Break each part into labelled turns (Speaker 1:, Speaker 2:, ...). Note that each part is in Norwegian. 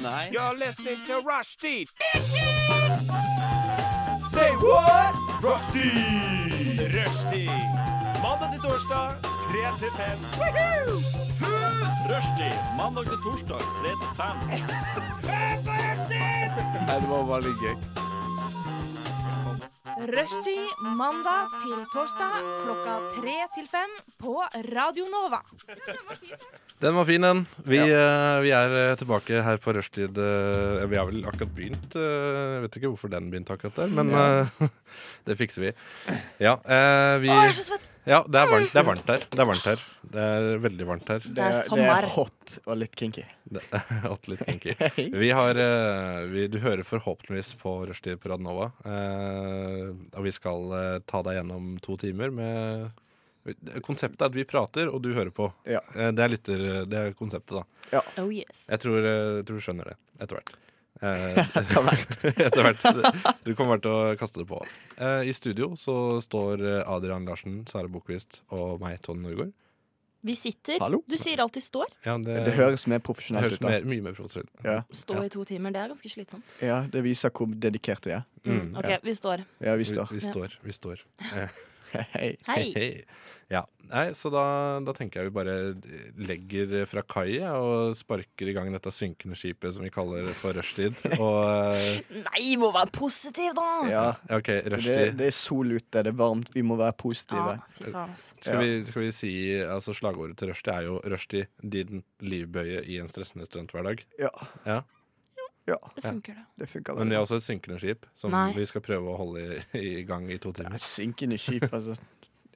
Speaker 1: Nei.
Speaker 2: You're listening to Rushdie. Say what? Rushdie. Rushdie. Mandag til torsdag, 3 til 5. Rushdie. Mandag til torsdag, 3 til 5.
Speaker 1: Nei, det var bare litt gøy.
Speaker 3: Rushtid mandag til torsdag klokka tre til fem på Radio Nova.
Speaker 4: Den var fin, den. Vi, eh, vi er eh, tilbake her på rushtid. eh, vi har vel akkurat begynt. eh, jeg vet ikke hvorfor den begynte akkurat der, men eh, det fikser vi. Ja, eh, vi
Speaker 5: jeg er så svett!
Speaker 4: ja, det er varmt, det er varmt her. Det er varmt her. Det er veldig varmt her.
Speaker 5: Det er
Speaker 6: Eh, det
Speaker 5: sommer.
Speaker 6: er hot og litt kinky.
Speaker 4: Alt litt kinky. Vi har, eh, vi, du hører forhåpentligvis på rushtid på Radnova. Eh, og vi skal eh, ta deg gjennom to timer med Konseptet er at vi prater, og du hører på.
Speaker 6: Ja.
Speaker 4: Eh, det, er lytter, det er konseptet, da.
Speaker 5: Oh yes.
Speaker 4: Jeg tror, eh, tror du skjønner det etter hvert. Eh,
Speaker 6: Etter hvert.
Speaker 4: etter hvert. Du kommer bare til å kaste det på. Eh, I studio så står eh, Adrian Larsen, Sara Bokvist og meg, Tone Norgård.
Speaker 5: Vi sitter.
Speaker 6: Hallo?
Speaker 5: Du sier alltid står.
Speaker 4: Ja, det,
Speaker 6: Det høres
Speaker 4: Eh,
Speaker 6: mer
Speaker 4: det
Speaker 6: profesjonelt
Speaker 4: høres
Speaker 6: ut. da.
Speaker 4: mer, mye mer profesjonelt ut.
Speaker 6: Ja.
Speaker 5: Stå i to timer, det er ganske slitsomt.
Speaker 6: ja, Det viser hvor dedikerte vi er.
Speaker 4: Mm,
Speaker 5: OK, vi står.
Speaker 6: Ja, vi
Speaker 4: Vi,
Speaker 6: står.
Speaker 4: vi
Speaker 5: Ja.
Speaker 4: står. Vi står. Eh,
Speaker 6: Hei.
Speaker 5: Hei.
Speaker 4: Hei. Ja. Nei, så da, da tenker jeg vi bare eh, legger fra kai ja, og sparker i gang dette synkende skipet som vi kaller for rushtid. Og eh,
Speaker 5: Nei, må være positiv, da!
Speaker 6: Ja,
Speaker 4: OK,
Speaker 6: det,
Speaker 4: rushtid.
Speaker 6: det er sol ute, det er varmt, vi må være positive.
Speaker 5: fy faen, altså.
Speaker 4: Skal vi, skal vi si altså Slagordet til rushtid er jo 'Rushtid, din livbøye i en stressende studenthverdag'.
Speaker 6: Ja.
Speaker 4: Ja.
Speaker 6: Ja,
Speaker 5: Det funker, det.
Speaker 6: det funker
Speaker 4: Men vi
Speaker 6: veldig.
Speaker 4: har også et synkende skip som
Speaker 5: Nei.
Speaker 4: vi skal prøve å holde i, i gang i to timer.
Speaker 6: Synkende skip, altså.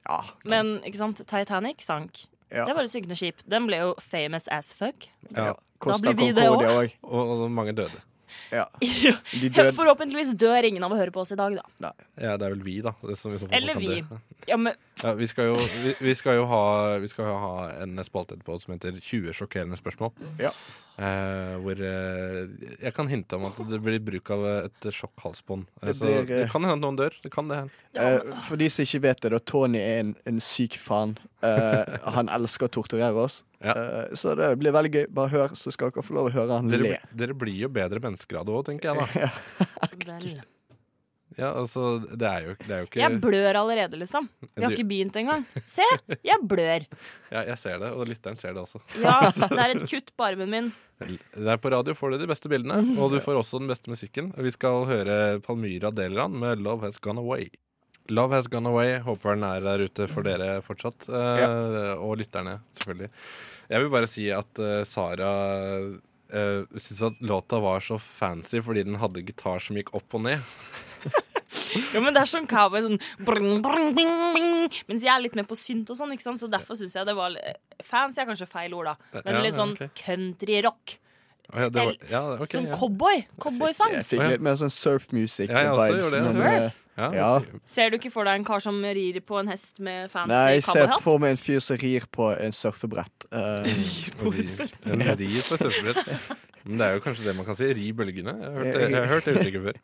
Speaker 6: Ja.
Speaker 5: Men ikke sant, Titanic sank.
Speaker 6: ja.
Speaker 5: Det var et synkende skip. Den ble jo famous as fuck.
Speaker 4: Ja.
Speaker 6: Costa
Speaker 5: blir vi det
Speaker 6: Concordia òg.
Speaker 4: Og, og mange døde.
Speaker 6: Ja.
Speaker 5: Ja.
Speaker 6: De døde
Speaker 5: Forhåpentligvis dør ingen av å høre på oss i dag, da.
Speaker 4: Ja, det er vel vi, da. Det som i så fall
Speaker 5: Eller
Speaker 4: kan
Speaker 5: vi.
Speaker 4: dø.
Speaker 5: Ja, men
Speaker 4: Ja, vi, skal jo, vi, vi skal jo ha, vi skal jo ha en spalte etterpå som heter 20 sjokkerende spørsmål.
Speaker 6: Ja.
Speaker 4: Eh, hvor eh, jeg kan hinte om at det blir bruk av et sjokk-halsbånd. Eh,
Speaker 6: Det
Speaker 4: så
Speaker 6: blir, eh,
Speaker 4: det kan hende at noen dør. Det kan det hende.
Speaker 6: Eh, for de som ikke vet det, da, Tony er en, en syk faen. Eh, han elsker å torturere oss.
Speaker 4: Ja.
Speaker 6: Eh, så det blir veldig gøy. Bare hør, så skal dere få lov å høre han
Speaker 4: Dere,
Speaker 6: le.
Speaker 4: bli- dere blir jo bedre mennesker av det òg, tenker jeg da.
Speaker 5: vel.
Speaker 4: Ja, altså, det er jo, det er jo ikke
Speaker 5: Jeg blør allerede, liksom. Vi har
Speaker 4: Du-
Speaker 5: ikke begynt engang. Se, jeg blør.
Speaker 4: ja, Jeg ser det, og lytteren ser det også.
Speaker 5: Ja, det er et kutt på armen min.
Speaker 4: Der på radio får du de beste bildene, og du får også den beste musikken. Vi skal høre Palmyra Deland med 'Love Has Gone Away'. Love Has Gone Away. Håper den er der ute for dere fortsatt. eh, Og lytterne, selvfølgelig. Jeg vil bare si at eh, Sara uh, syntes at låta var så fancy fordi den hadde gitar som gikk opp og ned.
Speaker 5: Jo, men det er sånn cowboy, sånn brung, brung, bing, bing. Mens jeg er litt mer på synt og sånn, ikke sant? så derfor syns jeg det var eh, Fans er kanskje feil ord, da. Men
Speaker 4: Ja,
Speaker 5: litt sånn
Speaker 4: ok.
Speaker 5: countryrock.
Speaker 4: Å Ja, det var, ja, ok,
Speaker 5: Sånn
Speaker 4: ja.
Speaker 5: cowboy. Cowboysang.
Speaker 6: Jeg fikk
Speaker 4: Å, ja.
Speaker 6: litt mer sånn surfmusikk.
Speaker 4: Ja, jeg også gjorde det.
Speaker 6: Sånn, eh,
Speaker 4: Ja,
Speaker 6: Ja.
Speaker 4: ok.
Speaker 5: Ser du ikke for deg en kar som rir på en hest med fancy
Speaker 6: Nei, jeg ser
Speaker 5: cowboyhatt?
Speaker 6: for meg en fyr som rir på en surfebrett. Eh,
Speaker 4: Og ri- en ri på et surfebrett. Men det er jo kanskje det man kan si. Ri bølgene. Jeg har hørt det, jeg har hørt det uttrykket før.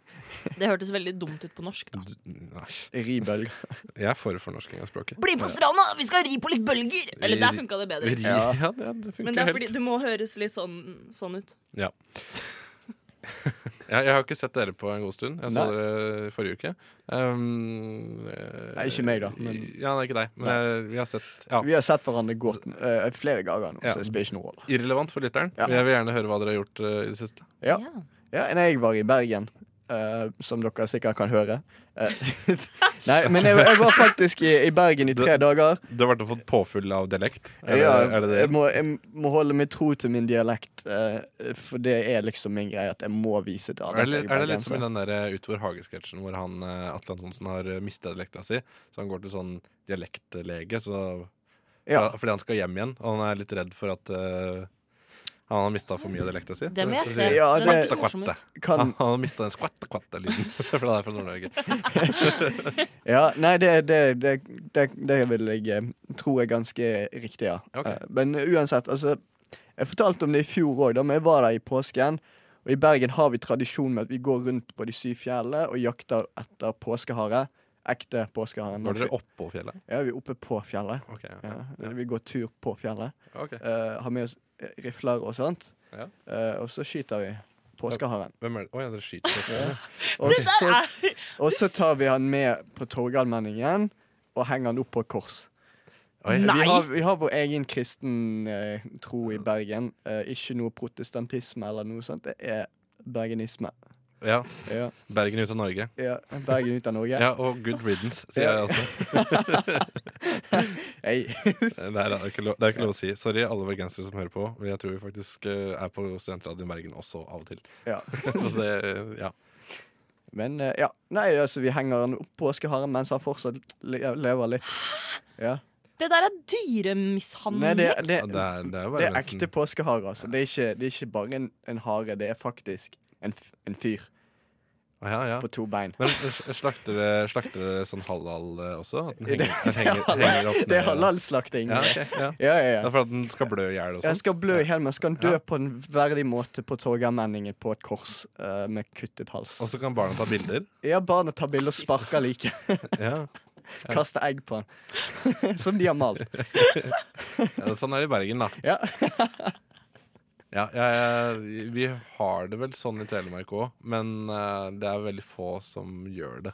Speaker 5: Det hørtes veldig dumt ut på norsk, da.
Speaker 4: Nei.
Speaker 6: ribølg.
Speaker 4: Jeg er for fornorsking av språket.
Speaker 5: Bli på stranda, vi skal ri på litt bølger! Eller der funka det bedre.
Speaker 4: Ri-
Speaker 6: Ja.
Speaker 4: Ja, det, det funker
Speaker 5: Men det er
Speaker 4: helt.
Speaker 5: fordi du må høres litt sånn, sånn ut.
Speaker 4: Ja. Jeg, jeg har ikke sett dere på en god stund. Jeg så
Speaker 6: Nei.
Speaker 4: dere forrige uke. Um,
Speaker 6: Nei, ikke meg da, men-
Speaker 4: Ja, det er ikke deg. Men jeg, vi har sett ja.
Speaker 6: Vi har sett hverandre gå eh, flere ganger nå,
Speaker 4: Ja.
Speaker 6: så det spiller ikke noen rolle.
Speaker 4: Irrelevant for lytteren.
Speaker 6: Ja.
Speaker 4: Jeg vil gjerne høre hva dere har gjort eh, i det siste.
Speaker 6: Ja. Ja, nei, jeg var i Bergen, eh, som dere sikkert kan høre. Eh, nei, men jeg, jeg var faktisk i, i Bergen i tre dager.
Speaker 4: Du har vært og fått påfyll av dialekt? Er det,
Speaker 6: Ja,
Speaker 4: er det,
Speaker 6: jeg,
Speaker 4: det?
Speaker 6: må, jeg må holde meg tro til min dialekt, eh, for det er liksom min greie at jeg må vise til alle.
Speaker 4: Er det, litt-
Speaker 6: at jeg
Speaker 4: er det litt som i den
Speaker 6: bergenser.
Speaker 4: der eh, Utvor Hage-sketsjen hvor han eh, Atle Antonsen har mista dialekta si? Så han går til sånn dialektlege, så
Speaker 6: Ja.
Speaker 4: Ja, fordi han skal hjem igjen, og han er litt redd for at eh, han har mista for mye av dialekta si.
Speaker 5: Det må jeg
Speaker 4: Så
Speaker 5: se.
Speaker 4: sier-
Speaker 6: Ja,
Speaker 5: Den
Speaker 6: det-
Speaker 5: hørtes morsom ut.
Speaker 4: Han
Speaker 6: Kan,
Speaker 4: har mista den skvatte-kvatte-lyden. For det er fra Nord-Norge.
Speaker 6: ja, nei, det, det, det, det, det vil jeg eh, tro er ganske riktig, ja.
Speaker 4: Ok.
Speaker 6: Eh, men uansett, altså Jeg fortalte om det i fjor òg, da men jeg var der i påsken. Og i Bergen har vi tradisjon med at vi går rundt på de syv fjellene og jakter etter påskehare. Ekte påskehare.
Speaker 4: Var dere oppå fjellet?
Speaker 6: Ja, vi er oppe på fjellet.
Speaker 4: Ok, ja.
Speaker 6: Ja, Vi går tur på fjellet.
Speaker 4: ok.
Speaker 6: eh, har med oss eh, rifler og sånt.
Speaker 4: Ja.
Speaker 6: Eh, og så skyter vi påskeharen.
Speaker 4: Hvem er det? Å ja, dere skyter på skolen.
Speaker 6: Og så, og så tar vi han med på Torgallmenningen og henger han opp på et kors.
Speaker 4: Oi,
Speaker 5: Nei.
Speaker 6: Vi har, vi har vår egen kristen eh, tro i Bergen. Eh, ikke noe protestantisme eller noe sånt. Det er bergenisme.
Speaker 4: Ja,
Speaker 6: Ja,
Speaker 4: Bergen ut av Norge.
Speaker 6: ja. Bergen ut av Norge.
Speaker 4: Ja, og good riddance, sier jeg også.
Speaker 6: Hei.
Speaker 4: Nei, Eh, det er ikke lov, det er ikke lov å si. Sorry, alle bergensere som hører på. Men jeg tror vi faktisk eh, er på Studentradioen i Bergen også av og til.
Speaker 6: Ja.
Speaker 4: Så det, eh, ja.
Speaker 6: Men eh, ja. Nei, altså, vi henger han opp påskeharen mens han fortsatt le lever litt. Ja.
Speaker 5: Det der er
Speaker 6: Nei, det,
Speaker 5: dyremishandling.
Speaker 6: det,
Speaker 4: Ja, Det er, det er jo
Speaker 6: det
Speaker 4: bare
Speaker 6: er ekte
Speaker 4: mensen.
Speaker 6: påskehare, altså. Det er ikke, det er ikke bare en, en hare, det er faktisk en, f- en fyr
Speaker 4: Å, Ja, ja.
Speaker 6: på to bein.
Speaker 4: Men sl- slakter dere slakter dere sånn halal eh, også? At den
Speaker 6: Det-
Speaker 4: henger, den henger, henger opp ned?
Speaker 6: Det er halalslakting.
Speaker 4: Ja,
Speaker 6: Ja,
Speaker 4: ok, ja.
Speaker 6: ja,
Speaker 4: Det
Speaker 6: ja.
Speaker 4: er for at den skal blø i hjel og
Speaker 6: Jeg
Speaker 4: sånn?
Speaker 6: skal blø i hjel, men skal han dø
Speaker 4: Ja.
Speaker 6: på en verdig måte på Torgallmenningen på et kors eh, med kuttet hals.
Speaker 4: Og så kan barna ta bilder?
Speaker 6: Ja, barna tar bilde og sparker like.
Speaker 4: Ja.
Speaker 6: Kaster egg på han. Som de har malt.
Speaker 4: Ja, Sånn er det i Bergen, da.
Speaker 6: Ja.
Speaker 4: Ja, jeg, jeg- vi har det vel sånn i Telemark òg, men eh, det er veldig få som gjør det.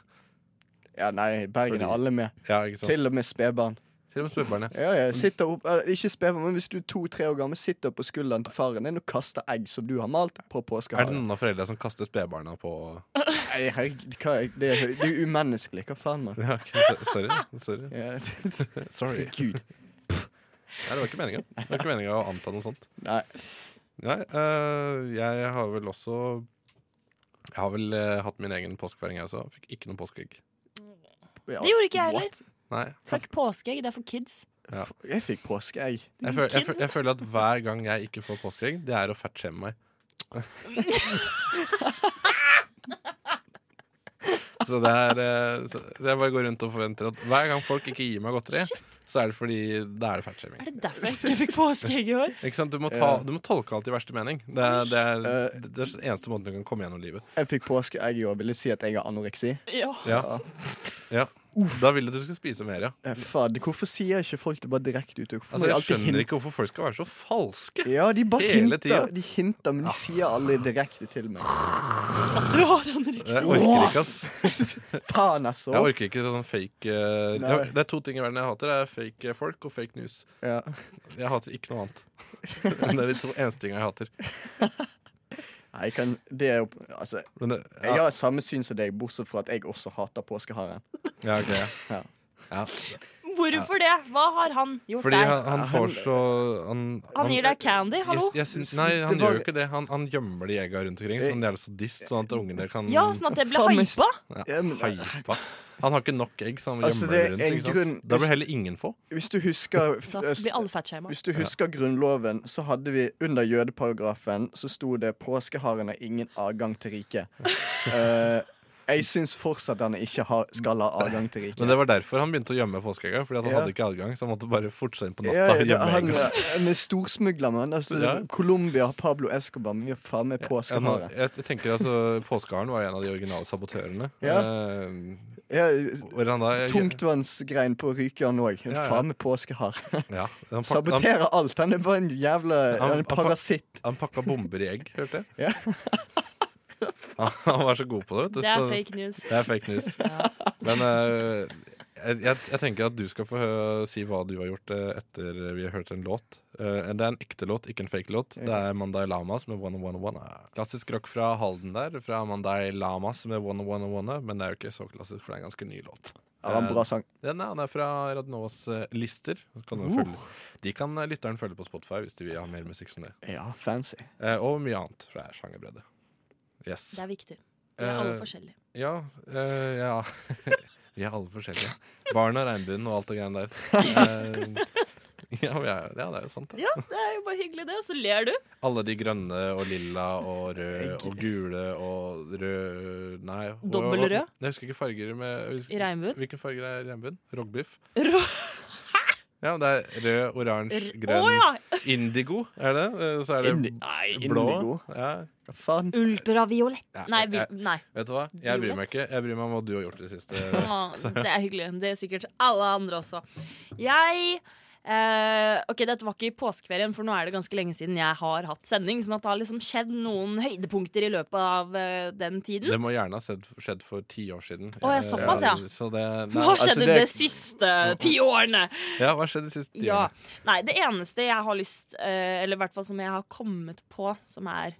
Speaker 6: Ja, nei, i Bergen
Speaker 4: Fordi- Sånn.
Speaker 6: er alle med.
Speaker 4: Ja, ikke sant? Til,
Speaker 6: Til og med spedbarn.
Speaker 4: og med spedbarn, ja.
Speaker 6: Ja, ja, sitter opp, eh, ikke spedbarn, men hvis du er to-tre år gammel, sitter på skulderen til faren din og kaster egg som du har malt, på
Speaker 4: Er det
Speaker 6: påskeharen.
Speaker 4: noen av foreldrene som kaster spedbarna på
Speaker 6: Nei, herregud, hva er det, er- det er umenneskelig. Hva faen, mann?
Speaker 4: ja, ok, so- Sorry. Sorry.
Speaker 6: Ja,
Speaker 4: sorry.
Speaker 6: Gud.
Speaker 4: Nei, det var ikke meninga. Det var ikke meninga å anta noe sånt.
Speaker 6: Nei.
Speaker 4: Nei, eh, jeg har vel også Jeg har vel eh, hatt min egen påskefeiring, jeg også. Fikk ikke noe påskeegg.
Speaker 6: Ja,
Speaker 5: Det gjorde ikke jeg
Speaker 6: what?
Speaker 5: heller.
Speaker 4: Nei.
Speaker 5: Fuck påskeegg, det er for kids.
Speaker 6: Jeg fikk påskeegg.
Speaker 4: Jeg, føl, jeg, føl, jeg føler at hver gang jeg ikke får påskeegg, det er å fettskjemme meg. så det er eh, så, så jeg bare går rundt og forventer at hver gang folk ikke gir meg godteri, så er det fordi da er det fettskjemming.
Speaker 5: Er det derfor jeg ikke fikk påskeegg i år?
Speaker 4: Ikke sant? Du, må ta,
Speaker 6: Ja.
Speaker 4: du må tolke alt i verste mening. Det er, det er,
Speaker 6: Eh.
Speaker 4: det er den eneste måten du kan komme gjennom livet.
Speaker 6: Jeg fikk påskeegg i år. Vil det si at jeg har anoreksi?
Speaker 5: Ja.
Speaker 4: Ja. ja. Da vil du at du skal spise mer, ja.
Speaker 6: Eh, Faen, hvorfor sier ikke folk det bare direkte ut? Hvorfor må
Speaker 4: Altså,
Speaker 6: de
Speaker 4: jeg
Speaker 6: alltid
Speaker 4: skjønner
Speaker 6: hinte?
Speaker 4: ikke hvorfor folk skal være så falske.
Speaker 6: Ja, de bare
Speaker 4: Hele
Speaker 6: hinter,
Speaker 4: tida.
Speaker 6: de hinter, men de sier aldri direkte til meg.
Speaker 5: Du har anoreksi.
Speaker 4: Jeg orker ikke, ass.
Speaker 6: Faen,
Speaker 4: Jeg
Speaker 6: altså!
Speaker 4: orker ikke sånn fake eh,
Speaker 6: Nei.
Speaker 4: Det er to ting i verden jeg hater. Det er fake eh, folk og fake news.
Speaker 6: Ja.
Speaker 4: Jeg hater ikke noe annet. Men det er de to eneste tingene jeg hater.
Speaker 6: Nei, jeg kan, det er jo Altså,
Speaker 4: Men det,
Speaker 6: jeg
Speaker 4: ja,
Speaker 6: har samme syn som deg, bortsett fra at jeg også hater påskeharen.
Speaker 4: ja, ok,
Speaker 6: Ja.
Speaker 4: ja. Ja.
Speaker 5: Hvorfor det? Hva har han gjort
Speaker 4: Fordi
Speaker 5: der?
Speaker 4: han, han får så Han,
Speaker 5: Han gir deg candy, hallo?
Speaker 4: Jeg, jeg syns, nei, han
Speaker 6: Det var-
Speaker 4: gjør jo ikke det. Han, han gjemmer de egga rundt omkring som en jævla sadist, sånn at ungene kan
Speaker 5: Ja, sånn at det ble
Speaker 6: Faen, men-
Speaker 5: hypa?
Speaker 4: ja,
Speaker 6: Ja, men-
Speaker 4: hypa. Han har ikke nok egg, så han
Speaker 6: Altså,
Speaker 4: gjemmer
Speaker 6: det
Speaker 4: det
Speaker 6: er
Speaker 4: rundt.
Speaker 6: en
Speaker 4: Ikke sant?
Speaker 6: grunn-
Speaker 4: Da blir heller ingen få.
Speaker 6: Hvis du husker
Speaker 5: Da blir alle fettshama.
Speaker 6: Hvis du husker grunnloven, så hadde vi under jødeparagrafen så sto det 'påskeharen har ingen adgang til riket'. Eh, jeg syns fortsatt han ikke har, skal ha adgang til riket.
Speaker 4: Men det var derfor han begynte å gjemme påskeegga. Fordi at han
Speaker 6: Ja.
Speaker 4: hadde ikke adgang, så han måtte bare fortsette inn på
Speaker 6: ja,
Speaker 4: natta.
Speaker 6: ja,
Speaker 4: og
Speaker 6: det,
Speaker 4: gjemme
Speaker 6: han, eh,
Speaker 4: egga.
Speaker 6: han er storsmugler, mann. Altså,
Speaker 4: Ja.
Speaker 6: Colombia har Pablo Escobar, men vi har faen meg
Speaker 4: Ja, nå-
Speaker 6: påskeharen.
Speaker 4: jeg tenker altså Påskeharen var en av de originale sabotørene.
Speaker 6: Ja.
Speaker 4: Eh,
Speaker 6: Ja,
Speaker 4: hvor han da
Speaker 6: Tungtvannsgrein på Rykjørn òg.
Speaker 4: Ja, ja.
Speaker 6: Faen meg påskehar.
Speaker 4: Ja, han, pak han,
Speaker 6: Saboterer alt. Han er bare en
Speaker 4: Han-
Speaker 6: jævla han er
Speaker 4: han
Speaker 6: en
Speaker 4: pa-
Speaker 6: parasitt.
Speaker 4: han pakka bomber i egg, hørte jeg.
Speaker 6: Ja.
Speaker 4: han, han var så god på det, vet du.
Speaker 5: Det er
Speaker 4: så-
Speaker 5: fake news.
Speaker 4: Det er fake news. Men eh, jeg, jeg, jeg tenker at du skal få hø- si hva du har gjort eh, etter vi har hørt en låt. Eh, det er en ekte låt, ikke en fake låt. Det er Mandai Lamas med Wanna Wanna Wanna. Klassisk rock fra Halden der, fra Mandai Lamas med Wanna Wanna Wanna. Men det er jo ikke så klassisk, for det er en ganske ny låt.
Speaker 6: Det var en bra sang.
Speaker 4: Den er, den er fra Radnovas eh, lister. Så Kan du følge. De kan eh, lytteren følge på Spotify hvis de vil ha mer musikk som det.
Speaker 6: Ja, fancy.
Speaker 4: Eh, og mye annet fra sjangerbredde. Yes.
Speaker 5: Det er viktig. Vi er alle
Speaker 4: Eh,
Speaker 5: forskjellige.
Speaker 4: Ja. eh, ja. vi er alle forskjellige. Barn og regnbuen og alt det greiene der. Eh, ja, vi er, ja, det er jo sant. Det.
Speaker 5: Ja, det er jo bare hyggelig, det. Og så ler du.
Speaker 4: Alle de grønne og lilla og rød og gule og rød Nei. og-
Speaker 5: Dobbelrød?
Speaker 4: Jeg husker ikke farger med jeg husker-
Speaker 5: I regnbuen?
Speaker 4: Hvilke farger er i regnbuen? Rogbiff?
Speaker 5: Rå-
Speaker 4: Ja, men det er rød, oransje,
Speaker 5: R- Å
Speaker 4: grønn
Speaker 5: ja!
Speaker 4: Indigo, er det? Eh, Så er det
Speaker 6: Indi- nei,
Speaker 4: blå.
Speaker 6: indigo.
Speaker 4: Ja.
Speaker 6: Hva faen?
Speaker 5: Ultraviolett.
Speaker 4: Ja,
Speaker 5: Nei, vi,
Speaker 4: jeg-
Speaker 5: nei.
Speaker 4: Vet du hva? Jeg bryr meg ikke. Jeg bryr meg om hva du har gjort i det siste.
Speaker 5: Å, det er hyggelig. Det er sikkert alle andre også. Jeg Eh, ok, Dette var ikke i påskeferien, for nå er det ganske lenge siden jeg har hatt sending. Sånn at det har liksom skjedd noen høydepunkter i løpet av eh, den tiden.
Speaker 4: Det må gjerne ha skjedd, skjedd for ti år siden.
Speaker 5: Å, ja,
Speaker 4: Eh,
Speaker 5: såpass, ja.
Speaker 4: Så det,
Speaker 5: Hva
Speaker 4: nei,
Speaker 5: skjedde
Speaker 6: altså, det-
Speaker 5: de siste ti årene?
Speaker 4: ja, hva skjedde de siste ti
Speaker 5: Ja.
Speaker 4: årene?
Speaker 5: Nei, det eneste jeg har lyst eh, Eller i hvert fall som jeg har kommet på, som er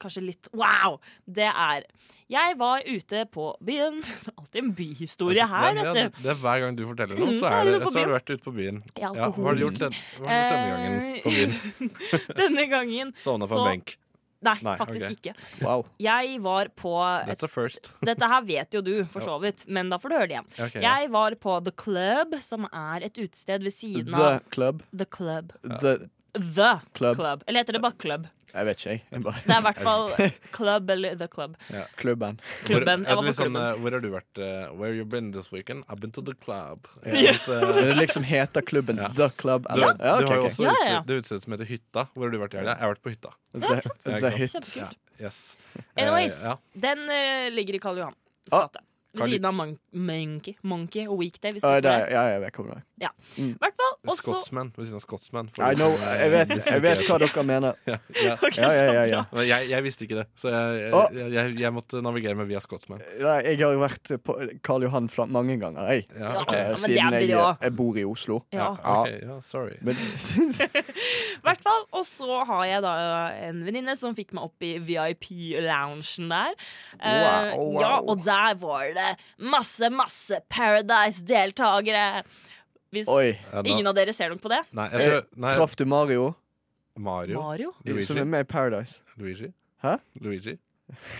Speaker 5: kanskje litt wow, det er Jeg var ute på byen. Det er Alltid en byhistorie her,
Speaker 4: det, det,
Speaker 5: vet du.
Speaker 4: det er Hver gang du forteller noe,
Speaker 5: Mm,
Speaker 4: så,
Speaker 5: så er
Speaker 4: er det,
Speaker 5: du på
Speaker 4: så har
Speaker 5: byen.
Speaker 4: du vært ute på byen.
Speaker 5: I
Speaker 4: Ja, hva har
Speaker 5: alkohol.
Speaker 4: du gjort, den, hva har du gjort denne gangen på byen?
Speaker 5: Denne gangen
Speaker 4: Sovna på
Speaker 5: så-
Speaker 4: en benk.
Speaker 5: Nei,
Speaker 4: Nei,
Speaker 5: faktisk
Speaker 4: ok.
Speaker 5: ikke.
Speaker 6: Wow.
Speaker 5: Jeg var på et
Speaker 4: That's a first.
Speaker 5: Dette her vet jo du, for så vidt, men da får du høre det igjen.
Speaker 4: Ok, ja.
Speaker 5: Jeg var på The Club, som er et utested ved siden
Speaker 6: The
Speaker 5: av
Speaker 6: club.
Speaker 5: The Club.
Speaker 6: The
Speaker 5: The
Speaker 6: Club.
Speaker 5: Club. Eller heter det bare Club?
Speaker 6: Jeg vet ikke, jeg. jeg bare,
Speaker 5: Det er i hvert fall Club eller The Club.
Speaker 6: klubben.
Speaker 5: Klubben.
Speaker 4: Hvor,
Speaker 5: Jeg
Speaker 4: er det
Speaker 5: var på
Speaker 4: litt sånn,
Speaker 5: klubben.
Speaker 4: eh, where har du vært? eh, where you been this weekend? I've been to the club.
Speaker 6: Ja.
Speaker 4: At, eh,
Speaker 6: Men det liksom heter klubben
Speaker 4: Ja.
Speaker 6: The Club.
Speaker 4: Du,
Speaker 6: Eller? Ja,
Speaker 4: du
Speaker 6: ok,
Speaker 4: har jo
Speaker 6: ok.
Speaker 4: også
Speaker 5: Ja,
Speaker 4: utsted-
Speaker 5: ja.
Speaker 4: det utstedet som heter Hytta. Hvor har du vært i helga? Jeg har vært på Hytta.
Speaker 6: The,
Speaker 4: Ja,
Speaker 6: the
Speaker 4: ikke
Speaker 6: hit.
Speaker 5: Kjempekult.
Speaker 4: Yes.
Speaker 5: Anyways,
Speaker 4: Eh, ja.
Speaker 5: den eh, ligger i Karl Johans
Speaker 6: Ah,
Speaker 5: gate. Ved
Speaker 4: Karl-
Speaker 5: siden av Mon Monkey, Monkey og Weekday, hvis du
Speaker 6: Å,
Speaker 5: får
Speaker 6: det
Speaker 5: det.
Speaker 6: er, ja, jeg vet hva det er.
Speaker 5: I hvert fall. Og så
Speaker 4: Scotsman. Ved siden av Scotsman. for-
Speaker 6: I know, jeg vet, jeg vet hva dere mener.
Speaker 4: Ja, ja.
Speaker 5: Ok,
Speaker 6: Ja, ja,
Speaker 5: så
Speaker 6: ja,
Speaker 5: bra.
Speaker 6: ja.
Speaker 4: Men jeg, jeg visste ikke det, så jeg,
Speaker 6: Å.
Speaker 4: jeg, jeg, jeg måtte navigere meg via Scotsman.
Speaker 6: Nei, jeg har jo vært på Karl Johan fra mange ganger, jeg.
Speaker 4: Ja, ok.
Speaker 6: Eh,
Speaker 5: men det
Speaker 6: Siden
Speaker 5: er
Speaker 6: jeg,
Speaker 5: bra.
Speaker 6: jeg bor i Oslo.
Speaker 5: Ja.
Speaker 4: Ja, ok, ja, sorry.
Speaker 6: Men
Speaker 5: hvert fall. Og så har jeg da en venninne som fikk meg opp i VIP-loungen der. Eh,
Speaker 6: Wow, wow.
Speaker 5: Ja, og der var det masse, masse Paradise-deltakere. Hvis
Speaker 6: oi.
Speaker 4: Ja, da-
Speaker 5: ingen av dere ser nok på det.
Speaker 4: Nei, jeg
Speaker 6: Eh,
Speaker 4: tror Nei,
Speaker 6: Traff du Mario,
Speaker 4: Mario.
Speaker 5: Mario?
Speaker 6: som er
Speaker 4: Luigi.
Speaker 6: med i Paradise?
Speaker 4: Luigi.
Speaker 6: Hæ?
Speaker 4: Luigi.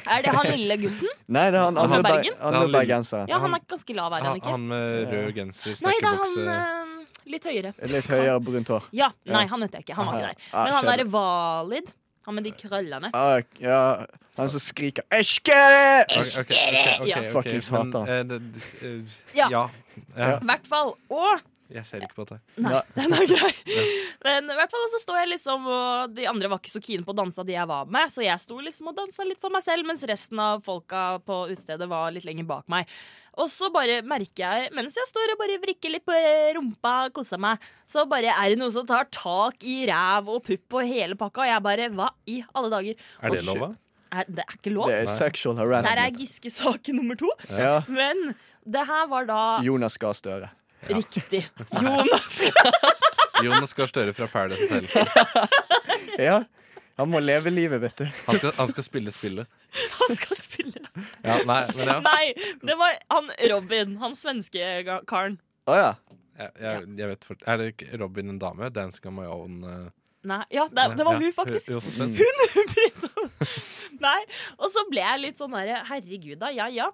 Speaker 5: Er det han lille gutten?
Speaker 6: Nei, det er han
Speaker 4: Han
Speaker 6: andre
Speaker 4: fra
Speaker 6: ber-
Speaker 5: Bergen?
Speaker 6: andre
Speaker 4: Han lille-
Speaker 6: bergenseren.
Speaker 5: Ja, han
Speaker 4: Han-
Speaker 5: er ganske lav, er han
Speaker 4: Han,
Speaker 5: ikke?
Speaker 4: Ah, han med rød genser,
Speaker 5: Nei, det er han
Speaker 4: snekkerbukse
Speaker 5: eh, litt høyere.
Speaker 6: Litt høyere brunt hår.
Speaker 5: Ja, nei,
Speaker 6: Ja.
Speaker 5: han heter jeg ikke. Han var
Speaker 6: Ah,
Speaker 5: ikke der.
Speaker 6: ah,
Speaker 5: Men han
Speaker 6: skjønner.
Speaker 5: derre Valid. Han med de krøllene.
Speaker 6: Ah, ja, han som skriker 'Elsker det!'
Speaker 4: Ok, ok, ok, ok,
Speaker 5: Ja.
Speaker 4: ok,
Speaker 6: Fuckings
Speaker 4: men,
Speaker 6: hater han.
Speaker 4: eh, det- eh,
Speaker 5: Ja.
Speaker 4: Ja. ja.
Speaker 5: I hvert fall. Og
Speaker 4: Jeg ser ikke på det.
Speaker 5: Nei,
Speaker 6: Nei.
Speaker 5: den er grei. Men i hvert fall så står jeg liksom og De andre var ikke så keen på å danse, de jeg var med, så jeg sto liksom og dansa litt for meg selv, mens resten av folka på utestedet var litt lenger bak meg. Og så bare merker jeg, mens jeg står og bare vrikker litt på rumpa, koser meg, så bare er det noen som tar tak i ræv og pupp og hele pakka, og jeg bare Hva i alle dager?
Speaker 4: Er det
Speaker 5: Og
Speaker 4: lov, da?
Speaker 5: Er, det er ikke lov.
Speaker 6: Det er sexual
Speaker 5: Der er
Speaker 6: harassment.
Speaker 5: Giske-sak nummer to.
Speaker 6: Ja.
Speaker 5: Men det her var da
Speaker 6: Jonas Gahr Støre.
Speaker 5: riktig. Jonas
Speaker 4: Jonas Gahr Støre fra Paradise Hotel.
Speaker 6: Ja. Han må leve livet, vet du.
Speaker 4: Han skal, han skal spille spillet.
Speaker 5: han skal spille
Speaker 4: Ja, nei, men ja.
Speaker 5: Nei, det var han Robin, han svenske ga- karen.
Speaker 6: Å ja.
Speaker 4: Jeg, jeg, jeg vet fort. Er det ikke Robin en dame? Dancing on my own. eh,
Speaker 5: Nei, ja, det, det var
Speaker 4: ja.
Speaker 5: hun, faktisk.
Speaker 4: Hun, hun, også svensk.
Speaker 5: Nei, Og så ble jeg litt sånn derre Herregud, da. Ja, ja.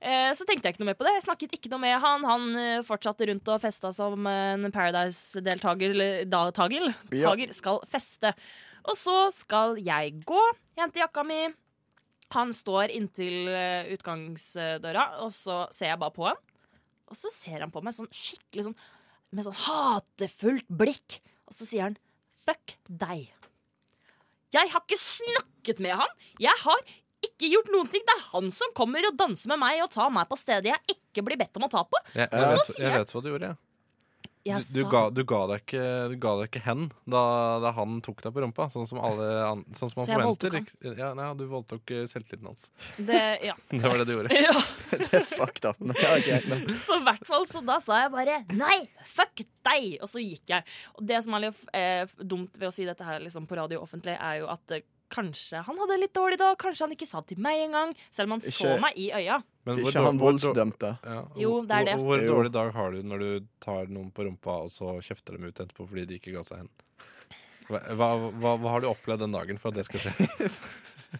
Speaker 5: Eh, Så tenkte jeg ikke noe mer på det. Jeg snakket ikke noe med han. Han eh, fortsatte rundt og festa som en Paradise-deltaker. eller da- Tagel
Speaker 6: Ja.
Speaker 5: Tager skal feste. Og så skal jeg gå, hente jakka mi. Han står inntil eh, utgangsdøra, og så ser jeg bare på han. Og så ser han på meg sånn skikkelig sånn med sånn hatefullt blikk. Og så sier han 'fuck deg'. Jeg har ikke snakket med han. Jeg har ikke gjort noen ting. Det er han som kommer og danser med meg og tar meg på stedet jeg ikke blir bedt om å ta på.
Speaker 4: Jeg, jeg,
Speaker 6: Ja.
Speaker 4: vet, jeg vet hva du gjorde. Ja.
Speaker 5: Jeg
Speaker 4: Du, du, ga, du, ga deg ikke, du ga deg ikke hen da, da han tok deg på rumpa, sånn som, alle, an- sånn som
Speaker 5: Så
Speaker 4: han
Speaker 5: jeg
Speaker 4: forventer.
Speaker 5: voldtok
Speaker 4: Ikke- Ja, nei, du voldtok eh, selvtilliten hans.
Speaker 5: sa det, ja.
Speaker 4: Det var det du gjorde.
Speaker 5: ja.
Speaker 6: Det er fucked up. Men, ja, greit nok.
Speaker 5: Så i hvert fall, så da sa jeg bare nei, fuck deg! Og så gikk jeg. Og det som er litt eh, dumt ved å si dette her liksom, på radio offentlig, er jo at eh, kanskje han hadde litt dårlig da. Kanskje han ikke sa det til meg engang. Selv om han så
Speaker 6: Ikke-
Speaker 5: meg i øya.
Speaker 4: Men hvor
Speaker 6: Ikke
Speaker 4: dår-
Speaker 6: han
Speaker 4: hvor dår-
Speaker 6: voldsdømte.
Speaker 4: Ja,
Speaker 5: Jo,
Speaker 4: hvor-
Speaker 5: det er det.
Speaker 4: Hvor, hvor
Speaker 6: Jo.
Speaker 4: dårlig dag har du når du tar noen på rumpa, og så kjefter dem ut etterpå fordi de ikke ga seg hen? Hva, hva, hva, hva har du opplevd den dagen for at det skal skje?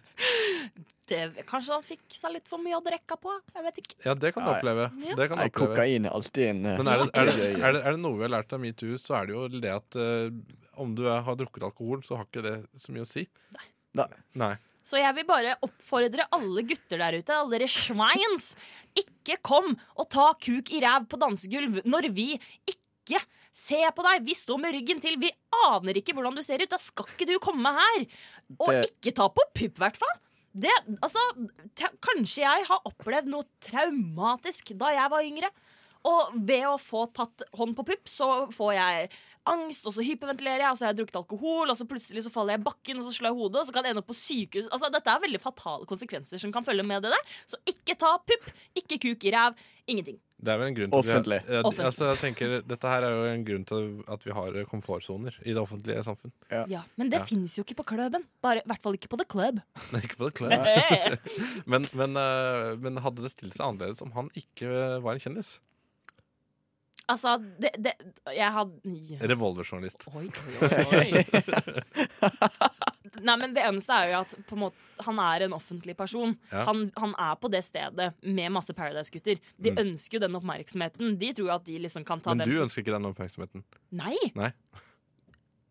Speaker 5: Det, kanskje han fikk seg litt for mye å drikke på. Jeg vet ikke.
Speaker 4: Ja, det kan du
Speaker 6: Nei.
Speaker 4: oppleve.
Speaker 5: Ja.
Speaker 4: Det kan du
Speaker 6: Nei,
Speaker 4: oppleve.
Speaker 6: kokain er alltid en eh,
Speaker 4: Men er det, er, det,
Speaker 6: gøy-
Speaker 4: er, det, er det noe vi har lært av metoo, så er det jo det at eh, om du er, har drukket alkohol, så har ikke det så mye å si.
Speaker 6: Nei.
Speaker 4: Nei.
Speaker 5: Så jeg vil bare oppfordre alle gutter der ute, alle dere sveins, ikke kom og ta kuk i ræv på dansegulv når vi ikke ser på deg. Vi står med ryggen til. Vi aner ikke hvordan du ser ut. Da skal ikke du komme her. Og
Speaker 6: Det-
Speaker 5: ikke ta på pupp, i hvert fall. Det, altså, t- kanskje jeg har opplevd noe traumatisk da jeg var yngre. Og ved å få tatt hånd på pupp, så får jeg angst, og så hyperventilerer jeg, og så har jeg drukket alkohol, og så plutselig så faller jeg i bakken, og så slår jeg hodet, og så kan jeg ende opp på sykehus. Altså, dette er veldig fatale konsekvenser som kan følge med det der. Så ikke ta pupp, ikke kuk i ræv, ingenting.
Speaker 4: Det er vel en grunn til
Speaker 6: Offentlig.
Speaker 4: At vi, har- ja,
Speaker 5: Offentlig.
Speaker 4: Altså, jeg tenker, dette her er jo en grunn til at vi har eh, komfortsoner i det offentlige samfunn.
Speaker 5: Ja, Men det
Speaker 4: Ja.
Speaker 5: finnes jo ikke på klubben. Bare, I hvert fall ikke på The Club.
Speaker 4: Ikke på det klart.
Speaker 5: Eh,
Speaker 4: Men, men, eh, men hadde det stilt seg annerledes om han ikke var en kjendis?
Speaker 5: altså, det, det Jeg hadde
Speaker 4: Revolverjournalist.
Speaker 5: Oi, oi, oi. Nei, men det eneste er jo at på en måte, han er en offentlig person.
Speaker 4: Ja.
Speaker 5: Han, han er på det stedet med masse Paradise-gutter. De
Speaker 4: Mm.
Speaker 5: ønsker jo den oppmerksomheten. De tror jo at de liksom kan ta
Speaker 4: Men
Speaker 5: dem
Speaker 4: du
Speaker 5: som
Speaker 4: ønsker ikke den oppmerksomheten?
Speaker 5: Nei!
Speaker 4: Nei.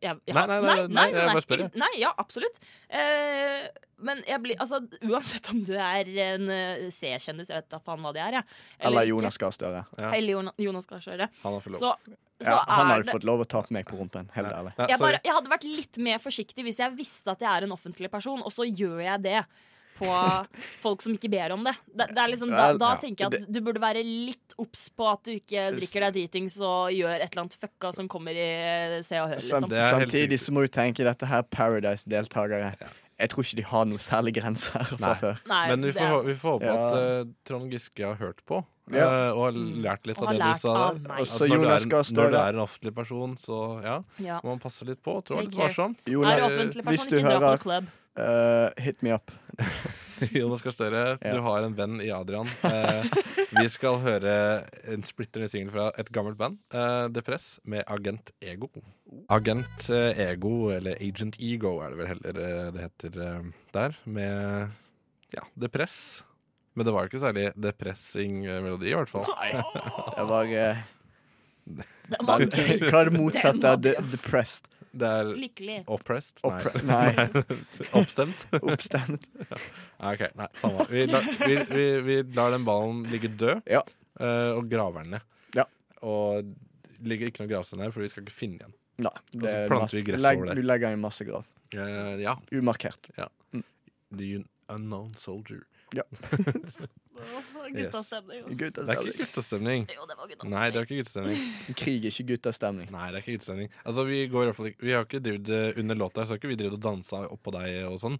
Speaker 5: Jeg, jeg,
Speaker 4: Nei,
Speaker 5: har-
Speaker 4: nei, nei, nei, jeg bare spør, jeg.
Speaker 5: Ikke- Nei, ja, absolutt. Eh, men jeg blir Altså, uansett om du er en eh, C-kjendis, jeg vet da faen hva det er, jeg.
Speaker 6: Eller
Speaker 5: ikke.
Speaker 6: Jonas Gahr Støre.
Speaker 4: Ja.
Speaker 5: Eller Jonas, Jonas Gahr Støre.
Speaker 4: Han har fått lov.
Speaker 5: Så, så
Speaker 6: Ja, han
Speaker 5: er
Speaker 6: hadde
Speaker 5: det
Speaker 6: fått lov å ta meg på rumpen. Helt ærlig.
Speaker 4: Nei,
Speaker 5: jeg,
Speaker 4: sorry.
Speaker 5: bare, jeg hadde vært litt mer forsiktig hvis jeg visste at jeg er en offentlig person, og så gjør jeg det på folk som ikke ber om det. det, det er liksom, da,
Speaker 6: Ja,
Speaker 5: da
Speaker 6: ja.
Speaker 5: tenker jeg at du burde være litt obs på at du ikke drikker deg dritings og gjør et eller annet fucka som kommer i Se og Hør,
Speaker 6: Sam-
Speaker 5: liksom.
Speaker 4: Det er helt
Speaker 6: Samtidig
Speaker 4: riktig.
Speaker 6: så må du tenke dette her Paradise-deltakere. Jeg tror ikke de har noen særlig grenser fra
Speaker 4: Nei.
Speaker 6: før.
Speaker 5: Nei,
Speaker 4: Men vi
Speaker 5: det er altså-
Speaker 4: får, vi får håpe
Speaker 6: Ja.
Speaker 4: at eh, Trond Giske har hørt på, eh,
Speaker 6: Ja.
Speaker 4: og har lært litt
Speaker 5: Mm. Og har
Speaker 4: av det
Speaker 5: lært
Speaker 4: du sa
Speaker 5: av
Speaker 4: der.
Speaker 5: meg.
Speaker 4: At
Speaker 6: Også
Speaker 4: når, du
Speaker 6: Jonas
Speaker 4: er en,
Speaker 6: Gahr Støre.
Speaker 4: når du er en offentlig person, så ja,
Speaker 5: Ja.
Speaker 4: må man passe litt på. Trå
Speaker 5: Take
Speaker 4: litt
Speaker 5: care.
Speaker 4: varsomt.
Speaker 5: Er
Speaker 6: Jonas,
Speaker 5: du offentlig
Speaker 6: hvis
Speaker 5: person,
Speaker 6: du
Speaker 5: ikke dra
Speaker 6: hører-
Speaker 5: på klubb.
Speaker 6: eh, hit me up.
Speaker 4: Jonas Gahr Støre,
Speaker 6: Ja.
Speaker 4: du har en venn i Adrian. Eh, vi skal høre en splitter ny singel fra et gammelt band, eh, Depress, med Agent Ego. Agent eh, Ego, eller Agent Ego er det vel heller eh, det heter eh, der, med ja, Depress. Men det var jo ikke særlig depressing eh, melodi, i hvert fall.
Speaker 6: Det var eh,
Speaker 5: Det
Speaker 6: Hva
Speaker 5: var gøy.
Speaker 6: er det motsatte av de
Speaker 5: Den
Speaker 6: depressed?
Speaker 4: Det er
Speaker 5: Lykkelig.
Speaker 4: oppressed? Nei.
Speaker 6: Oppre nei,
Speaker 4: Oppstemt?
Speaker 6: oppstemt.
Speaker 4: Nei, ok, nei, samme. Vi, la, vi, vi, vi lar den ballen ligge død,
Speaker 6: Ja.
Speaker 4: eh, og graver den ned.
Speaker 6: Ja.
Speaker 4: Og det ligger ikke noe gravstein her, for vi skal ikke finne igjen.
Speaker 6: Nei.
Speaker 4: Og så
Speaker 6: er
Speaker 4: planter
Speaker 6: masse-
Speaker 4: vi gress
Speaker 6: legg-
Speaker 4: over det.
Speaker 6: Du legger den i masse grav.
Speaker 4: Eh, ja.
Speaker 6: Umarkert.
Speaker 4: The Unknown Soldier.
Speaker 5: Guttastemning. altså.
Speaker 6: Guttas
Speaker 4: Det er ikke guttestemning.
Speaker 5: Jo, det var guttastemning.
Speaker 4: Nei, det er ikke guttestemning.
Speaker 6: Krig er ikke guttas stemning.
Speaker 4: Nei, det er ikke guttestemning. Altså, vi går i hvert fall ikke Vi har ikke drevet eh, under låta, her, så har ikke vi drevet og dansa oppå deg og sånn.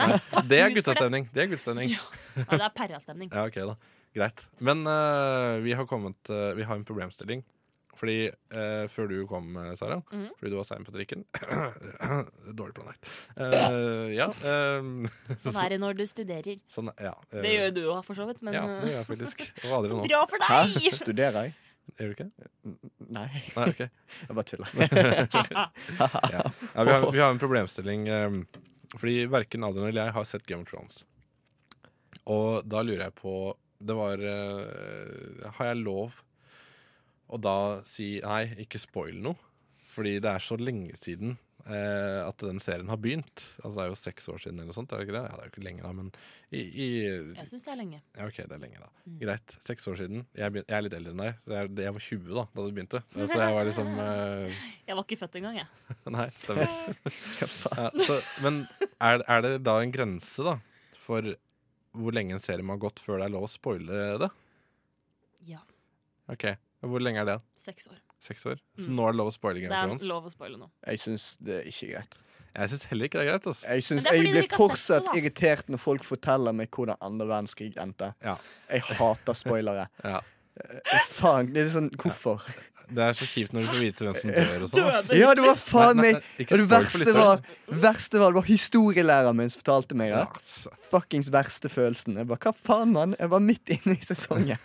Speaker 5: Nei, takk
Speaker 4: Det
Speaker 5: Gud
Speaker 4: er
Speaker 5: for det.
Speaker 4: guttestemning. Det er guttestemning.
Speaker 5: Nei, det er perrastemning.
Speaker 4: Ja, ok da, greit Men eh, vi har kommet eh, Vi har en problemstilling Fordi eh, før du kom, eh, Sara
Speaker 5: Mhm.
Speaker 4: Fordi du var sein på trikken Dårlig planlagt Eh, Ja eh,
Speaker 5: Sånn er det når du studerer.
Speaker 4: sånn, ja, eh,
Speaker 5: Det gjør jo du òg, for så vidt, men
Speaker 4: Ja, det
Speaker 5: eh,
Speaker 4: gjør jeg faktisk Det var aldri
Speaker 5: så
Speaker 4: noe
Speaker 5: bra for
Speaker 6: Hæ?
Speaker 5: deg!
Speaker 6: Studerer jeg?
Speaker 4: Gjør du ikke?
Speaker 6: Nei,
Speaker 4: Nei, ok
Speaker 6: jeg bare tuller.
Speaker 4: ja, vi, har, vi har en problemstilling eh, Fordi hverken Adrian eller jeg har sett Game of Thrones Og da lurer jeg på Det var eh, Har jeg lov Å da si Nei, ikke spoil noe Fordi det er så lenge siden eh, At den serien har begynt Altså det er jo seks år siden eller noe sånt Er det ikke det? Ja, det er jo ikke lenge da Men i, i
Speaker 5: Jeg syns det er lenge.
Speaker 4: ja, ok, det er lenge da Greit, seks år siden Jeg, begyn- jeg er litt eldre enn deg Jeg, jeg var 20 da, da det begynte Så jeg var liksom eh,
Speaker 5: Jeg var ikke født engang, jeg.
Speaker 4: Nei, stemmer. ja, så, men er, er det da en grense, da, for hvor lenge en serie må ha gått før det er lov å spoile det?
Speaker 5: Ja,
Speaker 4: Ok, Hvor lenge er det?
Speaker 5: Seks år.
Speaker 4: Seks år? Så
Speaker 5: Mm.
Speaker 4: nå er det lov å spoile
Speaker 5: Det
Speaker 4: Game
Speaker 5: er
Speaker 4: of Thrones?
Speaker 5: lov å spoile nå.
Speaker 6: Jeg syns det er ikke greit.
Speaker 4: Jeg syns heller ikke det er greit. ass
Speaker 6: Jeg, synes,
Speaker 5: Men det er fordi
Speaker 6: jeg
Speaker 5: dere
Speaker 6: blir
Speaker 5: ikke har sett
Speaker 6: fortsatt
Speaker 5: det, da.
Speaker 6: irritert når folk forteller meg hvordan andre verdenskrig endte.
Speaker 4: Ja.
Speaker 6: Jeg hater spoilere.
Speaker 4: Ja.
Speaker 6: Faen, det er sånn, Hvorfor?
Speaker 4: Det er så kjipt når du får vite hvem som dør og sånn. ass.
Speaker 6: Ja, det var faen
Speaker 4: Nei, nei,
Speaker 6: meg
Speaker 4: nei, ikke
Speaker 6: Og det
Speaker 4: spoil for
Speaker 6: verste
Speaker 4: lytteren.
Speaker 6: var, verste var Det var historielæreren min som fortalte meg det.
Speaker 4: sånn- Ja, ass.
Speaker 6: Fuckings verste følelsen. Jeg bare, Hva faen, mann? Jeg var midt inne i sesongen.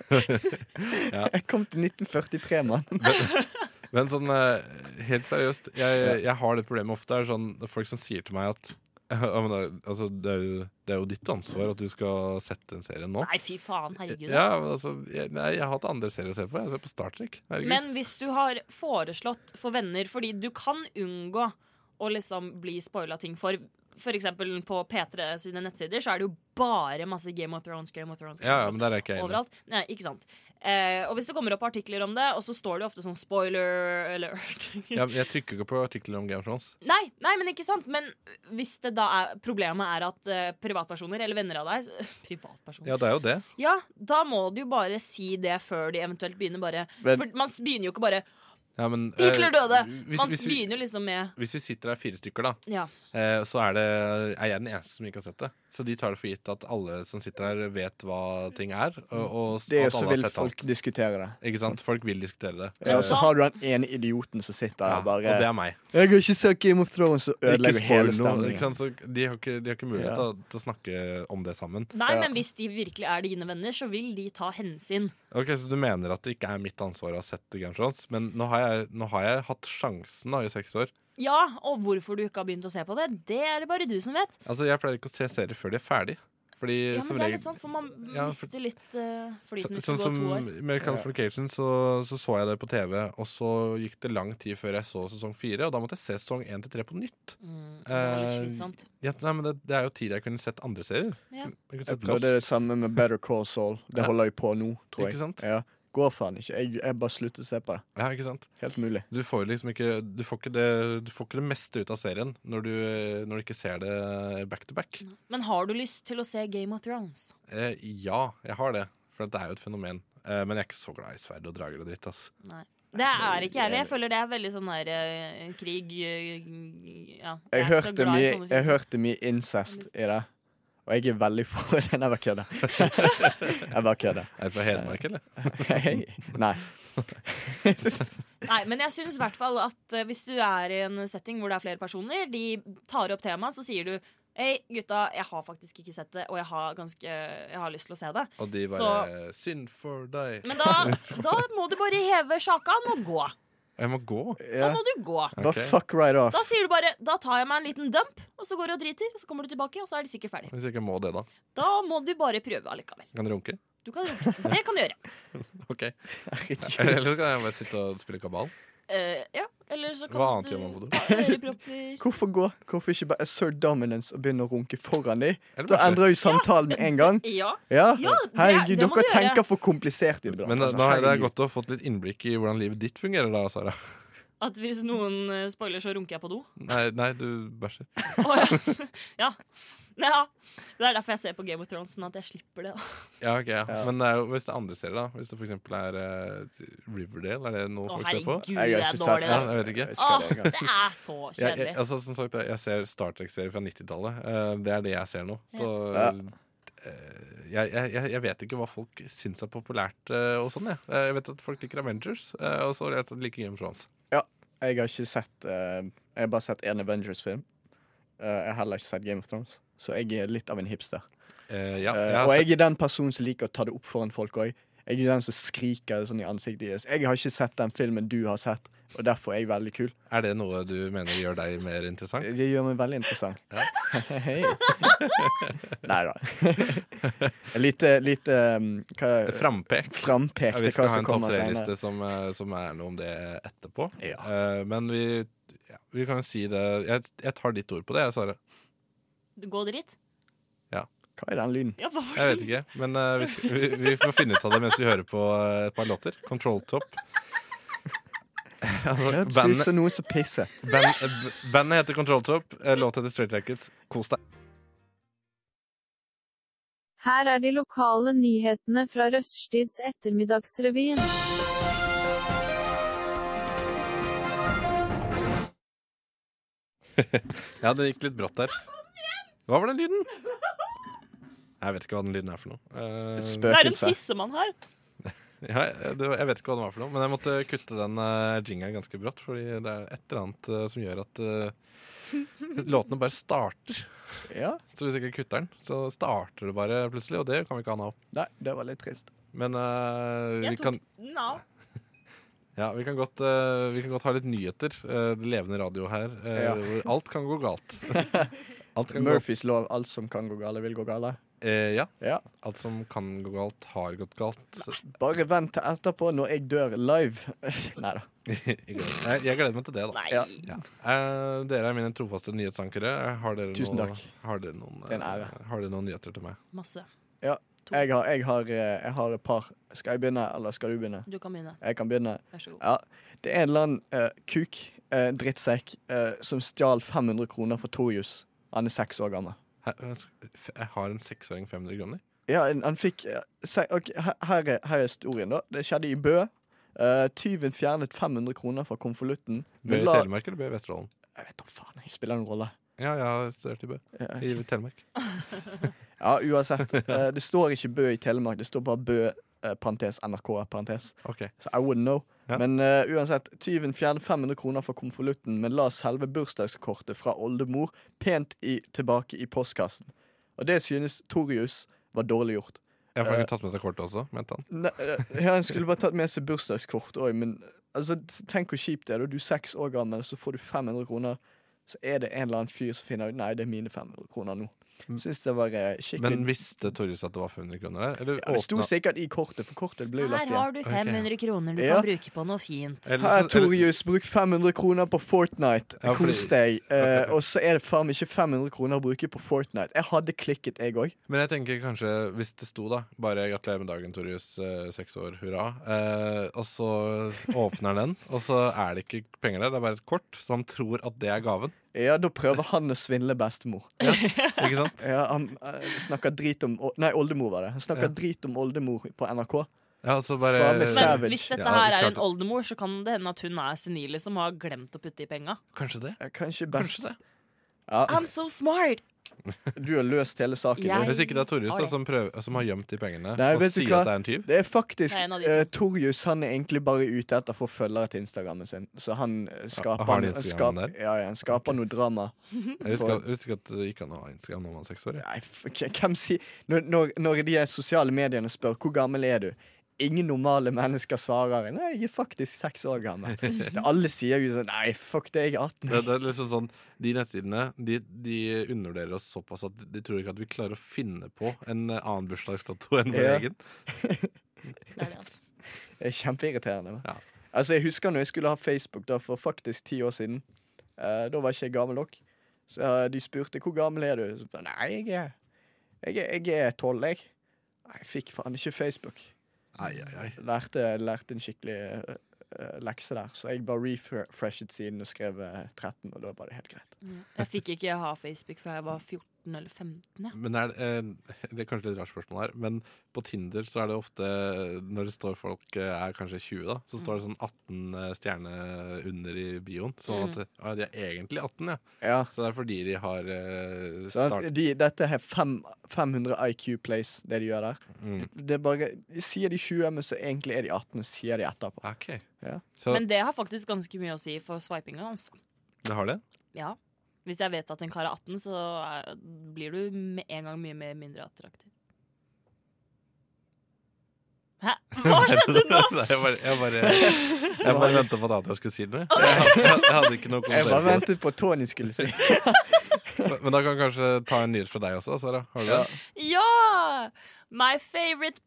Speaker 6: Jeg kom til 1943, mann.
Speaker 4: Men sånn eh, helt seriøst, jeg, jeg har det problemet ofte. er sånn det er Folk som sier til meg at ja, men det, er- altså, det, er jo, det er jo ditt ansvar at du skal sette en serie nå.
Speaker 5: Nei, fy faen. Herregud.
Speaker 4: Ja, men altså jeg, Nei, jeg har hatt andre serier å se på. Jeg ser på Star Trek. Herregud.
Speaker 5: Men hvis du har foreslått for venner Fordi du kan unngå å liksom bli spoila ting for For eksempel på P3 sine nettsider Så er det jo bare masse Game of Thrones, Game of Thrones, Game
Speaker 4: ja, ja,
Speaker 5: of
Speaker 4: men der er ikke jeg enig.
Speaker 5: overalt. Nei, ikke sant. Eh, og hvis det kommer opp artikler om det, og så står det ofte sånn spoiler alert
Speaker 4: Ja, men jeg trykker ikke på artikler om Game of Thrones.
Speaker 5: nei, nei, men ikke sant. Men hvis det da er problemet er at eh, privatpersoner eller venner av deg så- Privatpersoner? Ja.
Speaker 4: Ja, det er jo det.
Speaker 5: da må du jo bare si det før de eventuelt begynner bare
Speaker 6: Men-
Speaker 5: For man s- begynner jo ikke bare
Speaker 4: Ja, men, eh,
Speaker 5: Hitler døde!
Speaker 4: Hvis,
Speaker 5: Man
Speaker 4: hvis, vi,
Speaker 5: begynner jo liksom med
Speaker 4: hvis vi sitter her fire stykker, da,
Speaker 5: Ja.
Speaker 4: eh, så er, det, er jeg den eneste som ikke har sett det. Så de tar det for gitt at alle som sitter her, vet hva ting er. Og, og
Speaker 6: Det er jo
Speaker 4: at
Speaker 6: så
Speaker 4: alle har
Speaker 6: vil
Speaker 4: sett
Speaker 6: folk
Speaker 4: alt.
Speaker 6: diskutere det.
Speaker 4: Ikke sant? Folk vil diskutere det.
Speaker 6: Ja, og så har du den ene idioten som sitter der
Speaker 4: Ja,
Speaker 6: og
Speaker 4: og det
Speaker 6: bare
Speaker 4: er meg.
Speaker 6: 'Jeg har ikke sett Game of Thrones', og
Speaker 4: Ikke
Speaker 6: ødelegger
Speaker 4: spoil
Speaker 6: hele
Speaker 4: noe, ikke
Speaker 6: stemningen.
Speaker 4: sant? Så de, har ikke, de har ikke mulighet
Speaker 6: Ja.
Speaker 4: til, å- til å snakke om det sammen.
Speaker 5: Nei,
Speaker 6: Ja.
Speaker 5: men hvis de virkelig er dine venner, så vil de ta hensyn.
Speaker 4: Ok, Så du mener at det ikke er mitt ansvar å ha sett Game of Thrones? Men nå har jeg, nå har jeg hatt sjansen da i seks år.
Speaker 5: Ja, og hvorfor du ikke har begynt å se på det, det er det bare du som vet.
Speaker 4: Altså, Jeg pleier ikke å se serier før de er ferdig. Fordi
Speaker 5: Ja,
Speaker 4: som
Speaker 5: men det er
Speaker 4: regel
Speaker 5: litt sånn, for man
Speaker 4: Ja, for-
Speaker 5: mister litt eh, flyten hvis
Speaker 4: Sånn
Speaker 5: det
Speaker 4: som
Speaker 5: går to år.
Speaker 4: med Californication så, så så jeg det på TV, og så gikk det lang tid før jeg så sesong fire. Og da måtte jeg se sesong én til tre på nytt.
Speaker 5: Mm, det var litt
Speaker 4: eh,
Speaker 5: slitsomt.
Speaker 4: Ja, nei, men det, det er jo tid jeg kunne sett andre serier.
Speaker 5: Ja.
Speaker 4: Jeg kunne
Speaker 6: Jeg
Speaker 4: sett
Speaker 6: prøvde det
Speaker 4: Lost.
Speaker 6: samme med Better Call Saul. Det
Speaker 4: Ja.
Speaker 6: holder jeg på nå, tror jeg.
Speaker 4: Ikke sant?
Speaker 6: Ja. Går faen ikke. Jeg, jeg bare slutter å se på det.
Speaker 4: Ja, ikke sant?
Speaker 6: Helt mulig.
Speaker 4: Du får liksom ikke Du får ikke det, du får ikke det meste ut av serien når du, når du ikke ser det back to back.
Speaker 5: Men har du lyst til å se Game of Thrones?
Speaker 4: Eh, ja, jeg har det. For at det er jo et fenomen. Eh, men jeg er ikke så glad i sverd og drager og dritt. ass
Speaker 5: Nei. Det er ikke jeg
Speaker 6: eh,
Speaker 5: heller. Jeg føler det er veldig sånn der eh, krig eh, Ja.
Speaker 6: Jeg
Speaker 5: er ikke så
Speaker 6: hørte,
Speaker 5: glad i
Speaker 6: mye,
Speaker 5: sånne
Speaker 6: jeg
Speaker 5: filmer.
Speaker 6: hørte mye incest i det. Og jeg er veldig for den. Jeg bare kødder. Jeg bare kødder.
Speaker 4: Er du fra Hedmark, eller?
Speaker 6: Hei. Nei.
Speaker 5: Nei, men jeg syns i hvert fall at eh, hvis du er i en setting hvor det er flere personer, de tar opp temaet, så sier du Hei, gutta, jeg har faktisk ikke sett det, og jeg har, ganske, jeg har lyst til å se det.
Speaker 4: Og de bare Synd for deg.
Speaker 5: Men da, da må du bare heve sjakan og gå.
Speaker 4: Jeg må gå.
Speaker 5: Da
Speaker 6: Ja.
Speaker 5: må du gå.
Speaker 4: Ok.
Speaker 6: Bare fuck right off.
Speaker 5: Da sier du bare Da tar jeg meg en liten dump, og så går du og driter, og så kommer du tilbake, og så er de sikkert ferdig.
Speaker 4: Hvis jeg ikke må det, da.
Speaker 5: Da må du bare prøve allikevel.
Speaker 4: Kan du runke?
Speaker 5: Du kan, det kan du gjøre.
Speaker 4: OK. Eller så kan jeg bare sitte og spille kabal.
Speaker 5: Eh, ja, eller så kan
Speaker 4: Hva annet
Speaker 5: du
Speaker 4: gjør man på do?
Speaker 5: ta ørepropper.
Speaker 6: Hvorfor gå? Hvorfor ikke bare assert dominance og begynne å runke foran dem?
Speaker 4: Eller
Speaker 6: Da
Speaker 4: bare-
Speaker 6: endrer jo samtalen med en gang.
Speaker 5: Ja.
Speaker 6: Ja,
Speaker 5: Ja, det-
Speaker 6: Herregud,
Speaker 5: det må
Speaker 6: dere
Speaker 5: du gjøre.
Speaker 6: tenker for komplisert iblant.
Speaker 4: Men eh, da,
Speaker 6: altså,
Speaker 4: da er det
Speaker 6: herregud.
Speaker 4: godt å ha fått litt innblikk i hvordan livet ditt fungerer, da, Sara.
Speaker 5: At hvis noen eh, spoiler, så runker jeg på do.
Speaker 4: Nei, nei du bæsjer.
Speaker 5: Å, ja. ja. Nei, ja. Det er derfor jeg ser på Game of Thrones, sånn at jeg slipper det. da.
Speaker 4: Ja, ok, ja.
Speaker 6: Ja.
Speaker 4: Men det er jo, hvis det er andre serier, da. Hvis det for eksempel er eh, Riverdale, er det noe
Speaker 5: Å,
Speaker 4: folk ser på?
Speaker 5: herregud,
Speaker 6: Jeg
Speaker 5: det
Speaker 6: har ikke
Speaker 5: er
Speaker 6: sett
Speaker 5: dårlig.
Speaker 4: Ja,
Speaker 5: det.
Speaker 4: jeg vet ikke.
Speaker 6: Jeg
Speaker 5: Åh,
Speaker 6: husker det en gang.
Speaker 5: det er så
Speaker 4: Jeg, jeg,
Speaker 5: kjedelig.
Speaker 4: altså, som sagt, jeg ser Star Trek-serier fra 90-tallet. Eh, det er det jeg ser nå. Så
Speaker 6: Ja.
Speaker 4: eh, jeg, jeg, jeg- jeg vet ikke hva folk syns er populært eh, og sånn, jeg. Eh, jeg vet at folk liker Avengers, eh, og så vet jeg at de liker Game of Thrones.
Speaker 6: Jeg har ikke sett eh, Jeg har bare sett én Avengers-film. Eh, jeg har heller ikke sett Game of Thrones, så jeg er litt av en hipster.
Speaker 4: Eh, ja, jeg
Speaker 6: Eh,
Speaker 4: har
Speaker 6: og
Speaker 4: sett-
Speaker 6: jeg er den personen som liker å ta det opp foran folk òg. Jeg er den som skriker sånn i ansiktet deres. Jeg har ikke sett den filmen du har sett, og derfor er jeg veldig kul.
Speaker 4: Er det noe du mener gjør deg mer interessant?
Speaker 6: Det gjør meg veldig interessant. Hei. Nei da. Lite, lite um, hva,
Speaker 4: Frampek.
Speaker 6: Frampek
Speaker 4: Ja,
Speaker 6: til
Speaker 4: vi
Speaker 6: hva
Speaker 4: skal ha
Speaker 6: som
Speaker 4: en topp
Speaker 6: kommer senere.
Speaker 4: tre-liste som, eh, som er noe om det etterpå.
Speaker 6: Ja.
Speaker 4: Eh, men vi, ja, vi kan jo si det jeg, jeg tar ditt ord på det, jeg, Sara.
Speaker 5: Gå dritt?
Speaker 6: Hva er den lyden?
Speaker 5: Ja, hva var
Speaker 4: Jeg vet
Speaker 5: det?
Speaker 4: ikke. Men eh, vi, skal, vi, vi får finne ut av det mens vi hører på eh, et par låter. Control Top. altså,
Speaker 6: Det høres ut
Speaker 4: bandet,
Speaker 6: som noen som pisser.
Speaker 4: band, eh, b- bandet heter Control Top. eh, Låta heter Straight Rackets. Kos deg.
Speaker 7: Her er de lokale nyhetene fra Røststids ettermiddagsrevyen.
Speaker 4: Ja, det gikk litt brått der. Hva var den lyden? Jeg vet ikke hva den lyden er for noe. Eh,
Speaker 5: Det er en
Speaker 6: Spøkelse.
Speaker 5: tissemann her.
Speaker 4: ja, det, var- jeg vet ikke hva den var for noe, men jeg måtte kutte den uh, jingeren ganske brått, fordi det er et eller annet eh, som gjør at eh, låtene bare starter.
Speaker 6: Ja,
Speaker 4: Så hvis jeg ikke kutter den, så starter det bare plutselig, og det kan vi ikke ha noe av.
Speaker 6: nei, det var litt trist.
Speaker 4: Men eh, vi,
Speaker 5: Jeg
Speaker 4: kan,
Speaker 5: tok den av.
Speaker 4: ja, vi, kan godt, eh, vi kan godt ha litt nyheter. eh, levende radio her. eh,
Speaker 6: Ja.
Speaker 4: hvor Alt kan gå galt. Alt kan gå,
Speaker 6: Murphys lov, alt som kan gå gale, vil gå gale.
Speaker 4: eh, ja,
Speaker 6: Ja.
Speaker 4: alt som kan gå galt, har gått galt. Så-
Speaker 6: Bare vent til etterpå, når jeg dør live. Nei da.
Speaker 4: Nei, jeg gleder meg til det, da.
Speaker 5: Nei.
Speaker 6: Ja.
Speaker 4: Ja. Eh, dere er mine trofaste nyhetsankere. Har dere
Speaker 6: Tusen
Speaker 4: noe-
Speaker 6: takk.
Speaker 4: Har dere, noen,
Speaker 6: Det er en
Speaker 4: eh,
Speaker 6: ære.
Speaker 4: har dere noen nyheter til meg?
Speaker 5: Masse.
Speaker 6: Jeg har, jeg, har, eh, jeg har et par. Skal jeg begynne, eller skal du begynne?
Speaker 5: Du kan begynne.
Speaker 6: Jeg kan begynne.
Speaker 5: Vær så god.
Speaker 6: Ja, Det er en eller annen eh, kuk, eh, drittsekk, eh, som stjal 500 kroner for Torjus. Han er seks år gammel.
Speaker 4: Hæ, eh, s- f- Jeg har en seksåring 500 kroner.
Speaker 6: Ja, en- han fikk eh, se, ok, her, her, er, her er historien, da. Det skjedde i Bø. Eh, tyven fjernet 500 kroner fra konvolutten.
Speaker 4: Bø i
Speaker 6: Nulla-
Speaker 4: Telemark eller Bø i Vesterålen?
Speaker 6: Jeg vet da faen, jeg spiller en rolle.
Speaker 4: Ja, jeg har studert i Bø.
Speaker 6: Eh,
Speaker 4: I Telemark.
Speaker 6: Ja, uansett. Eh, det står ikke Bø i Telemark, det står bare Bø, eh, parentes, NRK, parentes.
Speaker 4: Ok.
Speaker 6: Så I wouldn't know.
Speaker 4: Ja.
Speaker 6: Men eh, uansett, tyven fjerner 500 kroner fra konvolutten, men la selve bursdagskortet fra oldemor pent i, tilbake i postkassen. Og det synes Torius var dårlig gjort.
Speaker 4: Jeg
Speaker 6: Eh,
Speaker 4: får ikke tatt med seg kortet også, mente han.
Speaker 6: Nei, eh, ja, han skulle bare tatt med seg bursdagskort òg, men altså, t- tenk hvor kjipt det er. da. Du er seks år gammel, så får du 500 kroner. Så er det en eller annen fyr som finner ut Nei, det er mine 500 kroner nå. Syns det var eh, skikkelig
Speaker 4: Mm. Men visste Torjus at det var 500 kroner der? Eller
Speaker 6: ja, Det sto
Speaker 4: åpna-
Speaker 6: sikkert i kortet, for kortet ble jo lagt
Speaker 5: Her
Speaker 6: igjen.
Speaker 5: har du
Speaker 4: Ok.
Speaker 5: 500 kroner du
Speaker 6: Ja.
Speaker 5: kan bruke på noe fint.
Speaker 4: Eller-
Speaker 6: Her,
Speaker 4: eller-
Speaker 6: Torjus, bruk 500 kroner på Fortnite.
Speaker 4: Ja, fordi-
Speaker 6: Kos deg. Eh, og så er det faen meg ikke 500 kroner å bruke på Fortnite. Jeg hadde klikket, jeg òg.
Speaker 4: Men jeg tenker kanskje, hvis det sto da Bare gratulerer med dagen, Torjus, eh, seks år, hurra. Eh, og så åpner han den, og så er det ikke penger der, det er bare et kort. Så han tror at det er gaven.
Speaker 6: Ja, da prøver han å svindle bestemor.
Speaker 4: Ikke sant?
Speaker 6: Ja, han eh, snakker drit om Å- Nei, oldemor var det. Han snakker
Speaker 4: Ja.
Speaker 6: drit om oldemor på NRK.
Speaker 4: Ja, så bare
Speaker 6: Faen, det er
Speaker 5: Men
Speaker 6: savage.
Speaker 5: hvis dette
Speaker 4: Ja,
Speaker 5: her
Speaker 4: klart
Speaker 5: er
Speaker 4: det.
Speaker 5: en oldemor, så kan det hende at hun er senil som har glemt å putte i penga.
Speaker 4: Kanskje det?
Speaker 6: Eh, Kanskje best
Speaker 4: Kanskje det.
Speaker 6: ja,
Speaker 5: I'm so smart!
Speaker 6: Du har løst hele saken.
Speaker 5: Jeg-
Speaker 4: Hvis ikke det er Torjus da,
Speaker 5: Ok.
Speaker 4: som, prøver, som har gjemt de pengene
Speaker 6: Nei,
Speaker 4: og
Speaker 6: vet du
Speaker 4: sier
Speaker 6: hva?
Speaker 4: at det er en tyv.
Speaker 6: Det er faktisk
Speaker 5: Det er en av de
Speaker 6: eh,
Speaker 5: to.
Speaker 6: Torjus han er egentlig bare ute etter å få følgere til Instagrammen sin. Så han eh, skaper,
Speaker 4: har han
Speaker 6: noe-
Speaker 4: Instagrammen
Speaker 6: skap-
Speaker 4: der?
Speaker 6: ja, ja, han skaper noe drama.
Speaker 4: Jeg husker, jeg husker at det gikk an å ha Instagram når man var seks år. jeg.
Speaker 6: Nei, f- k- hvem sier når, når, når de sosiale mediene spør 'Hvor gammel er du?' Ingen normale mennesker svarer 'Nei, jeg er faktisk seks år gammel'. Det alle sier jo sånn 'Nei, fuck det, jeg er 18'.
Speaker 4: Det, det er liksom sånn, De nettsidene de, de undervurderer oss såpass at de tror ikke at vi klarer å finne på en eh, annen bursdagsdato enn vår
Speaker 6: Ja.
Speaker 4: egen.
Speaker 5: Det er det, altså.
Speaker 6: Det er kjempeirriterende.
Speaker 4: Ja.
Speaker 6: Altså, jeg husker når jeg skulle ha Facebook da, for faktisk ti år siden. Eh, da var ikke jeg gammel nok. Så eh, de spurte 'Hvor gammel er du?' Så, sa jeg, Nei, jeg er jeg er- jeg er tolv, jeg. Nei, Jeg fikk faen ikke Facebook.
Speaker 4: Ai, ai, ai.
Speaker 6: Lærte, lærte en skikkelig eh, eh, lekse der. Så jeg bare refreshet siden og skrev eh, 13, og da var det helt greit.
Speaker 5: Jeg fikk ikke ha Facebook før jeg var 14 eller 15. Ja.
Speaker 4: Men er, det, eh, det er kanskje litt rart spørsmål her, men på Tinder så er det ofte Når det står folk eh, er kanskje 20, da, så står det sånn 18 eh, stjerner under i bioen.
Speaker 6: Mm.
Speaker 4: Sånn at ja, de er egentlig 18, ja.
Speaker 6: Ja.
Speaker 4: Så det er fordi de har eh,
Speaker 6: Sånn
Speaker 4: start...
Speaker 6: at de, dette er fem, 500 IQ plays, det de gjør der.
Speaker 4: Mm.
Speaker 6: Det er bare, Sier de 20, men så egentlig er de 18, og sier de etterpå.
Speaker 4: OK.
Speaker 6: Ja.
Speaker 4: Så
Speaker 5: Men det har faktisk ganske mye å si for swipinga. Altså.
Speaker 4: det har det?
Speaker 5: Ja. Hvis jeg vet at en kar er 18, så er, blir du med en gang mye mer mindre attraktiv. Hæ? Hva skjedde nå?
Speaker 4: Nei, jeg bare, jeg bare, jeg bare venta på at Adrian skulle si noe. Jeg hadde, jeg hadde ikke noe
Speaker 6: Jeg bare
Speaker 4: kommentar. på det.
Speaker 6: ventet på at Tony skulle si.
Speaker 4: Men da kan vi kanskje ta en nyhet fra deg også, Sara. Har du det?
Speaker 5: Ja! My favorite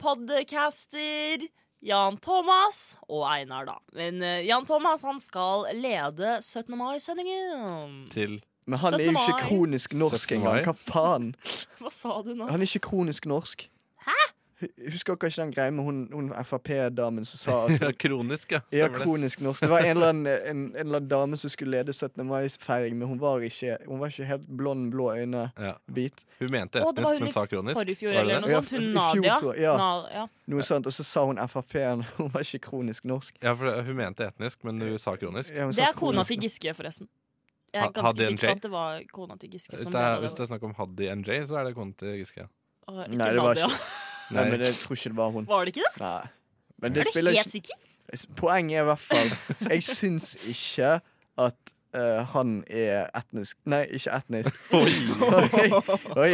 Speaker 5: podcaster Jan Thomas og Einar, da. Men eh, Jan Thomas han skal lede 17. mai-sendingen.
Speaker 4: Til
Speaker 6: Men han er jo
Speaker 5: 17.
Speaker 6: ikke
Speaker 5: mai.
Speaker 6: kronisk norsk
Speaker 4: 17. mai.
Speaker 6: engang. Hva faen?
Speaker 5: Hva sa du nå?
Speaker 6: Han er ikke kronisk norsk. Hæ? Husker dere ikke den greia med hun, hun Frp-damen som sa at
Speaker 4: ja, kronisk, ja.
Speaker 6: Ja,
Speaker 4: Stemmer det.
Speaker 6: kronisk norsk. Det var en eller annen, en, en eller annen dame som skulle lede 17. mai-feiring, men hun var ikke, hun var ikke helt blond, blå øyne.
Speaker 4: Ja.
Speaker 6: Hvit.
Speaker 4: Hun mente
Speaker 5: Å, det var
Speaker 4: etnisk,
Speaker 5: hun
Speaker 4: men
Speaker 5: i
Speaker 4: sa kronisk.
Speaker 5: Forrige fjor
Speaker 4: Var det
Speaker 5: eller noe
Speaker 4: det?
Speaker 6: Ja,
Speaker 5: sånt.
Speaker 6: i
Speaker 5: Hun
Speaker 6: fjor,
Speaker 5: Nadia.
Speaker 6: tror jeg, ja.
Speaker 5: Na- ja.
Speaker 6: Noe sånt. Og så sa hun Frp-en. Hun var ikke kronisk norsk.
Speaker 4: Ja, for det- hun mente etnisk, men hun sa kronisk.
Speaker 6: Ja, hun
Speaker 5: Det
Speaker 6: sa
Speaker 5: er kona
Speaker 6: kronisk
Speaker 5: til Giske, forresten. Jeg
Speaker 4: Ha-
Speaker 5: er ganske
Speaker 4: hadde en
Speaker 5: sikker på at
Speaker 4: J?
Speaker 5: det var kona til Giske
Speaker 4: Hvis
Speaker 5: som
Speaker 4: det, er,
Speaker 5: ledet
Speaker 4: hvis det er snakk om Haddy NJ, så er det kona til Giske. ja.
Speaker 5: og ikke
Speaker 6: Nei, det var
Speaker 5: Nadia.
Speaker 6: ikke Nei, men det jeg tror ikke det var hun.
Speaker 5: Var det ikke det?
Speaker 6: Nei. Men
Speaker 5: Er
Speaker 6: det
Speaker 5: du
Speaker 6: spiller
Speaker 5: helt
Speaker 6: ikke
Speaker 5: sikker?
Speaker 6: Poenget er i hvert fall Jeg syns ikke at eh, han er etnisk Nei, ikke etnisk. Oi, oi.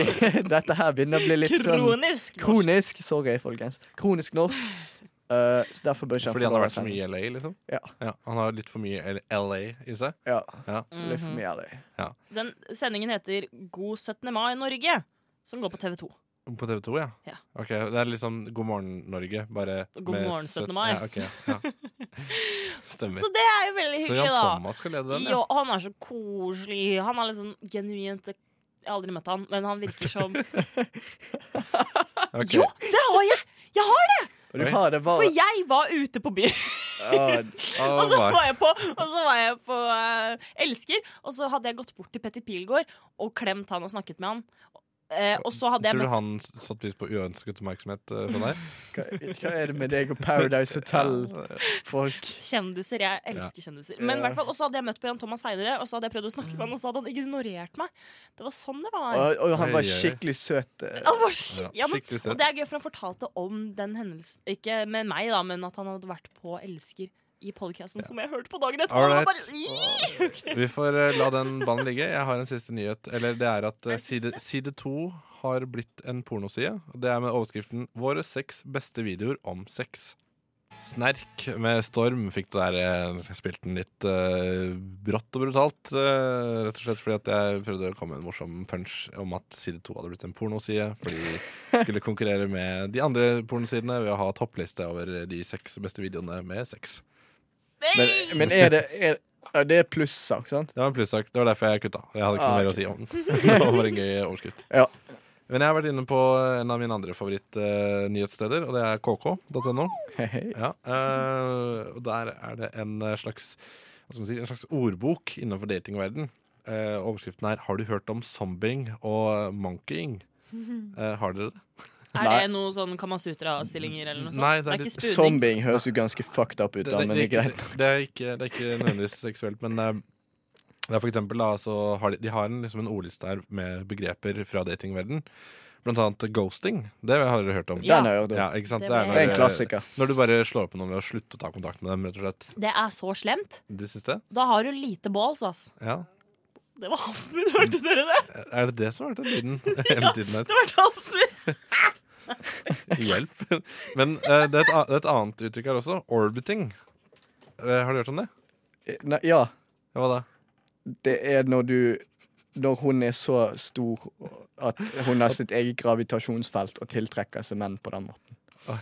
Speaker 6: Dette her begynner å bli litt sånn
Speaker 5: Kronisk!
Speaker 6: Kronisk. Sorry, folkens. Kronisk norsk. Eh, så derfor bør ikke
Speaker 4: Fordi han har
Speaker 6: få lov
Speaker 4: vært så
Speaker 6: å sende.
Speaker 4: mye i LA, liksom?
Speaker 6: Ja.
Speaker 4: Han har litt for mye L- LA i seg?
Speaker 6: Ja.
Speaker 4: Ja.
Speaker 5: Mhm.
Speaker 6: Litt for mye av det.
Speaker 5: Den sendingen heter God 17. mai Norge, som går på TV2.
Speaker 4: Mm. På TV 2, ja?
Speaker 5: Ja.
Speaker 4: Ok, Det er litt sånn God morgen, Norge, bare
Speaker 5: God morgen,
Speaker 4: søt-
Speaker 5: 17. mai.
Speaker 4: Ja, ok, ja. Stemmer.
Speaker 5: Så det er jo veldig
Speaker 4: Så
Speaker 5: hyggelig,
Speaker 4: Jan
Speaker 5: da.
Speaker 4: Thomas skal lede den, ja?
Speaker 5: Ja, han er så koselig. Han er litt sånn genuint Jeg har aldri møtt han, men han virker som
Speaker 4: Ok.
Speaker 5: Jo, det har jeg! Jeg har det!
Speaker 6: Og du
Speaker 4: Oi.
Speaker 6: har det
Speaker 5: For
Speaker 6: bare
Speaker 5: jeg var ute på byen,
Speaker 6: ja,
Speaker 4: Ah,
Speaker 5: og så
Speaker 4: hva-
Speaker 5: var jeg på, og så var jeg på eh, Elsker. Og så hadde jeg gått bort til Petter Pilgaard og klemt han og snakket med han. Eh, og så hadde jeg
Speaker 4: Tror du
Speaker 5: møtt
Speaker 4: han s- satte pris på uønsket oppmerksomhet eh, fra deg?
Speaker 6: Hva, hva er det med deg og Paradise Hotel-folk?
Speaker 5: Kjendiser. Jeg elsker kjendiser. Men i hvert fall, Og så hadde jeg møtt på Jan Thomas seinere, og så hadde jeg prøvd å snakke med han, og så hadde han ignorert meg. Det var sånn det var.
Speaker 6: Og, og han
Speaker 4: Oi,
Speaker 6: var
Speaker 4: oi, oi.
Speaker 6: skikkelig søt. eh.
Speaker 5: Han var sk
Speaker 4: Ja,
Speaker 5: ja, men,
Speaker 4: skikkelig søt.
Speaker 5: og det er gøy, for han fortalte om den hendelsen. Ikke med meg, da, men at han hadde vært på Elsker i podkasten som jeg hørte på dagen etterpå. Og
Speaker 4: All
Speaker 5: det var
Speaker 4: right.
Speaker 5: bare, "Ih!"
Speaker 4: Vi får eh, la den ballen ligge. Jeg har en siste nyhet. Eller det er at eh,
Speaker 5: det
Speaker 4: side, side 2 har blitt en pornoside. Og Det er med overskriften 'Våre seks beste videoer om sex'. Snerk med Storm fikk det der eh, spilt den litt eh, brått og brutalt. eh, rett og slett fordi at jeg prøvde å komme med en morsom punch om at side 2 hadde blitt en pornoside. Fordi de skulle konkurrere med de andre pornosidene ved å ha toppliste over de seks beste videoene med sex.
Speaker 6: Men, men er det er, ja, Det er plussak, sant?
Speaker 4: Det var en plussak. Det var derfor jeg kutta. Jeg hadde ikke
Speaker 6: Ah,
Speaker 4: noe mer å si om den. Det var bare en gøy overskudd.
Speaker 6: Ja.
Speaker 4: Men jeg har vært inne på en av mine andre favorittnyhetssteder, og det er kk.no.
Speaker 6: Hei, hei.
Speaker 4: Ja, eh, og der er det en eh, slags, hva skal man si, en slags ordbok innenfor datingverden. Eh, overskriften er 'Har du hørt om zombing og monkeying'? Eh, har dere det?
Speaker 5: Er
Speaker 6: Nei.
Speaker 5: det noe sånn Kamasutra-stillinger eller noe sånt?
Speaker 4: Nei, det er
Speaker 5: ikke
Speaker 4: litt-
Speaker 5: spudring.
Speaker 6: Zombieing høres jo ganske fucked up ut, da, men det er greit.
Speaker 4: det er ikke, det er ikke nødvendigvis seksuelt, men eh, det er for eksempel da, så har de, de har en, liksom en ordliste her med begreper fra datingverden. Blant annet ghosting. Det har dere hørt om.
Speaker 5: Ja.
Speaker 6: Den har jeg hørt om.
Speaker 4: Ja, ikke sant?
Speaker 5: Det
Speaker 4: Det, er
Speaker 5: ble-
Speaker 6: Det er
Speaker 4: når,
Speaker 6: en klassiker.
Speaker 4: når du bare slår på noen ved å slutte å ta kontakt med dem, rett og slett.
Speaker 5: Det er så slemt.
Speaker 4: Du syns det?
Speaker 5: Da har du lite balls, ass.
Speaker 4: Ja.
Speaker 5: Det var halsen min, hørte dere det?
Speaker 4: Er det det som har vært den lyden hele tiden her?
Speaker 5: Det var halsen min.
Speaker 4: Hjelp. Men eh, det, er et, a- det er et annet uttrykk her også. Orbiting. Eh, har du hørt om det?
Speaker 6: Eh, Nei, ja,
Speaker 4: Ja, Hva da?
Speaker 6: det er når du Når hun er så stor at hun har sitt eget gravitasjonsfelt og tiltrekker seg menn på den måten.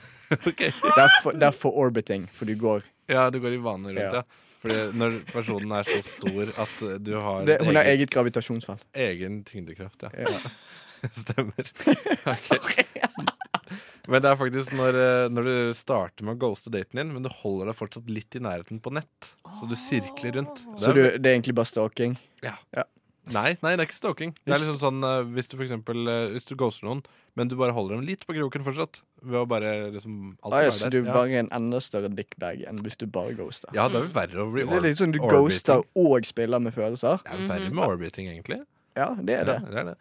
Speaker 4: Ok.
Speaker 6: Derfor, derfor orbiting, for du går
Speaker 4: Ja, du går i vane rundt,
Speaker 6: Ja.
Speaker 4: ja. Fordi når personen er så stor at du har
Speaker 6: det,
Speaker 4: et
Speaker 6: Hun har
Speaker 4: eget-
Speaker 6: eget gravitasjonsfelt.
Speaker 4: egen tyngdekraft, ja.
Speaker 6: Ja.
Speaker 4: Stemmer. Ok. Men det er faktisk når, eh, når du starter med å ghoste daten din, men du holder deg fortsatt litt i nærheten på nett. Så du sirkler rundt. Det
Speaker 6: Så
Speaker 4: er
Speaker 6: du, det er egentlig bare stalking?
Speaker 4: Nei, nei, det er ikke stalking. Det er liksom sånn eh, hvis du for eksempel eh, Hvis du ghoster noen, men du bare holder dem litt på kroken fortsatt. Ved å bare liksom alltid
Speaker 6: Ah, ja,
Speaker 4: være
Speaker 6: så
Speaker 4: der.
Speaker 6: du
Speaker 4: Ja.
Speaker 6: bare er en enda større dickbag enn hvis du bare ghoster?
Speaker 4: ja, det er vel verre å bli
Speaker 6: Det er
Speaker 4: or
Speaker 6: litt sånn du Mm.
Speaker 4: orbiting.
Speaker 6: ghoster og spiller med følelser?
Speaker 4: Det er verre med orbiting, egentlig.
Speaker 6: Ja, det er det.
Speaker 4: Ja, det er det.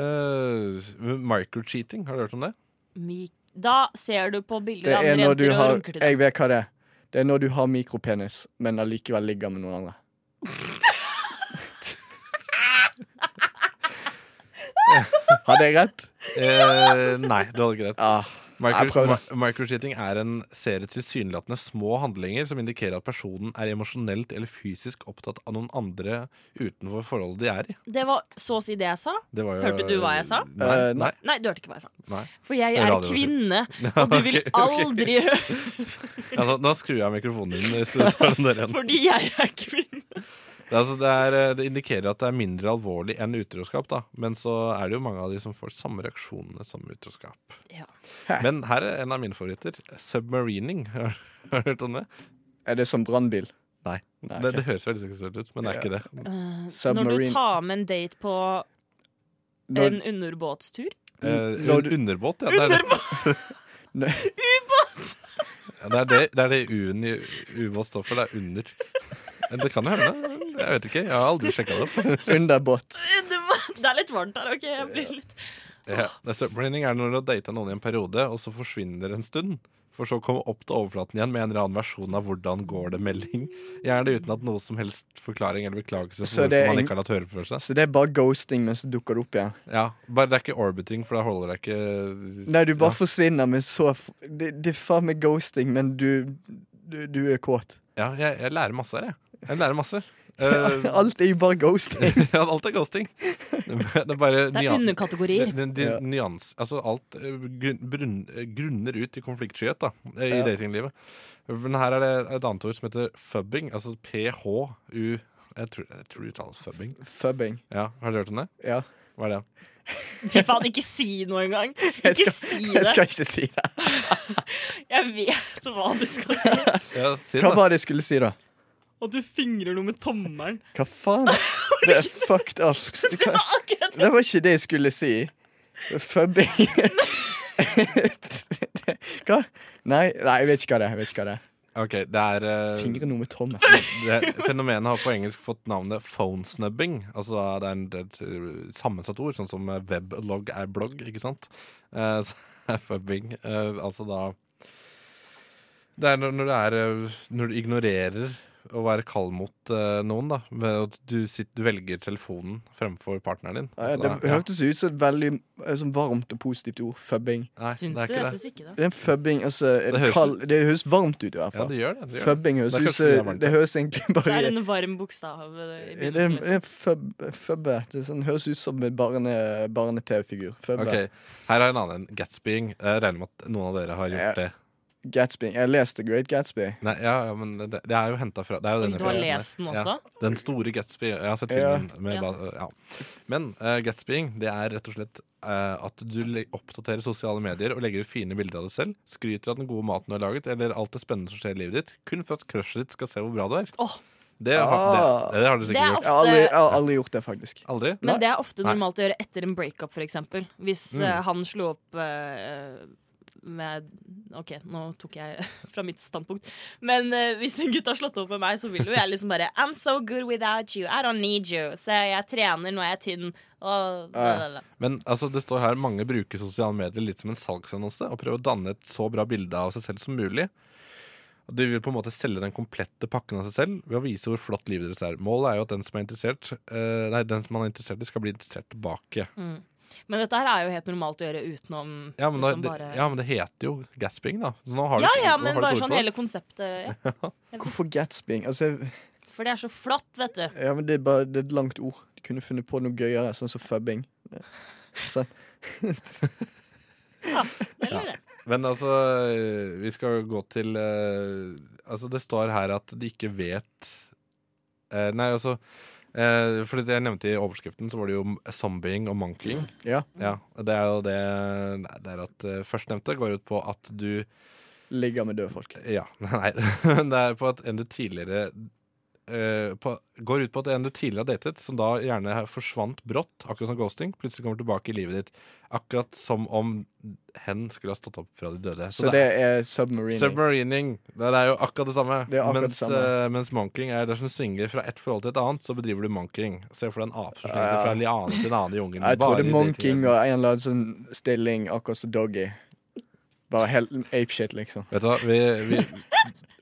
Speaker 4: Eh, Microcheating, har du hørt om det?
Speaker 5: Mi- Da ser du på bilder
Speaker 6: Det
Speaker 5: av
Speaker 6: er
Speaker 5: andre
Speaker 6: når du
Speaker 5: jenter og
Speaker 6: har
Speaker 5: runker til deg.
Speaker 6: Jeg vet hva det er. Det er når du har mikropenis, men allikevel ligger med noen andre. Hadde jeg rett?
Speaker 4: Eh, nei, du hadde ikke rett.
Speaker 6: Ah, jeg
Speaker 4: Micro,
Speaker 6: prøvde.
Speaker 4: mi- microcheating er en serie tilsynelatende små handlinger som indikerer at personen er emosjonelt eller fysisk opptatt av noen andre utenfor forholdet de er i.
Speaker 5: Det var så å si det jeg sa.
Speaker 4: Det var jo,
Speaker 5: Hørte du hva jeg sa?
Speaker 4: Nei.
Speaker 6: Eh, nei.
Speaker 4: nei.
Speaker 5: Nei, du hørte ikke hva jeg sa.
Speaker 4: Nei.
Speaker 5: For jeg
Speaker 4: Det er
Speaker 5: er
Speaker 4: radio,
Speaker 5: kvinne, og du vil
Speaker 4: Ok, ok.
Speaker 5: aldri høre
Speaker 4: Ja, nå, nå skrur jeg av mikrofonen din. Hvis du tar den der igjen.
Speaker 5: fordi jeg er kvinne.
Speaker 4: Det, er altså, det, er, eh, det indikerer at det er mindre alvorlig enn utroskap, da. Men så er det jo mange av de som får samme reaksjonene som utroskap.
Speaker 5: Ja.
Speaker 4: Men her er en av mine favoritter. Submarining. Har har du hørt om det?
Speaker 6: Er det som brannbil?
Speaker 4: Nei.
Speaker 6: Nei,
Speaker 4: Det,
Speaker 6: ok.
Speaker 4: det høres veldig seksuelt ut, men det er ikke det.
Speaker 5: Eh, Når
Speaker 6: Submarine.
Speaker 5: du tar med en date på
Speaker 6: Når,
Speaker 5: en underbåtstur
Speaker 4: Eh,
Speaker 6: Når du-
Speaker 4: underbåt, ja. Det er det.
Speaker 5: Underbåt!
Speaker 4: Ja, Det er det, det, er det U-en i ubåt står for. Det er under. Men Det kan jo hende. Jeg vet ikke. Jeg har aldri sjekka det. opp.
Speaker 6: under båt.
Speaker 5: underbåt. Det er litt varmt her, OK? Jeg blir litt
Speaker 4: Ja. Submarining er når du har data noen i en periode, og så forsvinner det en stund. For så å komme opp til overflaten igjen med en eller annen versjon av 'hvordan går det'-melding. Gjerne uten at noe som helst forklaring eller beklagelse
Speaker 6: Så
Speaker 4: for
Speaker 6: det er
Speaker 4: hvorfor man
Speaker 6: ing-
Speaker 4: ikke har latt høre fra seg.
Speaker 6: Så det er bare ghosting, men så dukker det opp igjen.
Speaker 4: Ja, bare Det er ikke orbiting, for da holder det ikke
Speaker 6: Nei, du bare
Speaker 4: ja.
Speaker 6: forsvinner, men så f- Det, det er faen meg ghosting, men du, du, du er kåt.
Speaker 4: ja, jeg, jeg lærer masse her, jeg. Jeg lærer masse. Eh,
Speaker 6: Alt er jo bare ghosting.
Speaker 4: ja, alt er ghosting. Det er bare
Speaker 5: Det er
Speaker 4: nyan-
Speaker 5: underkategorier.
Speaker 4: Det- det- det-
Speaker 6: Ja.
Speaker 4: Nyans, altså alt eh, grunn, brunn- eh, grunner ut i konfliktskyhet da, eh, i
Speaker 6: Ja.
Speaker 4: datinglivet. Men her er det et annet ord som heter fubbing, altså PHU. Jeg tror, jeg tror det uttales fubbing.
Speaker 6: Fubbing.
Speaker 4: Ja, Har dere hørt om det?
Speaker 6: Ja.
Speaker 4: Hva er det?
Speaker 5: Fy faen, ikke si noe engang.
Speaker 6: Jeg
Speaker 5: Ikke si
Speaker 6: Jeg
Speaker 5: det.
Speaker 6: skal ikke si det.
Speaker 5: Jeg vet hva du skal si.
Speaker 4: Ja, si det
Speaker 6: Hva
Speaker 4: da.
Speaker 6: var det jeg skulle si, da?
Speaker 5: Og du fingrer noe med tommelen.
Speaker 6: Hva faen? Det er fucked up. Det, kan,
Speaker 5: Akkurat.
Speaker 6: det var ikke det jeg skulle si. Fubbing Hva? Nei, nei, jeg vet ikke hva det er. Jeg vet ikke hva det er.
Speaker 4: Ok, det er eh,
Speaker 6: Fingre noe med tommel.
Speaker 4: det, Fenomenet har på engelsk fått navnet phonesnubbing. Altså da, det er en det er et sammensatt ord, sånn som eh, weblog er blogg, ikke sant? Eh, så er fubbing eh, altså da Det er når, når det er eh, Når du ignorerer å være kald mot eh, noen, da. Ved at du, sitter, du velger telefonen fremfor partneren din.
Speaker 6: Ja,
Speaker 4: Altså,
Speaker 6: Det
Speaker 4: da- ja.
Speaker 6: hørtes ut som et veldig eh, sånn varmt og positivt ord. Fubbing.
Speaker 4: Nei,
Speaker 5: Syns
Speaker 4: det
Speaker 5: du?
Speaker 4: er ikke
Speaker 5: Jeg
Speaker 4: det.
Speaker 5: syns ikke det.
Speaker 6: Det er en fubbing, altså er
Speaker 4: Det
Speaker 6: det,
Speaker 4: høres-
Speaker 6: kald, det høres varmt ut i
Speaker 4: Ja,
Speaker 6: hvert fall.
Speaker 4: det gjør det. det, gjør det.
Speaker 6: Fubbing høres
Speaker 4: Det er
Speaker 6: ut
Speaker 4: kanskje det er
Speaker 6: som
Speaker 4: varmt.
Speaker 6: Det høres egentlig
Speaker 5: Det er
Speaker 6: bare
Speaker 5: en varm bokstav eh, i
Speaker 6: det er
Speaker 5: begynnelsen.
Speaker 6: en
Speaker 5: liksom.
Speaker 6: det er en fub, fubbe. Det er sånn, høres ut som en barne, barne-TV-figur. Fubbe.
Speaker 4: Ok, Her har jeg en annen. Gatsbying. Jeg regner med at noen av dere har
Speaker 6: Ja.
Speaker 4: gjort det.
Speaker 6: Gatsby. Jeg leste Great Gatsby.
Speaker 4: Nei, ja, ja, men det, det er jo henta fra det er jo denne
Speaker 5: Du har
Speaker 4: fresen her.
Speaker 5: lest den også?
Speaker 4: Ja, den store Gatsby. Jeg har sett
Speaker 6: Ja.
Speaker 4: filmen. Med,
Speaker 5: Ja.
Speaker 4: ba- ja. Men uh, Gatsbying, det er rett og slett eh, at du le- oppdaterer sosiale medier og legger ut fine bilder av deg selv, skryter av den gode maten du har laget, eller alt det spennende som skjer i livet ditt, kun for at crushet ditt skal se hvor bra du er.
Speaker 5: Åh.
Speaker 4: Det, har,
Speaker 6: Ah.
Speaker 4: det, det har du
Speaker 5: Det er
Speaker 4: sikkert gjort.
Speaker 6: Jeg har aldri,
Speaker 5: Ofte-
Speaker 6: jeg har aldri gjort det, faktisk.
Speaker 4: Aldri?
Speaker 5: Men
Speaker 6: Nei.
Speaker 5: det er ofte
Speaker 4: Nei.
Speaker 5: normalt å gjøre etter en breakup, f.eks. Hvis
Speaker 4: Mm.
Speaker 5: eh, han slo opp eh, med OK, nå tok jeg fra mitt standpunkt. Men eh, hvis en gutt har slått opp med meg, så vil jo jeg liksom bare I'm so good without you. I don't need you. Så jeg trener nå er jeg tynn. Og
Speaker 6: Ja.
Speaker 4: Men altså, det står her mange bruker sosiale medier litt som en salgsannonse og prøver å danne et så bra bilde av seg selv som mulig. Og De vil på en måte selge den komplette pakken av seg selv ved å vise hvor flott livet deres er. Målet er jo at den som er interessert eh, Nei, den som man er interessert i, skal bli interessert tilbake.
Speaker 5: Mm. Men dette her er jo helt normalt å gjøre utenom
Speaker 4: Ja, men, da,
Speaker 5: liksom
Speaker 4: det,
Speaker 5: bare
Speaker 4: ja, men det heter jo gasping, da. Så nå har du,
Speaker 5: ja, ja,
Speaker 4: nå
Speaker 5: men
Speaker 4: har du
Speaker 5: bare
Speaker 4: et ord
Speaker 5: sånn
Speaker 4: på
Speaker 5: hele konseptet. Ja.
Speaker 6: Hvorfor Gatsbying? Altså, jeg-
Speaker 5: For det er så flott, vet du.
Speaker 6: ja, men det, er bare, det er et langt ord. Du kunne funnet på noe gøyere, sånn som fubbing. Sånn.
Speaker 5: Eller det?
Speaker 4: det. Men altså, eh, vi skal gå til eh, Altså, det står her at de ikke vet eh, Nei, altså uh, For det jeg nevnte i overskriften, så var det jo zombieing og monkeying.
Speaker 6: Ja.
Speaker 4: Ja, det er jo det nei, Det er at eh, førstnevnte går ut på at du
Speaker 6: Ligger med døde folk.
Speaker 4: Ja, nei. men Det er på at en du tidligere eh, på, Går ut på at en du tidligere har datet, som da gjerne forsvant brått, akkurat som ghosting, plutselig kommer tilbake i livet ditt. Akkurat som om hen skulle ha stått opp fra de døde.
Speaker 6: Så det er submarine.
Speaker 4: Submarining. Det er jo akkurat det samme.
Speaker 6: Det er akkurat
Speaker 4: mens,
Speaker 6: det samme.
Speaker 4: eh, mens monking er dersom du svinger fra ett forhold til et annet, så bedriver du monking. Se for deg en ape som svinger
Speaker 6: Ja.
Speaker 4: seg fra en liane til en annen i jungelen.
Speaker 6: jeg
Speaker 4: Bare
Speaker 6: trodde
Speaker 4: i det
Speaker 6: monking
Speaker 4: tilfellet.
Speaker 6: og en eller annen sånn stilling, akkurat som doggy. Bare helt apeshit, liksom.
Speaker 4: Vet du hva, vi, vi,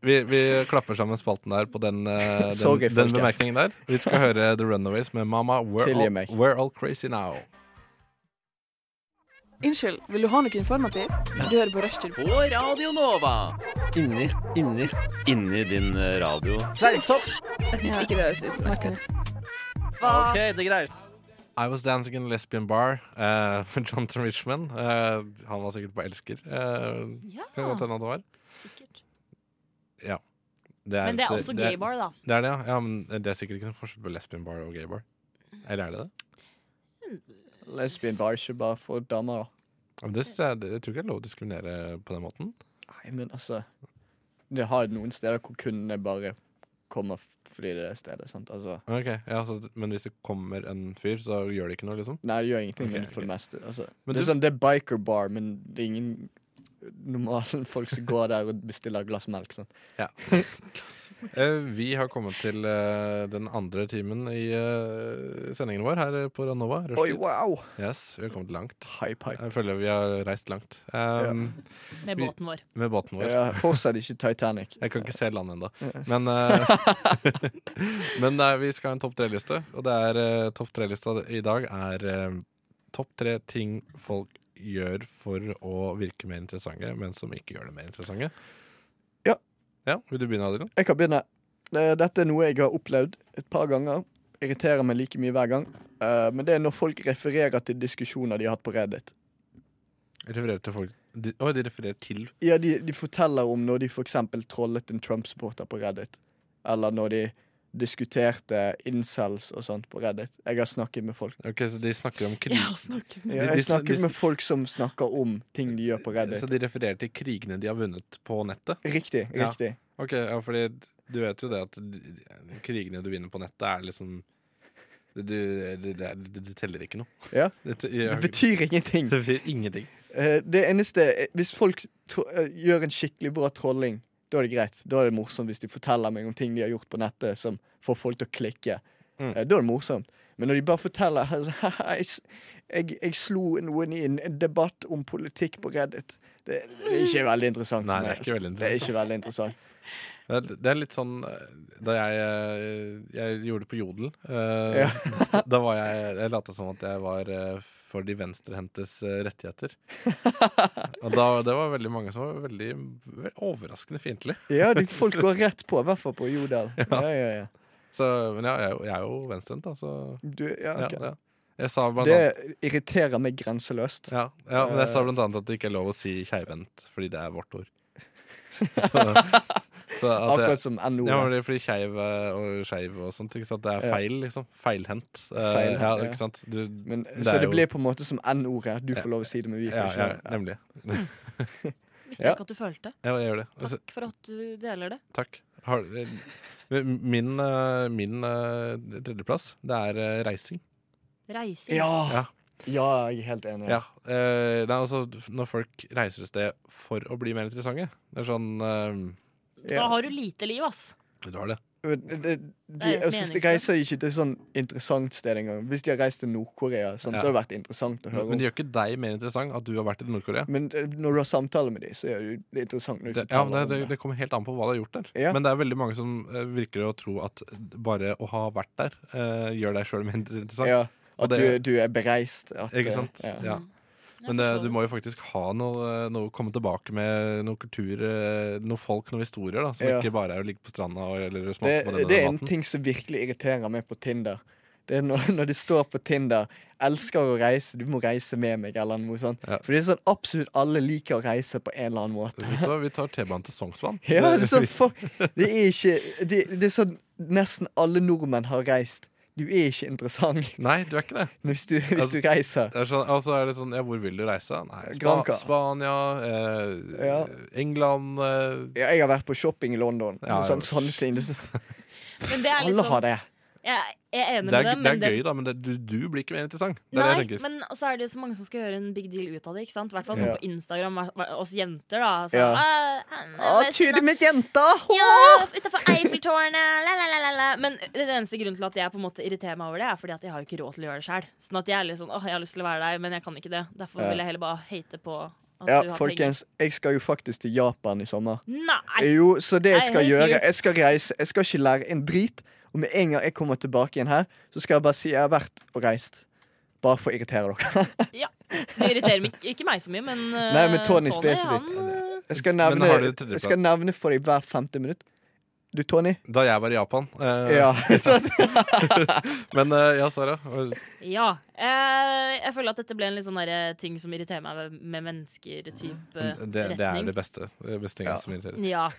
Speaker 4: vi, vi klapper sammen spalten der på den, eh, den,
Speaker 6: Sorry,
Speaker 4: den
Speaker 6: folkens.
Speaker 4: bemerkningen der. Vi skal høre The Runaways med Mama, We're,
Speaker 6: Tilgi
Speaker 4: all,
Speaker 6: meg.
Speaker 4: we're all crazy now.
Speaker 8: Unnskyld, vil du ha noe informativt? Du hører på Rushtid.
Speaker 9: På Radio Nova. Inni, inni, inni din eh, radio.
Speaker 8: Hvis ikke det høres ut. Martin.
Speaker 9: OK, det greier
Speaker 4: I was dancing in a lesbian bar eh, med Jonathan Richman. Eh, han var sikkert på Elsker. eh,
Speaker 5: Ja,
Speaker 4: kan godt hende at det var.
Speaker 5: sikkert.
Speaker 4: Det
Speaker 5: Men det er
Speaker 4: et-
Speaker 5: også gay bar, da.
Speaker 4: Det er det, ja. ja. Men det er sikkert ikke noen forskjell på lesbian bar og gay bar. Eller er det det? Mm.
Speaker 6: Lesbian bar ikke bare for damer.
Speaker 4: Ja, men det synes jeg, det- jeg tror ikke det er lov å diskriminere på den måten.
Speaker 6: Nei, men altså Det har noen steder hvor kundene bare kommer fordi det er stedet. sant? Altså,
Speaker 4: Ok, ja, så, Men hvis det kommer en fyr, så gjør det ikke noe, liksom?
Speaker 6: nei, det gjør ingenting
Speaker 4: Ok,
Speaker 6: men for
Speaker 4: ok.
Speaker 6: det meste. Altså,
Speaker 4: Men
Speaker 6: det, er
Speaker 4: du-
Speaker 6: sånn, det er biker bar, men det er ingen normale folk som går der og bestiller et glass melk. sant?
Speaker 4: Eh, vi har kommet til eh, den andre timen i eh, sendingen vår her på Ranova. Rushtid.
Speaker 6: Oi, wow!
Speaker 4: Yes, vi har kommet langt.
Speaker 6: Hype, hype.
Speaker 4: Jeg føler vi har reist langt. Ehm,
Speaker 5: Med
Speaker 4: Vi-
Speaker 5: båten vår.
Speaker 4: Med båten vår.
Speaker 6: Ja, fortsatt ikke Titanic.
Speaker 4: Jeg kan ikke se land ennå. Men, eh, men nei, vi skal ha en topp tre-liste, og det er eh, topp tre-lista i dag er eh, topp tre ting folk gjør for å virke mer interessante, men som ikke gjør det mer interessante.
Speaker 6: Ja.
Speaker 4: Ja, Vil du begynne, Adrian?
Speaker 6: Jeg kan begynne. Det- Dette er noe jeg har opplevd et par ganger. Irriterer meg like mye hver gang. Eh, men det er når folk refererer til diskusjoner de har hatt på Reddit.
Speaker 4: Refererer til folk de, Å, de refererer til
Speaker 6: Ja, de, de forteller om når de f.eks. trollet en Trump-supporter på Reddit. Eller når de diskuterte incels og sånt på Reddit. Jeg har snakket med folk.
Speaker 4: Ok, så de snakker om krig...
Speaker 5: Jeg har snakket med
Speaker 6: Ja,
Speaker 4: de-
Speaker 6: jeg snakket
Speaker 4: de-
Speaker 6: med folk som snakker om ting de gjør på
Speaker 4: Så
Speaker 6: Reddit.
Speaker 4: de refererer til krigene de har vunnet på nettet?
Speaker 6: Riktig.
Speaker 4: Ja.
Speaker 6: riktig.
Speaker 4: Ok, ja, fordi du vet jo det at krigene du vinner på nettet er liksom Du, det, det, det, det teller ikke noe.
Speaker 6: Ja.
Speaker 4: Det, te- jeg,
Speaker 6: Det
Speaker 4: har ikke-
Speaker 6: betyr ingenting.
Speaker 4: det betyr ingenting.
Speaker 6: Eh, Det eneste eh, Hvis folk tro, eh, gjør en skikkelig bra trolling, da er det greit. Da er det morsomt hvis de forteller meg om ting de har gjort på nettet som får folk til å klikke.
Speaker 4: Mm.
Speaker 6: Eh, Da er det morsomt. Men når de bare forteller altså, jeg, s- jeg, jeg slo noen i en debatt om politikk på Reddit. Det, det er ikke veldig interessant. for
Speaker 4: Nei, det er ikke
Speaker 6: meg, altså.
Speaker 4: veldig
Speaker 6: Det er
Speaker 4: interessant.
Speaker 6: ikke veldig interessant.
Speaker 4: Det er, det er litt sånn eh, Da jeg, eh, jeg gjorde det på Jodel, eh, da var jeg Jeg lata som at jeg var eh, for de venstrehendtes eh, rettigheter. Og da, det var veldig mange som var veldig, ve- overraskende fiendtlige.
Speaker 6: Ja, de, folk går rett på, i hvert fall på Jodel. Ja, ja, ja.
Speaker 4: Så, men ja, jeg, er jo- jeg er jo venstrehendt, da, så
Speaker 6: Du, ja,
Speaker 4: ja,
Speaker 6: ok.
Speaker 4: ja. Jeg sa blant annet
Speaker 6: Det irriterer meg grenseløst.
Speaker 4: ja, ja, men jeg
Speaker 6: Eh.
Speaker 4: sa blant annet at det ikke er lov å si keivhendt, fordi det er vårt ord. Så, så at jeg,
Speaker 6: Akkurat som NO.
Speaker 4: Ja, men det er fordi skeiv eh, og skeiv og sånt. Ikke sant? Det er
Speaker 6: Ja.
Speaker 4: feil, liksom. Feilhendt. Eh,
Speaker 6: Feilhendt,
Speaker 4: ja,
Speaker 6: ja.
Speaker 4: ikke sant? Du,
Speaker 6: Men,
Speaker 4: det
Speaker 6: så
Speaker 4: er
Speaker 6: det
Speaker 4: jo-
Speaker 6: blir på en måte som N-ordet. Du får lov å si det, men vi får
Speaker 4: ja,
Speaker 6: ikke
Speaker 4: ja,
Speaker 6: lov. Ja.
Speaker 4: nemlig.
Speaker 5: Visste
Speaker 6: Ja.
Speaker 5: ikke at du følte det.
Speaker 4: Ja, jeg gjør det. Altså,
Speaker 5: Takk for at du deler det.
Speaker 4: takk. Har, eh, min eh, min eh, tredjeplass, det er eh, reising.
Speaker 5: Reising.
Speaker 6: Ja.
Speaker 4: Ja.
Speaker 6: ja, jeg er helt enig.
Speaker 4: Ja. eh, det er altså når folk reiser et sted for å bli mer interessante. Det er sånn eh,
Speaker 5: Da har du lite liv, ass.
Speaker 4: Du har det.
Speaker 6: Men det, de, altså,
Speaker 5: Det er
Speaker 6: jeg synes de
Speaker 5: meningsløst.
Speaker 6: reiser ikke til sånn interessant sted engang. Hvis de har reist til Nord-Korea, sånn,
Speaker 4: Ja.
Speaker 6: det hadde vært interessant å høre
Speaker 4: Men
Speaker 6: om.
Speaker 4: det gjør ikke deg mer interessant at du har vært i Nord-Korea.
Speaker 6: Men eh, når du har samtale med dem, så er det jo- det er interessant når de
Speaker 4: Det, ja, men
Speaker 6: forteller
Speaker 4: det,
Speaker 6: om
Speaker 4: det,
Speaker 6: det.
Speaker 4: det kommer helt an på hva du har gjort der.
Speaker 6: Ja.
Speaker 4: Men det er veldig mange som eh, virker å tro at bare å ha vært der, eh, gjør deg sjøl mindre interessant.
Speaker 6: Ja,
Speaker 4: Og
Speaker 6: at
Speaker 4: det-
Speaker 6: du, du er bereist. At, eh,
Speaker 4: Ikke sant?
Speaker 6: Ja.
Speaker 4: Ja.
Speaker 5: Jeg
Speaker 4: Men eh,
Speaker 5: forstår
Speaker 4: du
Speaker 5: det.
Speaker 4: må jo faktisk ha noe, eh, noe komme tilbake med noe kultur, eh, noen folk, noen historier, da, som
Speaker 6: Ja.
Speaker 4: ikke bare er å ligge på stranda og, eller
Speaker 6: Det,
Speaker 4: smake på denne
Speaker 6: det er en
Speaker 4: maten.
Speaker 6: ting som virkelig irriterer meg på Tinder. Det er når, når det står på Tinder 'Elsker å reise, du må reise med meg', eller noe sånt.
Speaker 4: Ja.
Speaker 6: For det er sånn absolutt alle liker å reise på en eller annen måte.
Speaker 4: Vet du hva, vi tar T-banen til Sognsvann.
Speaker 6: Ja, det er sånn for, Det er ikke det, det er sånn nesten alle nordmenn har reist. Du er ikke interessant
Speaker 4: Nei, du er ikke det.
Speaker 6: hvis du, hvis
Speaker 4: Altså
Speaker 6: du reiser.
Speaker 4: det er sånn, og så er det sånn Ja, hvor vil du reise? Nei, Spa
Speaker 6: Granca.
Speaker 4: Spania, eh,
Speaker 6: Ja.
Speaker 4: England eh,
Speaker 6: Ja, jeg har vært på shopping i London.
Speaker 4: Ja,
Speaker 6: og sånn,
Speaker 4: ja.
Speaker 6: sånne ting. Det er sånn,
Speaker 5: Men det er
Speaker 6: alle
Speaker 5: liksom
Speaker 6: har det.
Speaker 5: Jeg jeg er enig
Speaker 4: det, er,
Speaker 5: med dem.
Speaker 4: det
Speaker 5: men
Speaker 4: er gøy, da, men det, du, du blir ikke mer interessant. Det er det jeg
Speaker 5: Nei,
Speaker 4: tenker.
Speaker 5: men så er det jo så mange som skal gjøre en big deal ut av det. ikke sant? I hvert fall sånn
Speaker 6: Ja.
Speaker 5: på Instagram, hva- hva- oss jenter. da. Så,
Speaker 6: Ja.
Speaker 5: «Ah, ah,
Speaker 6: Å,
Speaker 5: resten
Speaker 6: Tude
Speaker 5: av-
Speaker 6: mitt jenta! Å!
Speaker 5: ja, Utafor Eiffeltårnet! La, la, la, la, la. Men den eneste grunnen til at jeg på en måte irriterer meg over det, er fordi at jeg har jo ikke råd til å gjøre det sjøl. Sånn at jeg er litt sånn, åh, jeg har lyst til å være der, men jeg kan ikke det. Derfor
Speaker 6: Ja.
Speaker 5: vil jeg heller bare hate på at
Speaker 6: Ja,
Speaker 5: du har
Speaker 6: folkens, jeg skal jo faktisk til Japan i sommer.
Speaker 5: penger. Nei!
Speaker 6: Jo, så det
Speaker 5: Nei,
Speaker 6: jeg skal
Speaker 5: helt
Speaker 6: gjøre
Speaker 5: ut.
Speaker 6: Jeg skal reise. Jeg skal ikke lære en drit. Og med en gang jeg kommer tilbake igjen her, så skal jeg bare si jeg har vært og reist. Bare for å irritere dere.
Speaker 5: Det irriterer meg, ikke meg så mye, men eh,
Speaker 6: Nei, men Tony
Speaker 5: han,
Speaker 6: spesifikt.
Speaker 5: eh,
Speaker 6: Jeg skal
Speaker 4: Men
Speaker 6: nevne,
Speaker 4: har du tredjeplass?
Speaker 6: jeg skal nevne for deg hver femte minutt. Du, Tony?
Speaker 4: Da jeg var i Japan. eh,
Speaker 6: Ja. så-
Speaker 4: Men eh, ja, Sara. og-
Speaker 5: Ja. Eh, jeg føler at dette ble en litt sånn derre ting som irriterer meg med- med mennesker-type retning.
Speaker 4: Det, det er det beste. Det beste tingen som irriterer.
Speaker 5: Ja.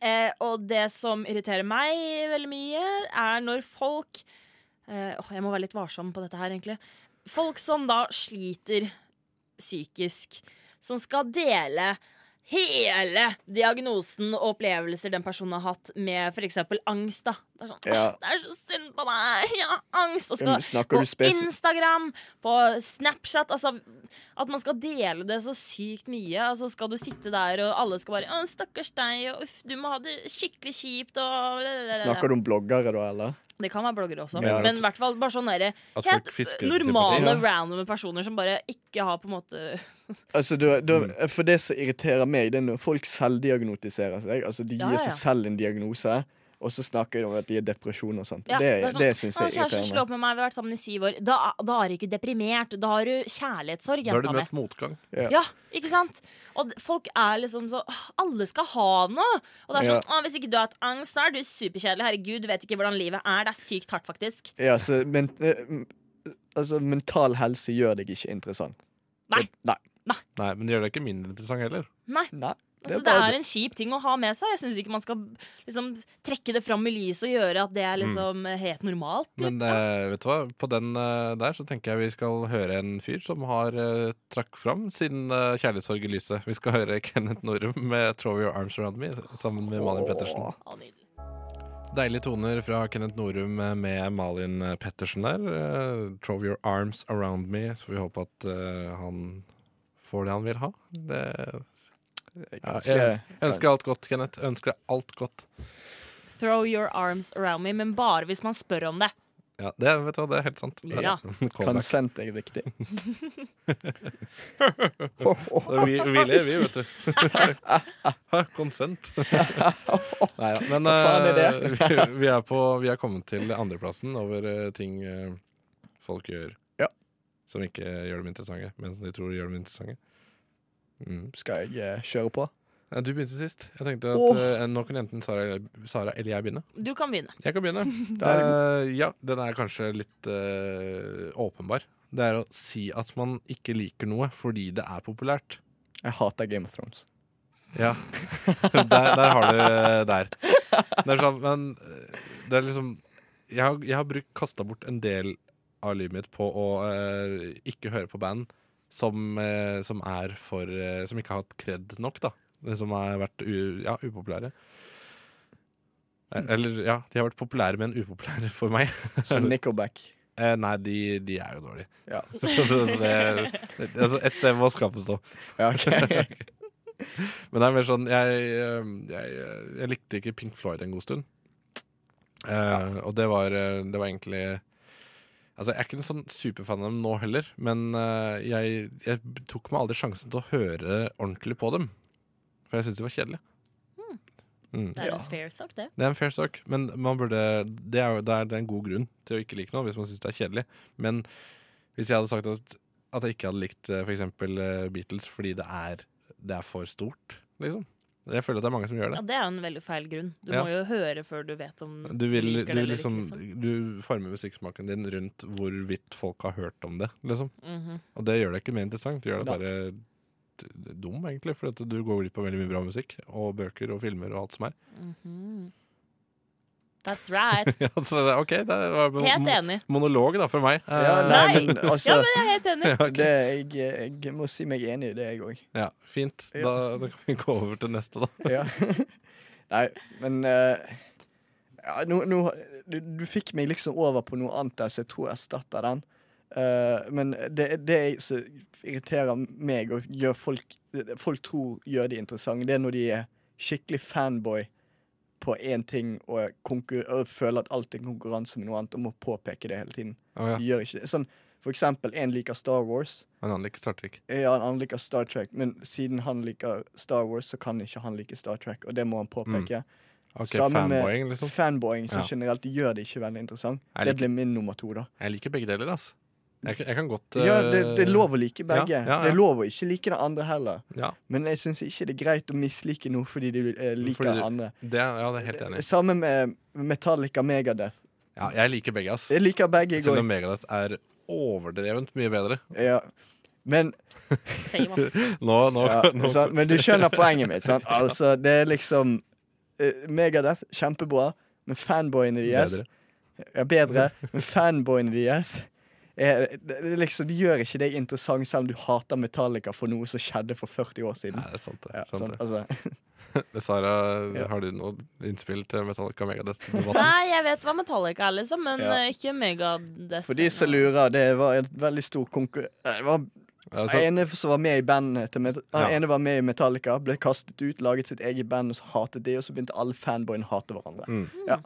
Speaker 5: Eh, og det som irriterer meg veldig mye, er når folk eh, åh, Jeg må være litt varsom på dette her, egentlig. Folk som da sliter psykisk, som skal dele hele diagnosen og opplevelser den personen har hatt, med f.eks. angst. da Det er sånn
Speaker 6: Ja.
Speaker 5: «Åh, 'Det er så synd på meg! Jeg har angst!' Og
Speaker 6: Mm,
Speaker 5: skal
Speaker 6: snakker
Speaker 5: på
Speaker 6: du spes-
Speaker 5: Instagram, på Snapchat Altså at man skal dele det så sykt mye. Altså skal du sitte der, og alle skal bare 'Å, stakkars deg', og 'uff, du må ha det skikkelig kjipt', og lalalala.
Speaker 6: Snakker du om bloggere da, eller?
Speaker 5: Det kan være bloggere også,
Speaker 4: Ja.
Speaker 5: men i hvert fall bare sånn derre
Speaker 4: At folk
Speaker 5: Helt
Speaker 4: fisker
Speaker 5: normale,
Speaker 6: sympati,
Speaker 5: randome personer som bare ikke har på en måte
Speaker 6: Altså, da, da,
Speaker 4: Mm.
Speaker 6: for det som irriterer meg, det er når folk selvdiagnotiserer seg. Altså, de
Speaker 5: Ja,
Speaker 6: gir
Speaker 5: ja.
Speaker 6: seg selv en diagnose, og så snakker de om at de har depresjon og sånt.
Speaker 5: Ja, det
Speaker 6: det
Speaker 5: er
Speaker 6: det,
Speaker 5: sånn,
Speaker 6: syns
Speaker 5: «Å,
Speaker 6: jeg
Speaker 5: Kjæresten slår
Speaker 6: irriterer meg.
Speaker 5: opp med meg, vi har vært sammen i syv år. Da, da er du ikke deprimert. Da har du kjærlighetssorg.
Speaker 4: Da har du
Speaker 5: jenta mi.»
Speaker 4: møtt motgang.
Speaker 5: Ja, ikke sant? Og d- folk er liksom så «Åh, Alle skal ha noe! Og det er sånn, «Åh, Hvis ikke du har hatt angst, da er du superkjedelig. Herregud, du vet ikke hvordan livet er. Det er sykt hardt, faktisk.
Speaker 6: Ja, så, men, eh, m- altså, mental helse gjør deg ikke interessant.
Speaker 5: Nei.
Speaker 6: Det, nei.
Speaker 4: Nei, men det gjør deg ikke mindre interessant heller.
Speaker 5: Nei.
Speaker 6: nei. Det
Speaker 5: Altså,
Speaker 6: er
Speaker 5: det
Speaker 6: bare
Speaker 5: er en kjip ting å ha med seg. Jeg syns ikke man skal liksom, trekke det fram i lyset og gjøre at det er liksom helt normalt.
Speaker 4: Men eh, vet du hva, på den eh, der så tenker jeg vi skal høre en fyr som har eh, trakk fram sin eh, kjærlighetssorg i lyset. Vi skal høre Kenneth Norum med 'Throw Your Arms Around Me' sammen med Malin Pettersen.
Speaker 5: Å, nydelig.
Speaker 4: Deilige toner fra Kenneth Norum med Malin Pettersen der. Eh, Throw your arms around me. Så får vi håpe at eh, han får det han vil ha. Det, ja, jeg
Speaker 6: Ganske-
Speaker 4: ønsker alt godt, Kenneth. Ønsker deg alt godt.
Speaker 5: Throw your arms around me, men bare hvis man spør om det.
Speaker 4: Ja, det, vet du, hva, det er helt sant.
Speaker 5: Ja.
Speaker 4: Callback.
Speaker 6: Konsent er viktig.
Speaker 4: Det vi, vi ler, vi, vet du. Hæ, Konsent. Nei da. Men
Speaker 6: faen er
Speaker 4: eh, vi, vi, er på, vi er kommet til andreplassen over eh, ting eh, folk gjør
Speaker 6: Ja.
Speaker 4: som ikke gjør dem interessante, men som de tror gjør dem interessante. Mm.
Speaker 6: Skal jeg eh, kjøre på?
Speaker 4: Ja, du begynte sist. Jeg tenkte at
Speaker 6: Åh.
Speaker 4: eh, nå kunne enten Sara eller, Sara eller jeg begynne.
Speaker 5: Du kan begynne.
Speaker 4: Jeg kan begynne.
Speaker 6: Da er det
Speaker 4: Eh, ja, den er kanskje litt eh, åpenbar. Det er å si at man ikke liker noe fordi det er populært.
Speaker 6: Jeg hater Game of Thrones.
Speaker 4: Ja. Der, der har du eh, der. Det er sånn, men eh, det er liksom Jeg har, jeg har brukt kasta bort en del av livet mitt på å eh, ikke høre på band som, eh, som er for eh, Som ikke har hatt kred nok, da. Det Som har vært u, ja, upopulære. Eh, Eller ja, de har vært populære, men upopulære for meg.
Speaker 6: Så Nickelback.
Speaker 4: Eh, nei, de, de er jo dårlige.
Speaker 6: Ja.
Speaker 4: så, så det, det, altså, et sted må skapes, da.
Speaker 6: Ja, ok.
Speaker 4: Men det er mer sånn Jeg, eh, jeg, eh, jeg likte ikke Pink Floyd en god stund. Eh, Og det var, eh, det var egentlig Altså, Jeg er ikke en sånn superfan av dem nå heller, men eh, jeg, jeg b- tok meg aldri sjansen til å høre ordentlig på dem. For jeg syntes de var kjedelige. Mm.
Speaker 5: Det er
Speaker 6: Ja.
Speaker 5: en fair sak, det.
Speaker 4: Det er en fair sak, men man burde, det, er, jo- det, er, det er en god grunn til å ikke like noe hvis man syns det er kjedelig. Men hvis jeg hadde sagt at, at jeg ikke hadde likt eh, f.eks. Beatles fordi det er, det er for stort, liksom Jeg føler at det er mange som gjør
Speaker 5: Ja,
Speaker 4: det.
Speaker 5: det er jo en veldig feil grunn. Du
Speaker 4: Ja.
Speaker 5: må jo høre før du vet om
Speaker 4: Du, vil,
Speaker 5: liker
Speaker 4: du,
Speaker 5: det eller
Speaker 4: liksom,
Speaker 5: ikke. Liksom.
Speaker 4: du former musikksmaken din rundt hvorvidt folk har hørt om det, liksom.
Speaker 5: Mhm.
Speaker 4: Og det gjør det ikke mer interessant. Det gjør det
Speaker 6: Da.
Speaker 4: bare d- dum, egentlig. For at du går glipp av veldig mye bra musikk. Og bøker og filmer og alt som er.
Speaker 5: Mhm. That's right.
Speaker 4: Ja, så det, OK, det var
Speaker 5: Helt
Speaker 4: mo-
Speaker 5: enig.
Speaker 4: monolog da, for meg.
Speaker 6: Ja,
Speaker 4: Eh,
Speaker 6: nei,
Speaker 5: Nei.
Speaker 6: men
Speaker 5: Ja,
Speaker 6: altså
Speaker 5: men jeg er helt enig.
Speaker 4: Ja, ok.
Speaker 6: det, jeg, jeg må si meg enig i det, jeg òg.
Speaker 4: Ja, fint.
Speaker 6: Ja.
Speaker 4: Da, da kan vi gå over til neste, da.
Speaker 6: Ja. Nei, men eh, ja, nå, nå, du, du fikk meg liksom over på noe annet der, så jeg tror jeg erstatter den. Eh, men det, det jeg- som irriterer meg og gjør folk, folk tror gjør de interessante, det er når de er skikkelig fanboy på én ting og, konkur- og føler at alt er konkurranse med noe annet og må påpeke det hele tiden.
Speaker 4: Å ja.
Speaker 6: De gjør ikke det. Sånn, for eksempel, én liker Star Wars.
Speaker 4: Men han liker Star Trek.
Speaker 6: Ja, han liker Star Trek, men siden han liker Star Wars, så kan ikke han like Star Trek, og det må han
Speaker 4: Mm,
Speaker 6: påpeke.
Speaker 4: Ok,
Speaker 6: Sammen med
Speaker 4: fanboying, liksom.
Speaker 6: Fanboying som
Speaker 4: Ja.
Speaker 6: generelt gjør det ikke veldig interessant.
Speaker 4: Jeg
Speaker 6: Det
Speaker 4: liker-
Speaker 6: blir min nummer to, da.
Speaker 4: Jeg liker begge deler, ass. Jeg, kan- jeg kan godt eh,
Speaker 6: Ja, det, det er lov å like begge.
Speaker 4: ja, ja.
Speaker 6: Det er lov å ikke like det andre heller.
Speaker 4: Ja,
Speaker 6: Men jeg syns ikke det er greit å mislike noe fordi du eh, liker
Speaker 4: Fordi
Speaker 6: det
Speaker 4: du-
Speaker 6: andre.
Speaker 4: det, er- ja, det er helt enig.
Speaker 6: Samme med Metallica Megadeth.
Speaker 4: Ja, jeg liker begge, ass.
Speaker 6: Jeg liker begge.
Speaker 4: Selv om
Speaker 6: Jeg,
Speaker 4: Megadeth er overdrevent mye bedre.
Speaker 6: ja. Men
Speaker 5: Same, ass.
Speaker 4: Nå, nå,
Speaker 6: Ja,
Speaker 4: nå
Speaker 6: sant? Men du skjønner poenget mitt. Sant? Altså, det er liksom eh, Megadeth, kjempebra, men fanboyene deres
Speaker 4: Bedre.
Speaker 6: Ja, bedre. Men fanboyene deres er, det, det er liksom, De gjør ikke deg interessant selv om du hater Metallica for noe som skjedde for 40 år
Speaker 4: Nei,
Speaker 6: siden.
Speaker 4: det er sant, det.
Speaker 6: Ja,
Speaker 4: sant,
Speaker 6: sant? Altså,
Speaker 4: det. Sara,
Speaker 6: Ja.
Speaker 4: har du noe innspill til Metallica Megadeth-debatten?
Speaker 5: Nei, jeg vet hva Metallica er, liksom, men
Speaker 6: Ja.
Speaker 5: eh, ikke Megadeth. liksom.
Speaker 6: for de som lurer, det var en veldig stor konkurranse Det var
Speaker 4: Altså,
Speaker 6: Den ene som var med i bandet til Met
Speaker 4: Ja.
Speaker 6: Den ene var med i Metallica, ble kastet ut, laget sitt eget band, og så hatet de, og så begynte alle fanboyene å hate hverandre.
Speaker 4: Mm.
Speaker 6: Ja,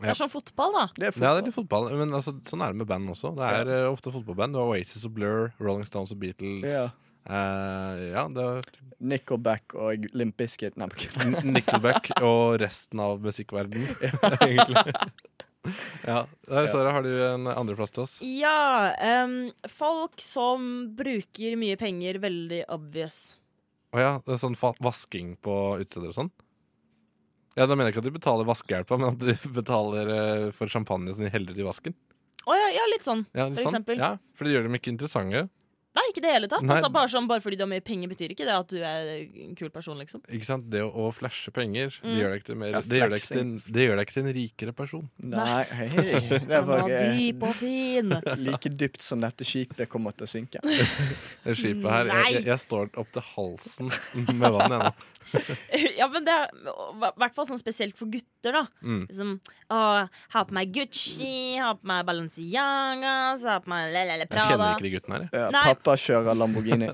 Speaker 5: Det er som fotball, da.
Speaker 6: det er
Speaker 4: Ja, det
Speaker 6: fotball.
Speaker 4: er litt fotball. Men altså, sånn er det med band også. Det er eh, ofte fotballband. Du har Oasis og Blur, Rolling Stones og Beatles.
Speaker 6: Ja.
Speaker 4: Eh, ja det er
Speaker 6: Nickelback og Limp Bizkit. Nei, men kødd.
Speaker 4: N- Nickelback og resten av musikkverdenen, egentlig. Ja. Der, Sara, har du en andreplass til oss?
Speaker 5: Ja, em, folk som bruker mye penger, veldig obvious.
Speaker 4: Å ja, det er sånn fa vasking på utesteder og sånn? Ja, Da mener jeg ikke at du betaler vaskehjelpa, men at du betaler eh, for champagne som de heller i vasken.
Speaker 5: Å ja, ja, litt sånn.
Speaker 4: Ja, litt
Speaker 5: For eksempel.
Speaker 4: Ja, for det gjør dem ikke interessante.
Speaker 5: Nei, ikke i det hele tatt.
Speaker 4: Nei.
Speaker 5: Altså, bare, sånn, bare fordi du har mye penger, betyr ikke det at du er en kul person, liksom.
Speaker 4: Ikke sant? Det å, å flashe penger det,
Speaker 5: Mm.
Speaker 4: gjør deg ikke til mer,
Speaker 6: Ja,
Speaker 4: det, gjør deg ikke til,
Speaker 6: flexing.
Speaker 4: det gjør deg ikke til en rikere person.
Speaker 6: Nei, hei. Det
Speaker 5: Den
Speaker 6: er
Speaker 5: var
Speaker 6: bare
Speaker 5: dyp og fin.
Speaker 6: like dypt som dette skipet kommer til å synke.
Speaker 4: Det skipet her, jeg,
Speaker 5: Nei.
Speaker 4: jeg, jeg står opp til halsen med vann. Jeg, nå.
Speaker 5: ja, men det er i hvert fall sånn spesielt for gutter, da.
Speaker 4: Mm.
Speaker 5: Liksom, å, ha på meg Gucci, ha på meg Balenciagas, ha på meg Lelele
Speaker 4: jeg kjenner
Speaker 5: Prada.
Speaker 4: ikke de guttene her. jeg.
Speaker 6: Ja,
Speaker 5: Nei.
Speaker 6: pappa kjører Lamborghini.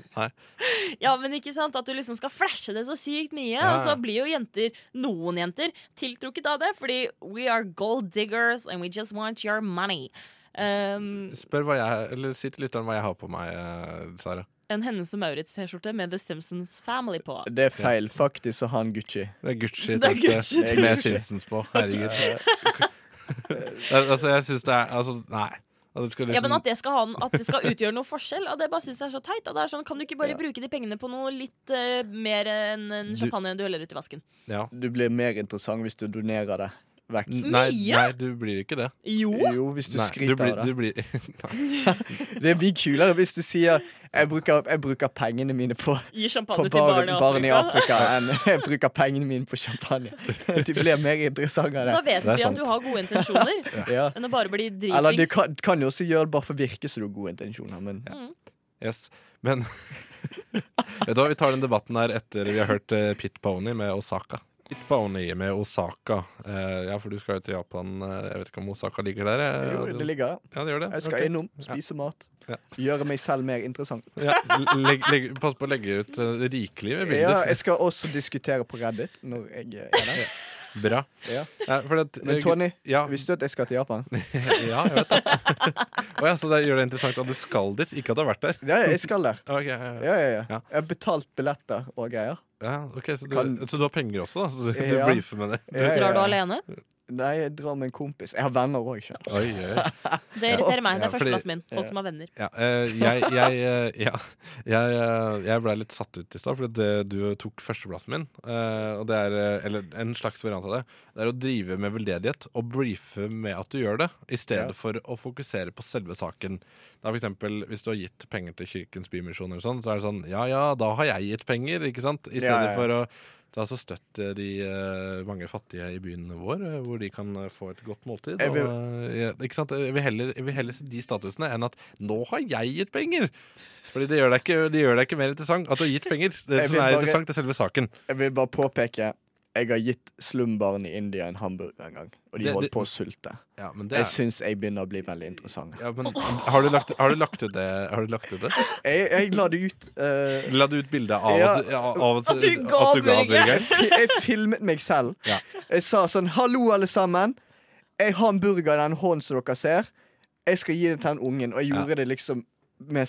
Speaker 5: Ja, men ikke sant, At du liksom skal flashe det så sykt mye.
Speaker 4: Ja,
Speaker 5: Og så
Speaker 4: ja.
Speaker 5: blir jo jenter, noen jenter, tiltrukket av det. Fordi we are gold diggers and we just want your money. Um,
Speaker 4: Spør hva jeg, eller Si til lytteren hva jeg har på meg, eh, Sara.
Speaker 5: en Hennes og Maurits-T-skjorte med The Simpsons Family på.
Speaker 6: Det er feil. Faktisk så har han Gucci.
Speaker 4: Det er Gucci,
Speaker 5: Det er
Speaker 4: tørste,
Speaker 5: Gucci,
Speaker 6: tørste.
Speaker 4: med Simpsons på. Herregud. altså, jeg syns det er Altså, nei. Altså, det skal
Speaker 5: Ja, men At
Speaker 4: liksom,
Speaker 6: sånn-
Speaker 5: det skal, ha, en- at det skal utgjøre noe forskjell, og det bare synes jeg er så teit. Og det er sånn, Kan du ikke bare bruke de pengene på noe litt eh, mer enn en
Speaker 4: Du-
Speaker 5: champagne du heller ut i vasken?
Speaker 4: ja.
Speaker 6: Du blir mer interessant hvis du donerer det vekk.
Speaker 4: N- Nei,
Speaker 5: Mye?
Speaker 4: nei, du blir ikke det.
Speaker 5: Jo!
Speaker 6: Jo, hvis du
Speaker 4: nei,
Speaker 6: skryter
Speaker 4: blir,
Speaker 6: av
Speaker 4: du
Speaker 6: det.
Speaker 4: blir, nei.
Speaker 6: Det blir kulere hvis du sier jeg bruker, 'jeg bruker pengene mine på,
Speaker 5: Gi
Speaker 6: på
Speaker 5: champagne til
Speaker 6: barn,
Speaker 5: barn i
Speaker 6: barn i
Speaker 5: Afrika.
Speaker 6: Afrika enn 'jeg bruker pengene mine på champagne'. Du blir mer interessant av
Speaker 5: Da
Speaker 6: det.
Speaker 5: vet
Speaker 4: Det er
Speaker 5: vi at
Speaker 4: sant.
Speaker 5: du har gode intensjoner.
Speaker 6: Ja.
Speaker 5: Enn å bare bli
Speaker 6: Eller du
Speaker 5: dritings.
Speaker 6: kan, du kan jo også gjøre det bare for å virke som du har gode intensjoner, men
Speaker 4: Yes. Men Vet du hva, vi tar den debatten her etter vi har hørt eh, Pit Pony med Osaka. Pit Pony med Osaka. Eh, ja, for du skal jo til Japan. eh, jeg vet ikke om Osaka ligger der? eh,
Speaker 6: jo, det
Speaker 4: Adrian?
Speaker 6: ligger der.
Speaker 4: Ja, det gjør det.
Speaker 6: Jeg skal
Speaker 4: Ok.
Speaker 6: innom, spise mat,
Speaker 4: Ja.
Speaker 6: gjøre meg selv mer interessant.
Speaker 4: Ja, legg, legg, pass på å legge ut eh, rikelig med
Speaker 6: Ja,
Speaker 4: bilder.
Speaker 6: jeg skal også diskutere på Reddit når jeg er der.
Speaker 4: Bra.
Speaker 6: Ja.
Speaker 4: Ja, for det,
Speaker 6: Men Tony,
Speaker 4: ja,
Speaker 6: visste du at jeg skal til Japan?
Speaker 4: ja, jeg vet det. Å ja, så det gjør det interessant at du skal dit, ikke at du har vært der.
Speaker 6: Ja, jeg skal der.
Speaker 4: Ok, ja, ja.
Speaker 6: Ja, ja, ja.
Speaker 4: Ja.
Speaker 6: Jeg har betalt billetter og greier.
Speaker 4: Ja, ok, så, du,
Speaker 6: Kan-
Speaker 4: så du har penger også, da? Så du, du
Speaker 6: Ja.
Speaker 4: briefer med det?
Speaker 6: Ja, ja,
Speaker 5: Drar du
Speaker 6: ja.
Speaker 5: alene?
Speaker 6: Nei, jeg drar med en kompis. Jeg har venner òg, ikke sant.
Speaker 4: Oi, oi, oi.
Speaker 5: Det irriterer meg. Det
Speaker 4: Ja,
Speaker 5: er
Speaker 4: fordi-
Speaker 5: førsteplassen min.
Speaker 6: Ja.
Speaker 5: Folk som har venner.
Speaker 4: Ja, eh, jeg, jeg, eh, ja, jeg, eh, jeg ble litt satt ut i stad, fordi det- du tok førsteplassen min. eh, og det er, eh, eller en slags variant av det. Det er å drive med veldedighet og briefe med at du gjør det, i stedet
Speaker 6: Ja.
Speaker 4: for å fokusere på selve saken. Da for eksempel, hvis du har gitt penger til Kirkens Bymisjon, eller sånn, så er det sånn Ja ja, da har jeg gitt penger, ikke sant? I stedet
Speaker 6: Ja, ja, ja.
Speaker 4: for å ta så støtte de eh, mange fattige i byen vår, eh, hvor de kan eh, få et godt måltid.
Speaker 6: Jeg vil-
Speaker 4: og, eh, ja, ikke sant? Jeg vil heller, jeg vil heller se de statusene enn at 'nå har jeg gitt penger'. Fordi det gjør deg ikke, det gjør deg ikke mer interessant at du har gitt penger. Det
Speaker 6: Jeg
Speaker 4: som
Speaker 6: vil
Speaker 4: er
Speaker 6: bare-
Speaker 4: interessant, er selve saken.
Speaker 6: Jeg vil bare påpeke jeg har gitt slumbarn i India en hamburger en gang, og de
Speaker 4: Det-
Speaker 6: holdt
Speaker 4: det-
Speaker 6: på å sulte.
Speaker 4: Ja, men det
Speaker 6: Jeg
Speaker 4: er,
Speaker 6: syns jeg begynner å bli veldig interessant.
Speaker 4: ja, men, har, du lagt, har du lagt ut det? Har du lagt ut det?
Speaker 6: Jeg, jeg la det ut. eh,
Speaker 4: La du ut bilde av,
Speaker 6: Ja.
Speaker 4: at- ja, av
Speaker 5: At du ga burger.
Speaker 6: jeg, fi- jeg filmet meg selv.
Speaker 4: Ja.
Speaker 6: Jeg sa sånn 'Hallo, alle sammen. Jeg har en burger i den hånden som dere ser. Jeg skal gi det til den ungen.' Og jeg gjorde det liksom med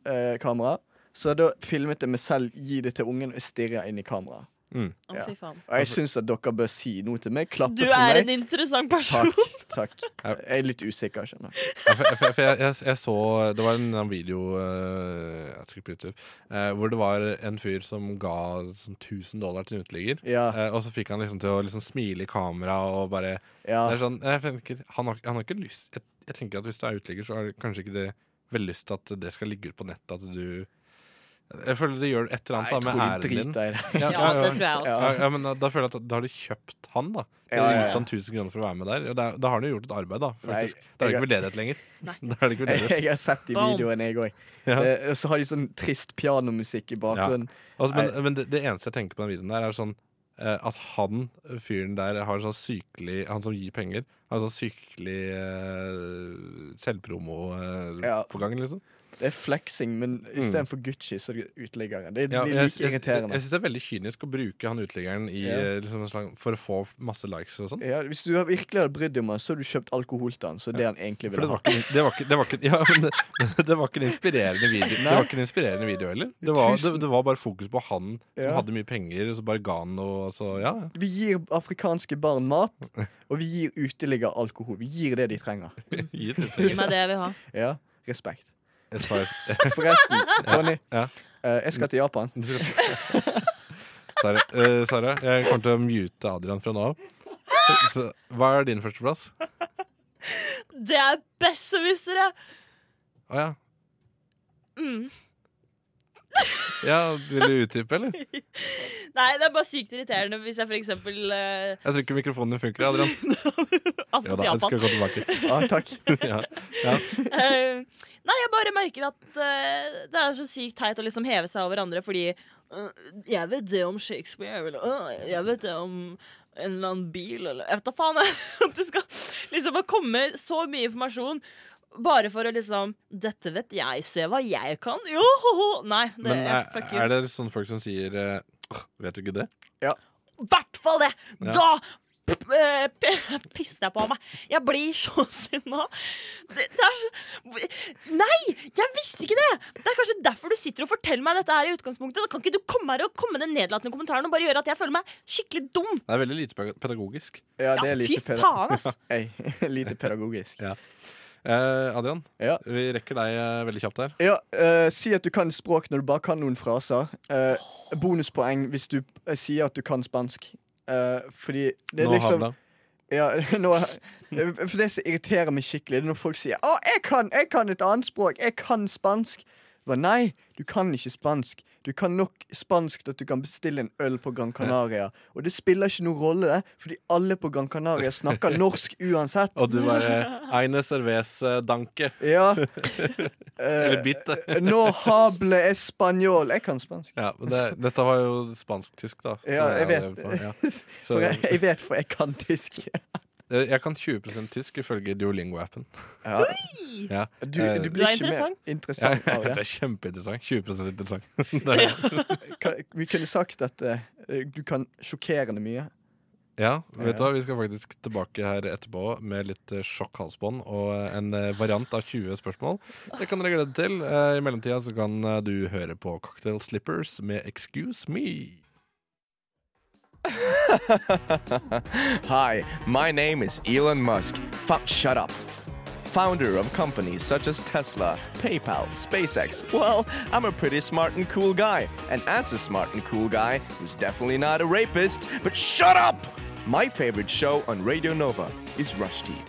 Speaker 6: selfie-kamera. Så da filmet jeg meg selv gi det til ungen, og jeg stirrer inn i kameraet.
Speaker 5: Å,
Speaker 6: Ja.
Speaker 5: fy faen.
Speaker 6: Og
Speaker 4: Altså-
Speaker 6: jeg syns at dere bør si noe til meg. Klappe
Speaker 5: Du
Speaker 6: for
Speaker 5: er
Speaker 6: meg.
Speaker 5: en interessant person.
Speaker 6: Takk. takk Jeg er litt usikker, skjønner du.
Speaker 4: Ja, for, for, for jeg, jeg, jeg så Det var en, en video eh, jeg tror ikke på YouTube eh, hvor det var en fyr som ga sånn 1000 dollar til en uteligger.
Speaker 6: Ja,
Speaker 4: Eh, og så fikk han liksom til å liksom smile i kamera og bare
Speaker 6: ja.
Speaker 4: Det er sånn, jeg tenker, han, har, han har ikke lyst jeg, jeg tenker at hvis du er uteligger, så er det kanskje ikke det veldig lyst til at det skal ligge ut på nettet. At du Jeg føler det gjør et eller
Speaker 6: Nei, jeg
Speaker 4: annet da, sånn med
Speaker 6: tror de
Speaker 4: æren din.
Speaker 6: driter i det.
Speaker 4: Ja,
Speaker 5: Ja, det tror jeg også.
Speaker 6: Ja.
Speaker 4: ja, ja, men da, da føler jeg at da har du kjøpt han, da. Du
Speaker 6: Ja,
Speaker 4: har
Speaker 6: ja, ja.
Speaker 4: gitt han 1000 kroner for å være med der. Og da, da har han jo gjort et arbeid, da.
Speaker 6: Nei,
Speaker 4: faktisk. Da er det
Speaker 6: jeg-
Speaker 4: ikke veldedighet lenger.
Speaker 5: Nei.
Speaker 4: Da er det ikke veldedighet.
Speaker 6: Jeg har sett de
Speaker 5: Boom.
Speaker 6: videoene, jeg òg.
Speaker 4: Ja.
Speaker 6: Eh, Og så har de sånn trist pianomusikk i bakgrunnen.
Speaker 4: Altså, men men det, det eneste jeg tenker på den videoen der, er sånn eh, at han fyren der har sånn sykelig Han som gir penger, har sånn sykelig eh, selvpromo eh,
Speaker 6: Ja.
Speaker 4: på gangen, liksom.
Speaker 6: Det er flexing, men istedenfor Gucci, så er det uteliggere. Det
Speaker 4: Mm. Ja,
Speaker 6: blir
Speaker 4: jeg
Speaker 6: like
Speaker 4: jeg, jeg,
Speaker 6: irriterende.
Speaker 4: jeg syns det er veldig kynisk å bruke han uteliggeren i,
Speaker 6: Ja.
Speaker 4: eh, liksom en slags, for å få masse likes og sånn.
Speaker 6: Ja, hvis du virkelig hadde brydd deg om han, så hadde du kjøpt alkohol til han. Så det han egentlig
Speaker 4: For
Speaker 6: ville
Speaker 4: det var
Speaker 6: ha.
Speaker 4: ikke, det var ikke, det var ikke, ja, men det, men det var ikke en inspirerende video Det var ikke en inspirerende video heller. Det var, det,
Speaker 6: Tusen-
Speaker 4: det var bare fokus på han som
Speaker 6: Ja.
Speaker 4: hadde mye penger, og så bare ga han noe. og Så, ja, ja.
Speaker 6: Vi gir afrikanske barn mat, og vi gir uteliggere alkohol. Vi gir det de trenger.
Speaker 4: Gi et
Speaker 5: Gi
Speaker 4: uteliggeren.
Speaker 5: meg det jeg vil ha.
Speaker 6: Ja, Respekt.
Speaker 4: Et par-
Speaker 6: Forresten, Tony.
Speaker 4: Ja.
Speaker 6: eh, jeg skal til Japan.
Speaker 4: Du skal Sara, eh, Sara, jeg kommer til å mute Adrian fra nå av. Så, hva er din førsteplass? Å
Speaker 5: Det er besserwissere!
Speaker 4: ja.
Speaker 5: Mm.
Speaker 4: Ja, Vil du utdype, eller?
Speaker 5: Nei, det er bare sykt irriterende hvis jeg for eksempel eh,
Speaker 4: Jeg tror ikke mikrofonen din funker, Adrian.
Speaker 5: Altså,
Speaker 4: Ja da,
Speaker 5: til
Speaker 4: jeg
Speaker 5: Japan.
Speaker 4: skal gå tilbake.
Speaker 6: Ja, takk.
Speaker 4: Ja.
Speaker 5: Eh, nei, jeg bare merker at eh, det er så sykt teit å liksom heve seg over andre fordi eh, Jeg vet det om Shakespeare, eller eh, jeg vet det om en eller annen bil, eller Jeg vet da faen, jeg. At du skal liksom få komme så mye informasjon bare for å liksom 'Dette vet jeg, se hva jeg kan'. Jo, ho, ho. Nei, det
Speaker 4: Men
Speaker 5: er
Speaker 4: er,
Speaker 5: eh, fuck
Speaker 4: er
Speaker 5: you.
Speaker 4: det sånn folk som sier eh, «Åh, Vet du ikke det?
Speaker 5: I hvert fall det!
Speaker 4: Ja.
Speaker 5: Da p- eh, p- pisser jeg på meg. Jeg blir så sinna. Det, det er så Nei! Jeg visste ikke det! Det er kanskje derfor du sitter og forteller meg dette her i utgangspunktet. Da kan ikke du komme her og komme med den nedlatende kommentaren og bare gjøre at jeg føler meg skikkelig dum.
Speaker 4: Det er veldig lite peda- pedagogisk.
Speaker 6: Ja, det
Speaker 5: Ja,
Speaker 6: er
Speaker 5: fy
Speaker 6: lite, peda
Speaker 5: faen, ass.
Speaker 6: Ei, lite pedagogisk.
Speaker 4: Eh, Adrian,
Speaker 6: Ja.
Speaker 4: vi rekker deg eh, veldig kjapt her.
Speaker 6: Ja, eh, Si at du kan språk når du bare kan noen fraser. Eh, bonuspoeng hvis du eh, sier at du kan spansk. Eh, fordi det er
Speaker 4: Nå
Speaker 6: liksom
Speaker 4: havla.
Speaker 6: ja, nå, For det som irriterer meg skikkelig, det er når folk sier 'Å, jeg kan, jeg kan et annet språk. Jeg kan spansk'. Men nei, du kan ikke spansk. Du kan nok spansk til at du kan bestille en øl på Gran Canaria. Og det spiller ikke noen rolle, fordi alle på Gran Canaria snakker norsk uansett.
Speaker 4: Og du bare Eine cervese danke.
Speaker 6: Ja.
Speaker 4: Eller
Speaker 6: Eh,
Speaker 4: bitte.
Speaker 6: no hable español. Jeg kan spansk.
Speaker 4: Ja, men det, dette var jo spansk-tysk, da. som
Speaker 6: Ja, jeg
Speaker 4: er
Speaker 6: vet.
Speaker 4: på, ja. Så,
Speaker 6: For jeg, jeg vet, for jeg kan tysk.
Speaker 4: eh, jeg kan 20 tysk ifølge Duolingo-appen.
Speaker 6: Ja.
Speaker 4: Ja.
Speaker 6: Du,
Speaker 4: Eh,
Speaker 6: du
Speaker 5: Du
Speaker 6: blir
Speaker 5: er
Speaker 6: ikke mer
Speaker 5: interessant.
Speaker 4: Ja,
Speaker 6: interessant av
Speaker 4: det
Speaker 6: det.
Speaker 4: er kjempeinteressant. 20 interessant. Det er det.
Speaker 6: Ka- Vi kunne sagt at eh, du kan sjokkerende mye.
Speaker 4: Ja, vet du hva? Vi skal faktisk tilbake her etterpå med litt eh, sjokkhalsbånd og eh, en eh, variant av 20 spørsmål. Det kan dere glede til. Eh, I mellomtida så kan eh, du høre på Cocktail Slippers med Excuse Me.
Speaker 2: Hi, my name is Elon Musk. Fu- shut up. Founder of companies such as Tesla, PayPal, SpaceX. Well, I'm a pretty smart and cool guy. And as a smart and cool guy, who's definitely not a rapist, but shut up! My favorite show on Radio Nova is Rushdie.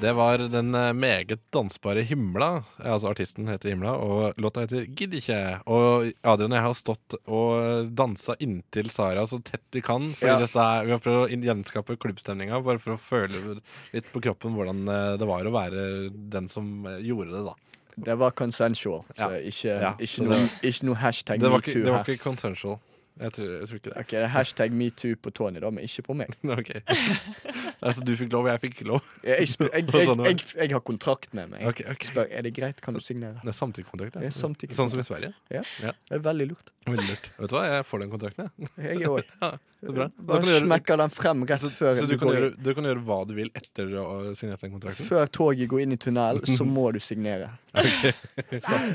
Speaker 4: Det var den eh, meget dansbare Himla. Eh, Altså artisten heter Himla, og låta heter Gidd ikke. Og Adrian og jeg har stått og dansa inntil Sara så tett vi kan. Fordi
Speaker 6: Ja.
Speaker 4: dette er, Vi har prøvd å inn- gjenskape klubbstemninga, bare for å føle litt på kroppen hvordan eh, det var å være den som eh, gjorde det, da.
Speaker 6: Det var consensual, så
Speaker 4: Ja.
Speaker 6: ikke,
Speaker 4: Ja, så
Speaker 6: ikke, noe, ikke noe hashtag
Speaker 4: Det var ikke,
Speaker 6: metoo
Speaker 4: det var
Speaker 6: her.
Speaker 4: ikke consensual. Jeg tror, jeg tror ikke det.
Speaker 6: Ok, det er Hashtag metoo på Tony, da, men ikke på meg.
Speaker 4: Ok Altså du fikk lov, jeg fikk ikke lov?
Speaker 6: Jeg, jeg, sp- jeg,
Speaker 4: Det var
Speaker 6: jeg,
Speaker 4: sånn det
Speaker 6: jeg, jeg har kontrakt med meg.
Speaker 4: Ok, ok
Speaker 6: Spør, er det greit, kan du signere?
Speaker 4: Det er samtykkekontrakt.
Speaker 6: Det
Speaker 4: Ja.
Speaker 6: er samtykkekontrakt.
Speaker 4: Sånn som i Sverige.
Speaker 6: Det er veldig lurt.
Speaker 4: Veldig lurt. Vet du hva, jeg får den kontrakten, jeg.
Speaker 6: Jeg er òg.
Speaker 4: Ja, så bra. Da kan du
Speaker 6: Bare
Speaker 4: gjøre,
Speaker 6: smekker den frem rett
Speaker 4: så,
Speaker 6: før,
Speaker 4: så du,
Speaker 6: du
Speaker 4: kan
Speaker 6: går
Speaker 4: gjøre,
Speaker 6: inn-
Speaker 4: du kan gjøre hva du vil etter å ha signert den kontrakten?
Speaker 6: før toget går inn i tunnel, så må du signere.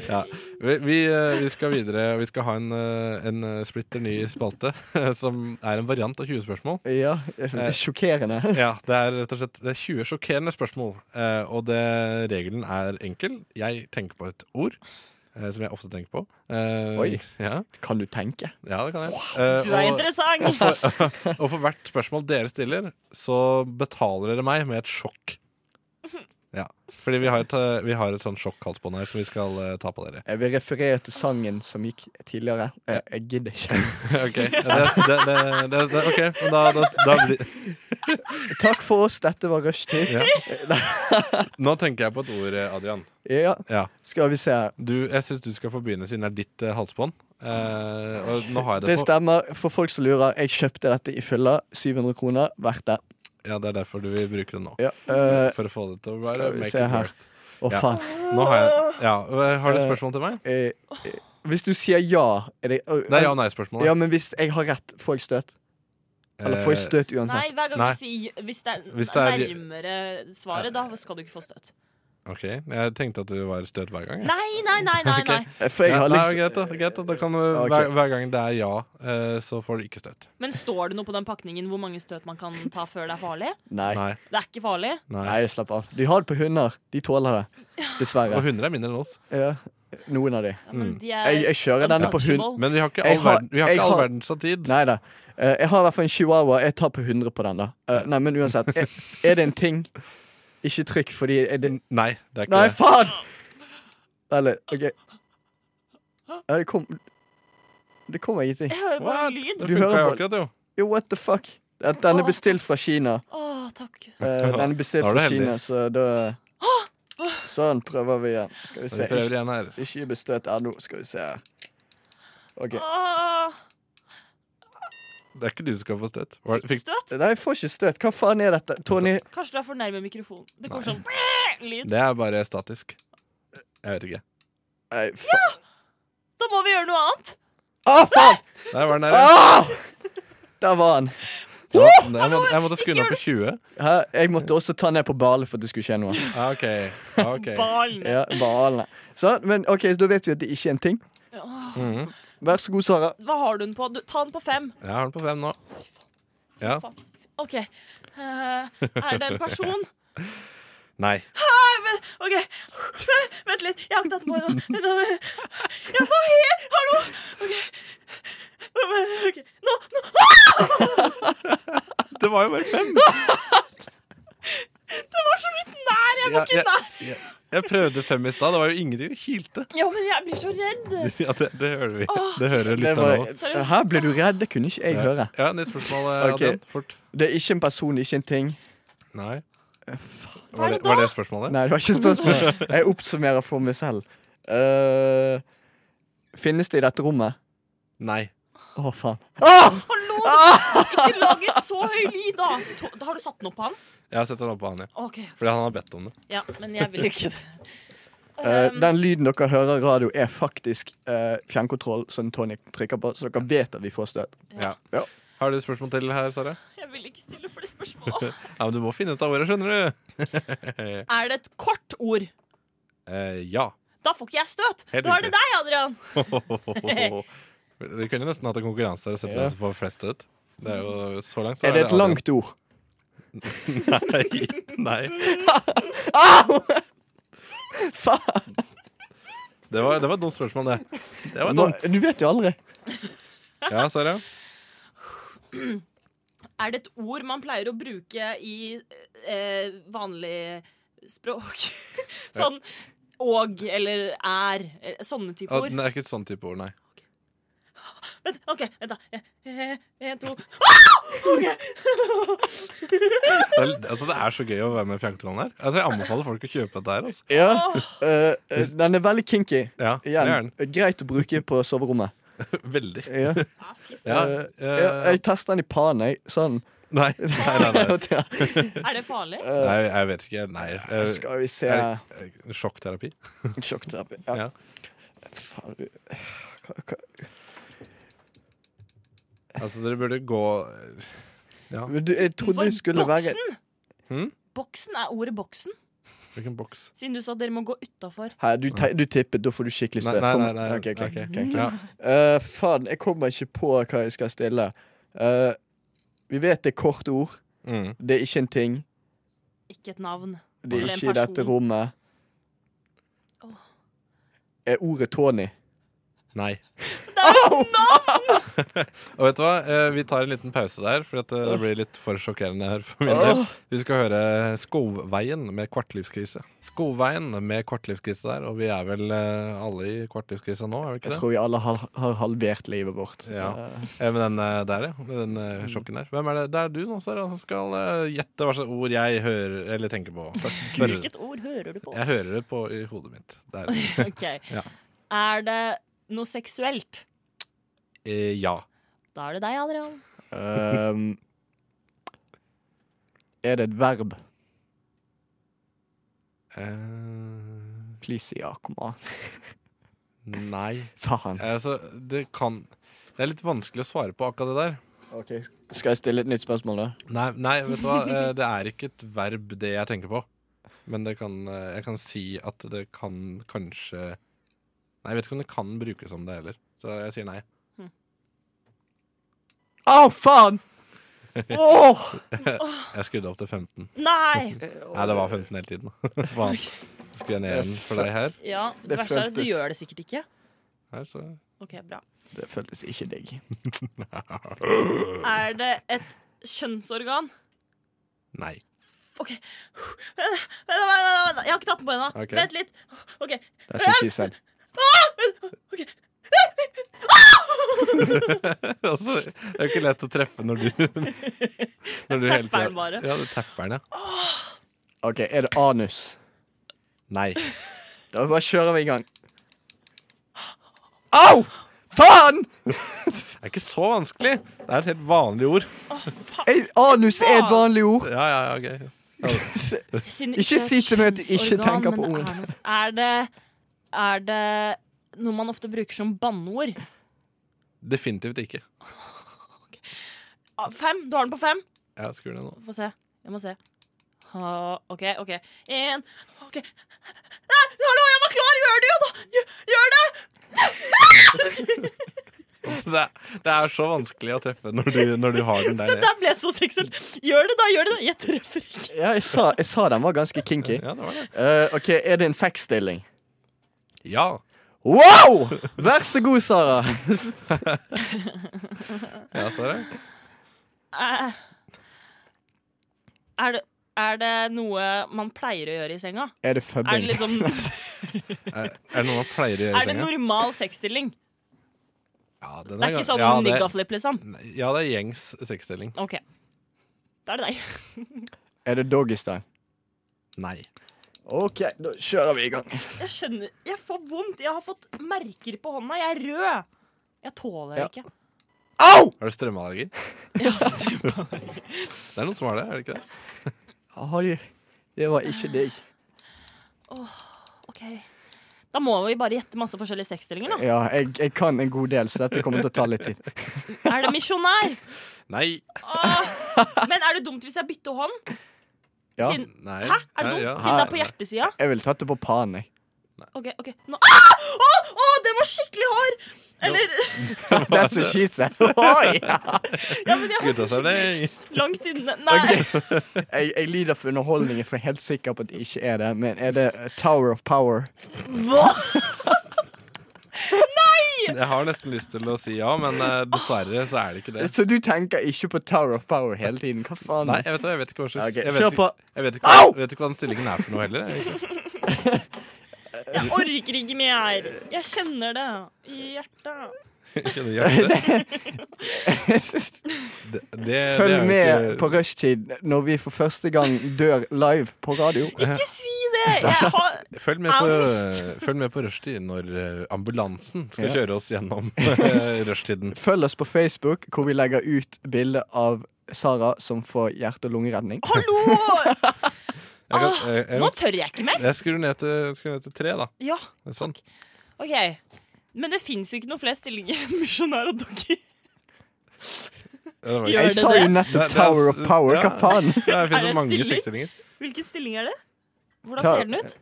Speaker 4: Ja. Vi, vi, eh, vi skal videre. Vi skal ha en, eh, en eh, splitter ny spalte, som er en variant av 20 spørsmål.
Speaker 6: Ja, det
Speaker 4: Eh.
Speaker 6: er sjokkerende.
Speaker 4: Ja, det er rett og slett det er 20 sjokkerende spørsmål. eh, og det, regelen er enkel. Jeg tenker på et ord, eh, som jeg ofte tenker på. Eh,
Speaker 6: Oi.
Speaker 4: Ja,
Speaker 6: Kan du tenke?
Speaker 4: ja, det kan jeg. Eh,
Speaker 5: Du er
Speaker 4: og,
Speaker 5: interessant.
Speaker 4: og for hvert spørsmål dere stiller, så betaler dere meg med et sjokk. Ja, fordi vi har et, eh, vi har et sånn sjokkhalsbånd her som vi skal eh, ta på dere.
Speaker 6: Jeg vil referere til sangen som gikk tidligere. Eh, Jeg, jeg gidder ikke.
Speaker 4: Ok, det, det, det, det, det, ok, men da, da, da blir
Speaker 6: Takk for oss, dette var rushtid.
Speaker 4: ja. Nå tenker jeg på et ord, eh, Adrian.
Speaker 6: Ja,
Speaker 4: Ja.
Speaker 6: skal vi se.
Speaker 4: Du, jeg syns du skal få begynne, siden det er ditt eh, halsbånd. Eh, og nå har jeg det,
Speaker 6: Det
Speaker 4: på.
Speaker 6: stemmer. For folk som lurer, jeg kjøpte dette i fylla. 700 kroner. Verdt det.
Speaker 4: Ja, Det er derfor du vil bruke det nå.
Speaker 6: Ja. eh,
Speaker 4: For å få det til å være
Speaker 6: skal vi
Speaker 4: make
Speaker 6: se
Speaker 4: it
Speaker 6: her.
Speaker 4: worth.
Speaker 6: Å,
Speaker 4: Ja.
Speaker 6: faen.
Speaker 4: Nå har jeg ja, eh, Har du
Speaker 6: Eh,
Speaker 4: spørsmål til meg?
Speaker 6: Eh, eh, hvis du sier ja, er det
Speaker 4: Det er ja- og nei-spørsmål.
Speaker 6: Eh, Ja, men hvis jeg har rett, får jeg støt? Eller
Speaker 4: Eh,
Speaker 6: får jeg støt
Speaker 5: Nei,
Speaker 6: uansett?
Speaker 5: hver gang
Speaker 4: Nei.
Speaker 5: du sier Hvis det er,
Speaker 4: Hvis det er-
Speaker 5: nærmere svaret, da skal du ikke få støt.
Speaker 4: OK. Jeg tenkte at du var støt hver gang. jeg.
Speaker 5: Nei, nei, nei, nei. nei.
Speaker 6: Eh, For jeg
Speaker 4: Ja,
Speaker 6: har
Speaker 4: nei,
Speaker 6: liksom
Speaker 4: greit, da. Greit, da. da kan du,
Speaker 6: Ok.
Speaker 4: hver, hver gang det er ja, eh, så får du ikke støt.
Speaker 5: Men står det noe på den pakningen hvor mange støt man kan ta før det er farlig?
Speaker 6: Nei.
Speaker 4: Nei.
Speaker 5: Det er ikke farlig.
Speaker 4: nei.
Speaker 6: Nei, slapp av. De har det på hunder. De tåler det.
Speaker 4: Og
Speaker 6: Dessverre.
Speaker 4: hunder er mindre enn oss.
Speaker 6: Ja. Noen av de.
Speaker 5: Ja, men
Speaker 4: Mm.
Speaker 5: de er
Speaker 6: Jeg, jeg kjører denne på hund.
Speaker 5: untouchable.
Speaker 4: Men vi har ikke
Speaker 6: Jeg
Speaker 4: all,
Speaker 6: har-
Speaker 4: verden, vi har
Speaker 6: jeg
Speaker 4: ikke all
Speaker 6: har-
Speaker 4: verdens av tid.
Speaker 6: Nei da. Eh, jeg har i hvert fall en chihuahua. Jeg tar på 100 på den, da. Eh, nei, men uansett. Er, er det en ting? Ikke trykk, fordi er det
Speaker 4: Nei, det er ikke
Speaker 6: Nei,
Speaker 4: det.
Speaker 6: faen! Vent litt. OK. Ja, det kom Det kommer ingenting.
Speaker 5: Jeg hører bare
Speaker 4: What?
Speaker 5: lyd.
Speaker 4: Det
Speaker 6: Du
Speaker 4: funka
Speaker 6: hører
Speaker 4: jo
Speaker 6: på-
Speaker 4: akkurat, jo.
Speaker 6: Jo, what the fuck? Den- Den er bestilt fra Kina.
Speaker 5: Å, takk.
Speaker 6: Eh, Den er bestilt
Speaker 4: Da er du
Speaker 6: fra
Speaker 4: heldig.
Speaker 6: Kina, så da Sånn, prøver vi igjen. Skal vi
Speaker 4: Vi
Speaker 6: se.
Speaker 4: prøver
Speaker 6: Ikke-
Speaker 4: igjen her.
Speaker 6: Ikke bestøt ennå. Skal vi se her. OK.
Speaker 5: Åh,
Speaker 4: Det er ikke du som skal få støt. Hva er det- Fikk
Speaker 5: støt?
Speaker 6: Nei, jeg får ikke støt. Hva faen er dette? Tony,
Speaker 5: Kanskje du er for nærme mikrofonen. Det kommer sånn lyd.
Speaker 4: Det er bare statisk. Jeg vet ikke.
Speaker 6: Nei, faen.
Speaker 5: Da må vi gjøre noe annet.
Speaker 6: Å, faen!
Speaker 4: Der var den der. ja.
Speaker 6: Ah! Der var han.
Speaker 4: Jeg måtte, jeg måtte, jeg måtte skru den
Speaker 5: gjør
Speaker 4: opp på 20.
Speaker 6: Hæ? Jeg måtte også ta ned på ballen for at det skulle skje noe.
Speaker 4: Ah, OK. ok
Speaker 5: Ballen.
Speaker 6: Ja, ballen. Sånn, men ok, så da vet vi at det ikke er en ting.
Speaker 4: Mhm.
Speaker 6: Vær så god, Sara.
Speaker 5: Hva har du den på? Du, ta den på fem.
Speaker 4: Jeg har den på fem nå. Ja.
Speaker 5: OK. Eh, er det en person?
Speaker 4: Nei.
Speaker 5: OK. Vent litt. Jeg har ikke tatt den på ennå. Vent da, vent. Ja, hva her? Hallo! OK. Ok. Nå, nå.
Speaker 4: Det var jo bare fem!
Speaker 5: Det var så vidt nær! Jeg var
Speaker 4: Ja,
Speaker 5: ikke nær.
Speaker 4: Jeg prøvde fem i stad. Det var jo ingenting. Det hylte.
Speaker 5: Ja, men jeg blir så redd.
Speaker 4: Ja, det, det hører vi. Det hører
Speaker 6: Det
Speaker 4: litt av
Speaker 6: var,
Speaker 4: nå.
Speaker 6: her ble du redd. Det kunne ikke jeg høre.
Speaker 4: Ja, nytt spørsmål, eh,
Speaker 6: Ok.
Speaker 4: Adrian. Fort.
Speaker 6: Det er ikke en person, ikke en ting.
Speaker 4: Nei.
Speaker 5: Hva er
Speaker 4: Var det,
Speaker 5: det da?
Speaker 4: var det spørsmålet?
Speaker 6: Nei, det var ikke spørsmålet. Jeg oppsummerer for meg selv. Eh, finnes det i dette rommet?
Speaker 4: Nei.
Speaker 6: Å, faen. Ah!
Speaker 5: Hallo! du- Ikke lage så høy lyd, da. To- da! Har du satt den opp på han?
Speaker 4: Jeg har sett den opp på han, ja.
Speaker 5: OK.
Speaker 4: Fordi han har bedt om det.
Speaker 5: Ja, men jeg vil ikke det.
Speaker 6: Eh,
Speaker 5: Um,
Speaker 6: den lyden dere hører i radio, er faktisk eh, fjernkontroll som Tony trykker på, så dere vet at vi får støt.
Speaker 4: Ja.
Speaker 6: Ja.
Speaker 4: Har du et spørsmål til her, Sara?
Speaker 5: jeg vil ikke stille flere spørsmål.
Speaker 4: Ja, men Du må finne ut av ordet, skjønner du.
Speaker 5: Er det et kort ord?
Speaker 4: Eh, ja.
Speaker 5: Da får ikke jeg støt.
Speaker 4: Helt
Speaker 5: Da er det
Speaker 4: riktig.
Speaker 5: deg, Adrian.
Speaker 4: Vi kunne nesten hatt en konkurranse her og sett
Speaker 6: Ja.
Speaker 4: hvem som får flest ut. Det er jo så langt. Så
Speaker 6: Er det et langt ord?
Speaker 4: Adrian. Nei. nei.
Speaker 6: Faen!
Speaker 4: Det var, det var et dumt spørsmål, det. Det var
Speaker 6: Nå,
Speaker 4: dumt.
Speaker 6: du vet jo aldri.
Speaker 4: Ja, Sara?
Speaker 5: Er det et ord man pleier å bruke i eh, vanlig språk? sånn og eller er. eh, Sånne type
Speaker 4: Ah,
Speaker 5: ord.
Speaker 4: det er ikke et sånn type ord, nei.
Speaker 5: Vent, OK, vent, da. Eh, eh, En, to
Speaker 4: Det er, altså, det er så gøy å være med i Fjernkontrollen her. Altså, Jeg anbefaler folk å kjøpe dette her. altså.
Speaker 6: Ja. eh, eh, den er veldig kinky.
Speaker 4: Ja, det er
Speaker 6: Igjen. Greit å bruke på soverommet.
Speaker 4: den. Veldig.
Speaker 6: Ja.
Speaker 4: Ja,
Speaker 6: Eh,
Speaker 4: eh,
Speaker 6: ja, jeg tester den i panen, jeg. Sånn.
Speaker 4: nei, nei, nei, nei.
Speaker 5: Er det farlig?
Speaker 4: nei, jeg vet ikke. Nei.
Speaker 6: Eh,
Speaker 4: eh,
Speaker 6: Skal vi se
Speaker 4: jeg- eh, Sjokkterapi.
Speaker 6: Sjokkterapi.
Speaker 4: Ja.
Speaker 6: Ja. Faen, du hva, hva?
Speaker 4: Altså, dere burde gå
Speaker 6: Men du, Jeg trodde du skulle være
Speaker 5: boksen?
Speaker 4: Hm?
Speaker 5: Boksen er ordet boksen,
Speaker 4: Hvilken boks?
Speaker 5: siden du sa dere må gå utafor.
Speaker 6: Her, du, te- du tippet, da får du skikkelig
Speaker 4: Nei,
Speaker 6: støt.
Speaker 4: nei,
Speaker 6: Kom.
Speaker 4: nei. nei.
Speaker 6: Ok, ok,
Speaker 4: ok.
Speaker 6: ok, ok.
Speaker 4: Ja.
Speaker 6: Eh, faen, jeg kommer ikke på hva jeg skal stille. Eh, vi vet det er kort ord.
Speaker 4: Mm.
Speaker 6: Det er ikke en ting.
Speaker 5: Ikke et navn.
Speaker 6: Det er
Speaker 5: Eller en
Speaker 6: ikke i dette
Speaker 5: person.
Speaker 6: rommet.
Speaker 5: Åh.
Speaker 6: Er ordet Tony?
Speaker 4: Nei. Og vet du hva? Eh, Vi tar en liten pause der, for at eh, det blir litt for sjokkerende her for min del. Vi skal høre Skogveien med kvartlivskrise. Skogveien med kvartlivskrise der, og vi er vel eh, alle i kvartlivskrisa nå, er vi ikke
Speaker 6: Jeg
Speaker 4: det?
Speaker 6: tror vi alle har, har halvert livet vårt.
Speaker 4: Ja.
Speaker 6: Eh,
Speaker 4: Eh, Med den eh, der, ja. Med den
Speaker 6: Mm.
Speaker 4: eh, sjokken der. Hvem er det? Det er du nå, Sara, som skal eh, gjette hva slags ord jeg hører eller tenker på. Hører-
Speaker 5: Hvilket ord hører du på?
Speaker 4: Jeg hører det på i hodet mitt. Der.
Speaker 5: Ok.
Speaker 4: Ja.
Speaker 5: Er det noe seksuelt?
Speaker 4: Eh, Ja.
Speaker 5: Da er det deg, Adrian.
Speaker 6: ehm, er det et verb?
Speaker 4: Eh,
Speaker 6: Please si ja, kom an.
Speaker 4: Nei.
Speaker 6: Faen.
Speaker 4: Altså, det kan Det er litt vanskelig å svare på akkurat det der.
Speaker 6: Ok, Skal jeg stille et nytt spørsmål, da?
Speaker 4: Nei, nei vet du hva. Eh, Det er ikke et verb, det jeg tenker på. Men det kan, eh, jeg kan si at det kan kanskje Nei, jeg vet ikke om det kan brukes som det heller. Så jeg sier nei.
Speaker 6: Å, faen! Åh!
Speaker 4: Jeg skrudde opp til 15.
Speaker 5: Nei!
Speaker 4: Nei, det var 15 hele tiden. Faen. Skulle jeg ned igjen for deg her?
Speaker 5: Ja, det,
Speaker 6: Det
Speaker 5: verste er at du
Speaker 6: føltes-
Speaker 5: gjør det sikkert ikke.
Speaker 4: her så.
Speaker 5: Ok, bra.
Speaker 6: Det føltes ikke digg.
Speaker 5: Er det et kjønnsorgan?
Speaker 4: Nei.
Speaker 5: OK. Vent, vent, vent, vent. Jeg har ikke tatt den på ennå.
Speaker 4: Ok.
Speaker 5: Vent litt. OK.
Speaker 6: That's what she said.
Speaker 4: altså, det er jo ikke lett å treffe når du Når du
Speaker 5: Tapper
Speaker 4: hele tida
Speaker 5: den bare.
Speaker 4: Ja, du tapper den, ja.
Speaker 6: OK, er det anus?
Speaker 4: Nei.
Speaker 6: Da bare kjører vi i gang. Au! Faen!
Speaker 4: Det er ikke så vanskelig. Det er et helt vanlig ord.
Speaker 6: Ei, Anus er et vanlig ord.
Speaker 4: Ja, ja, ja, ok.
Speaker 5: Siden det
Speaker 6: Ikke
Speaker 5: er
Speaker 6: si
Speaker 5: et
Speaker 6: til meg at du ikke
Speaker 5: kjønnsorgan,
Speaker 6: tenker på
Speaker 5: men
Speaker 6: ord.
Speaker 5: Er, noe- er, det, er det noe man ofte bruker som banneord?
Speaker 4: Definitivt ikke.
Speaker 5: Ah, Fem. Du har den på fem.
Speaker 4: Jeg skrur ned nå.
Speaker 5: Få se. Jeg må se. Ha, OK, OK. En OK. Nei, hallo, jeg var klar! Gjør det, jo, da! Gjør, gjør det!
Speaker 4: Altså, Det er, det er så vanskelig å treffe når du, når du har den der
Speaker 6: Eh.
Speaker 5: Det
Speaker 4: nede.
Speaker 5: der ble så seksuelt. Gjør det, da! Gjør det! da. Jeg treffer ikke.
Speaker 6: Ja, jeg sa, jeg sa den var ganske kinky.
Speaker 4: Ja, det var det.
Speaker 6: Eh, OK, er det en sexstilling?
Speaker 4: Ja.
Speaker 6: Wow! Vær så god, Sara.
Speaker 4: ja så er det.
Speaker 5: Eh, Er det, er det noe man pleier å gjøre i senga?
Speaker 6: Er
Speaker 5: Er
Speaker 6: det
Speaker 5: det
Speaker 6: fubbing?
Speaker 5: liksom
Speaker 4: Er, er det noe man pleier å gjøre
Speaker 5: Er
Speaker 4: i
Speaker 5: det
Speaker 4: senga?
Speaker 5: normal sexstilling?
Speaker 4: Ja, den
Speaker 5: Det er
Speaker 4: gan-
Speaker 5: ikke sånn
Speaker 4: ja, det-
Speaker 5: niggaflip, liksom?
Speaker 4: Nei, Ja, det er gjengs sexstilling.
Speaker 5: OK. Da er det deg.
Speaker 6: Er det doggystyle?
Speaker 4: Nei.
Speaker 6: OK, da kjører vi i gang.
Speaker 5: Jeg skjønner Jeg får vondt. Jeg har fått merker på hånda. Jeg er rød. Jeg tåler det
Speaker 6: Ja.
Speaker 5: ikke.
Speaker 6: Au!
Speaker 4: Har du strømmeallergi?
Speaker 5: Ja, stemmer.
Speaker 4: Det er noen som har det, er det ikke det?
Speaker 6: Oi, det var ikke deg.
Speaker 5: OK. Da må vi bare gjette masse forskjellige sexstillinger, da.
Speaker 6: Ja, jeg, jeg kan en god del, så dette kommer til å ta litt tid.
Speaker 5: Er det misjonær?
Speaker 4: Nei.
Speaker 5: Åh, Men er det dumt hvis jeg bytter hånd?
Speaker 6: Ja,
Speaker 5: Siden,
Speaker 4: Nei.
Speaker 5: hæ? Er det
Speaker 4: Nei,
Speaker 5: dumt?
Speaker 4: ja.
Speaker 5: Siden det er på hjertesida?
Speaker 6: jeg ville tatt det på panen, jeg.
Speaker 5: OK. ok Nå ah! Å, å, den var skikkelig hard! Eller
Speaker 6: That's what she said. Oi!
Speaker 5: Ja, men jeg hadde skikkelig
Speaker 4: Guttastemning.
Speaker 5: langt inne. Nei.
Speaker 6: Jeg, jeg lider for underholdningen, for jeg er helt sikker på at det ikke er det. Men er det Tower of Power?
Speaker 5: Hva?
Speaker 4: Jeg har nesten lyst til å si ja, men eh, dessverre så er det ikke det.
Speaker 6: Så du tenker ikke på Tower of Power hele tiden? Hva faen?
Speaker 4: Nei, jeg vet, hva- jeg vet ikke hva slags
Speaker 6: Ok,
Speaker 4: jeg,
Speaker 6: kjør
Speaker 4: vet,
Speaker 6: på.
Speaker 4: ikke- jeg vet, ikke, hva- jeg vet ikke hva den stillingen er for noe heller. egentlig.
Speaker 5: Jeg orker ikke mer. Jeg kjenner det i hjertet.
Speaker 4: Jeg kjenner hjertet. Det, det, det er
Speaker 6: Følg
Speaker 4: jo
Speaker 6: med
Speaker 4: ikke-
Speaker 6: på rushtid når vi for første gang dør live på radio.
Speaker 5: Ikke si det! Jeg har
Speaker 4: Eh, Følg med på,
Speaker 5: Angst.
Speaker 4: følg med på rushtid når eh, ambulansen skal
Speaker 6: Ja.
Speaker 4: kjøre oss gjennom eh, rushtiden.
Speaker 6: Følg oss på Facebook, hvor vi legger ut bilde av Sara som får hjerte- og lungeredning.
Speaker 5: Hallo!
Speaker 4: Jeg, kan,
Speaker 5: Ah,
Speaker 4: jeg,
Speaker 5: Nå
Speaker 4: jeg,
Speaker 5: tør jeg ikke mer.
Speaker 4: jeg skrur ned, til- skrur ned til tre, da.
Speaker 5: Ja,
Speaker 4: Sånn.
Speaker 5: OK. Men det fins jo ikke noe flere stillinger enn misjonær og doggy.
Speaker 4: Ja, det var
Speaker 5: Gjør
Speaker 4: ikke-
Speaker 6: Jeg
Speaker 5: det
Speaker 6: sa
Speaker 5: det?
Speaker 6: jo
Speaker 4: Det-
Speaker 6: nettopp
Speaker 4: det er-
Speaker 6: Tower of Power. Hva
Speaker 4: ja.
Speaker 6: faen?
Speaker 4: Ja,
Speaker 5: Er det
Speaker 4: Det
Speaker 5: Eh,
Speaker 4: finnes
Speaker 5: en
Speaker 4: så mange
Speaker 5: stilling?
Speaker 4: sexstillinger.
Speaker 5: Hvilken stilling er det? Hvordan
Speaker 6: Ta-
Speaker 5: ser den ut?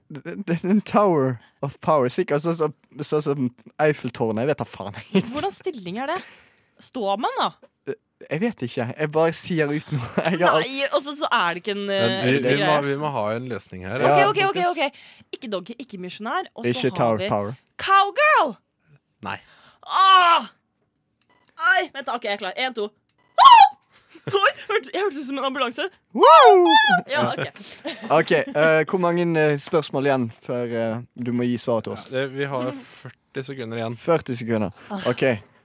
Speaker 6: Det er En Tower of Power. Sikkert sånn som, sånn som Eiffeltårnet. Jeg vet da faen.
Speaker 5: Hvordan stilling er det? Står man, da?
Speaker 6: Jeg vet ikke. Jeg bare sier ut noe. Jeg har alt.
Speaker 5: Nei, og så så er det ikke en eh,
Speaker 4: Men Vi,
Speaker 5: ekte
Speaker 4: vi, må,
Speaker 5: greie.
Speaker 4: vi må ha en løsning her.
Speaker 5: OK,
Speaker 6: Ja.
Speaker 5: OK, ok, ok Ikke doggy, ikke misjonær. Og så
Speaker 6: Ikke
Speaker 5: har
Speaker 6: Tower
Speaker 5: vi
Speaker 6: of Power.
Speaker 5: cowgirl!
Speaker 4: Nei.
Speaker 5: Ah! Ai, vent, da. OK, jeg er klar. Én, to. Ah! Oi, hørte- jeg hørtes ut som en ambulanse. Ja, ok
Speaker 6: OK, eh, hvor mange eh, spørsmål igjen før eh, du må gi svaret til oss?
Speaker 4: Det, Eh, vi har 40 sekunder igjen.
Speaker 6: 40 sekunder.
Speaker 5: Ah.
Speaker 6: OK.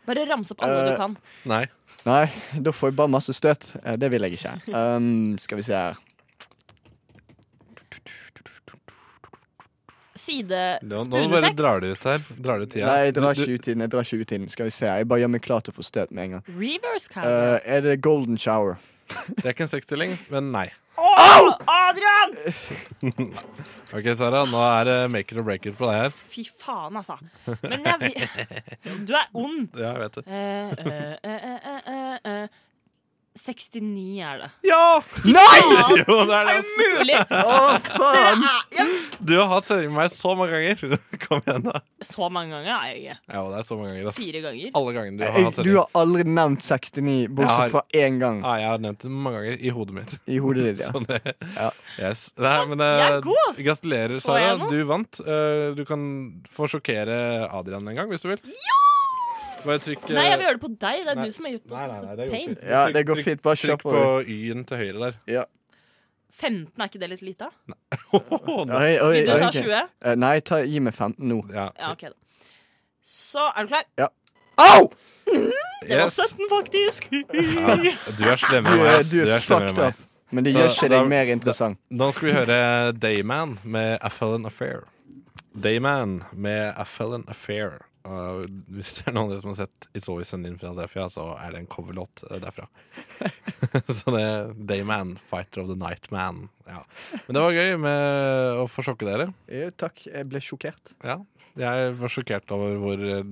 Speaker 5: Bare ramse opp alle
Speaker 6: Eh,
Speaker 5: du kan.
Speaker 4: Nei.
Speaker 6: Nei, da får jeg bare masse støt. Eh, Det vil jeg ikke. Um, skal vi se her.
Speaker 5: Side
Speaker 4: Nå, nå bare
Speaker 5: Spunesex.
Speaker 4: drar det ut her. Drar det ut tida.
Speaker 6: Nei, jeg
Speaker 4: Du-
Speaker 6: drar
Speaker 4: du-
Speaker 6: ikke ut tiden. Jeg drar ikke ut tiden. Skal vi se. her. Jeg bare gjør meg klar til å få støt med en gang.
Speaker 5: Reverse cowgirl.
Speaker 6: Eh, er det golden shower?
Speaker 4: Det er ikke en sexstilling, men nei.
Speaker 5: Åh, Adrian!
Speaker 4: Ok, Sara, nå er det make it or break it på deg her.
Speaker 5: Fy faen, altså. Men jeg vet Du er ond.
Speaker 4: Ja, jeg vet det.
Speaker 5: Eh, eh, eh, eh, eh, eh. 69 er det.
Speaker 4: Ja!
Speaker 5: Nei!
Speaker 4: Jo, det er det. altså.
Speaker 5: Er det mulig?
Speaker 6: Å, faen!
Speaker 4: Du har hatt sending med meg så mange ganger. Kom igjen, da.
Speaker 5: Så mange ganger er jeg ikke.
Speaker 4: Ja, det er så mange ganger, ass.
Speaker 5: Fire ganger.
Speaker 4: Alle gangene du har
Speaker 6: Jeg,
Speaker 4: hatt
Speaker 6: Eh, du
Speaker 4: sending.
Speaker 6: har aldri nevnt 69, bortsett
Speaker 4: Jeg har- Ah.
Speaker 6: fra én gang
Speaker 4: Ja, jeg har nevnt det mange ganger i hodet mitt.
Speaker 6: i hodet ditt. ja
Speaker 4: Sånn det.
Speaker 6: Ja.
Speaker 4: Yes. Nei, men
Speaker 5: Jeg
Speaker 4: eh,
Speaker 5: er god, ass.
Speaker 4: gratulerer,
Speaker 5: Får jeg
Speaker 4: Sara.
Speaker 5: noe?
Speaker 4: Du vant. Eh, Du kan få sjokkere Adrian en gang, hvis du vil. Bare trykk eh,
Speaker 5: Nei, jeg vil gjøre det på deg. Det er
Speaker 4: Nei.
Speaker 5: du som har gjort
Speaker 4: Nei, nei, nei, det
Speaker 5: det.
Speaker 4: går
Speaker 5: Pain.
Speaker 4: fint.
Speaker 6: Ja, det
Speaker 4: Trykk-
Speaker 6: går
Speaker 4: trykk-
Speaker 6: fint. Bare kjør
Speaker 4: Trykk
Speaker 6: på.
Speaker 4: på Y-en til høyre der.
Speaker 6: Ja.
Speaker 5: 15, er ikke det litt lite?
Speaker 6: Oi, oi,
Speaker 5: Vil du
Speaker 6: oi,
Speaker 5: ta
Speaker 6: ok.
Speaker 5: 20?
Speaker 6: Eh, nei, ta, gi meg 15 nå.
Speaker 4: Ja.
Speaker 5: Ja, OK, da. Så er du klar?
Speaker 6: Au!
Speaker 5: Det var
Speaker 4: Yes.
Speaker 5: 17, faktisk.
Speaker 4: Du er slemmere
Speaker 6: Du
Speaker 4: enn meg.
Speaker 6: er,
Speaker 4: ass.
Speaker 6: du er
Speaker 4: slemmere
Speaker 6: fucked
Speaker 4: enn meg.
Speaker 6: up. Men det
Speaker 4: Så
Speaker 6: gjør ikke
Speaker 4: da-
Speaker 6: deg mer interessant.
Speaker 4: Da skal vi høre Dayman med A Felon Affair. Dayman med A Felon Affair. Uh, hvis det er noen av dere som har sett It's Always Sunny in Philadelphia, så er det en coverlåt eh, derfra. så det er Dayman, Fighter of the Nightman. Ja. Men det var gøy med å få sjokke dere.
Speaker 6: Eh, takk, jeg ble sjokkert.
Speaker 4: Ja. Jeg var sjokkert over hvor eh,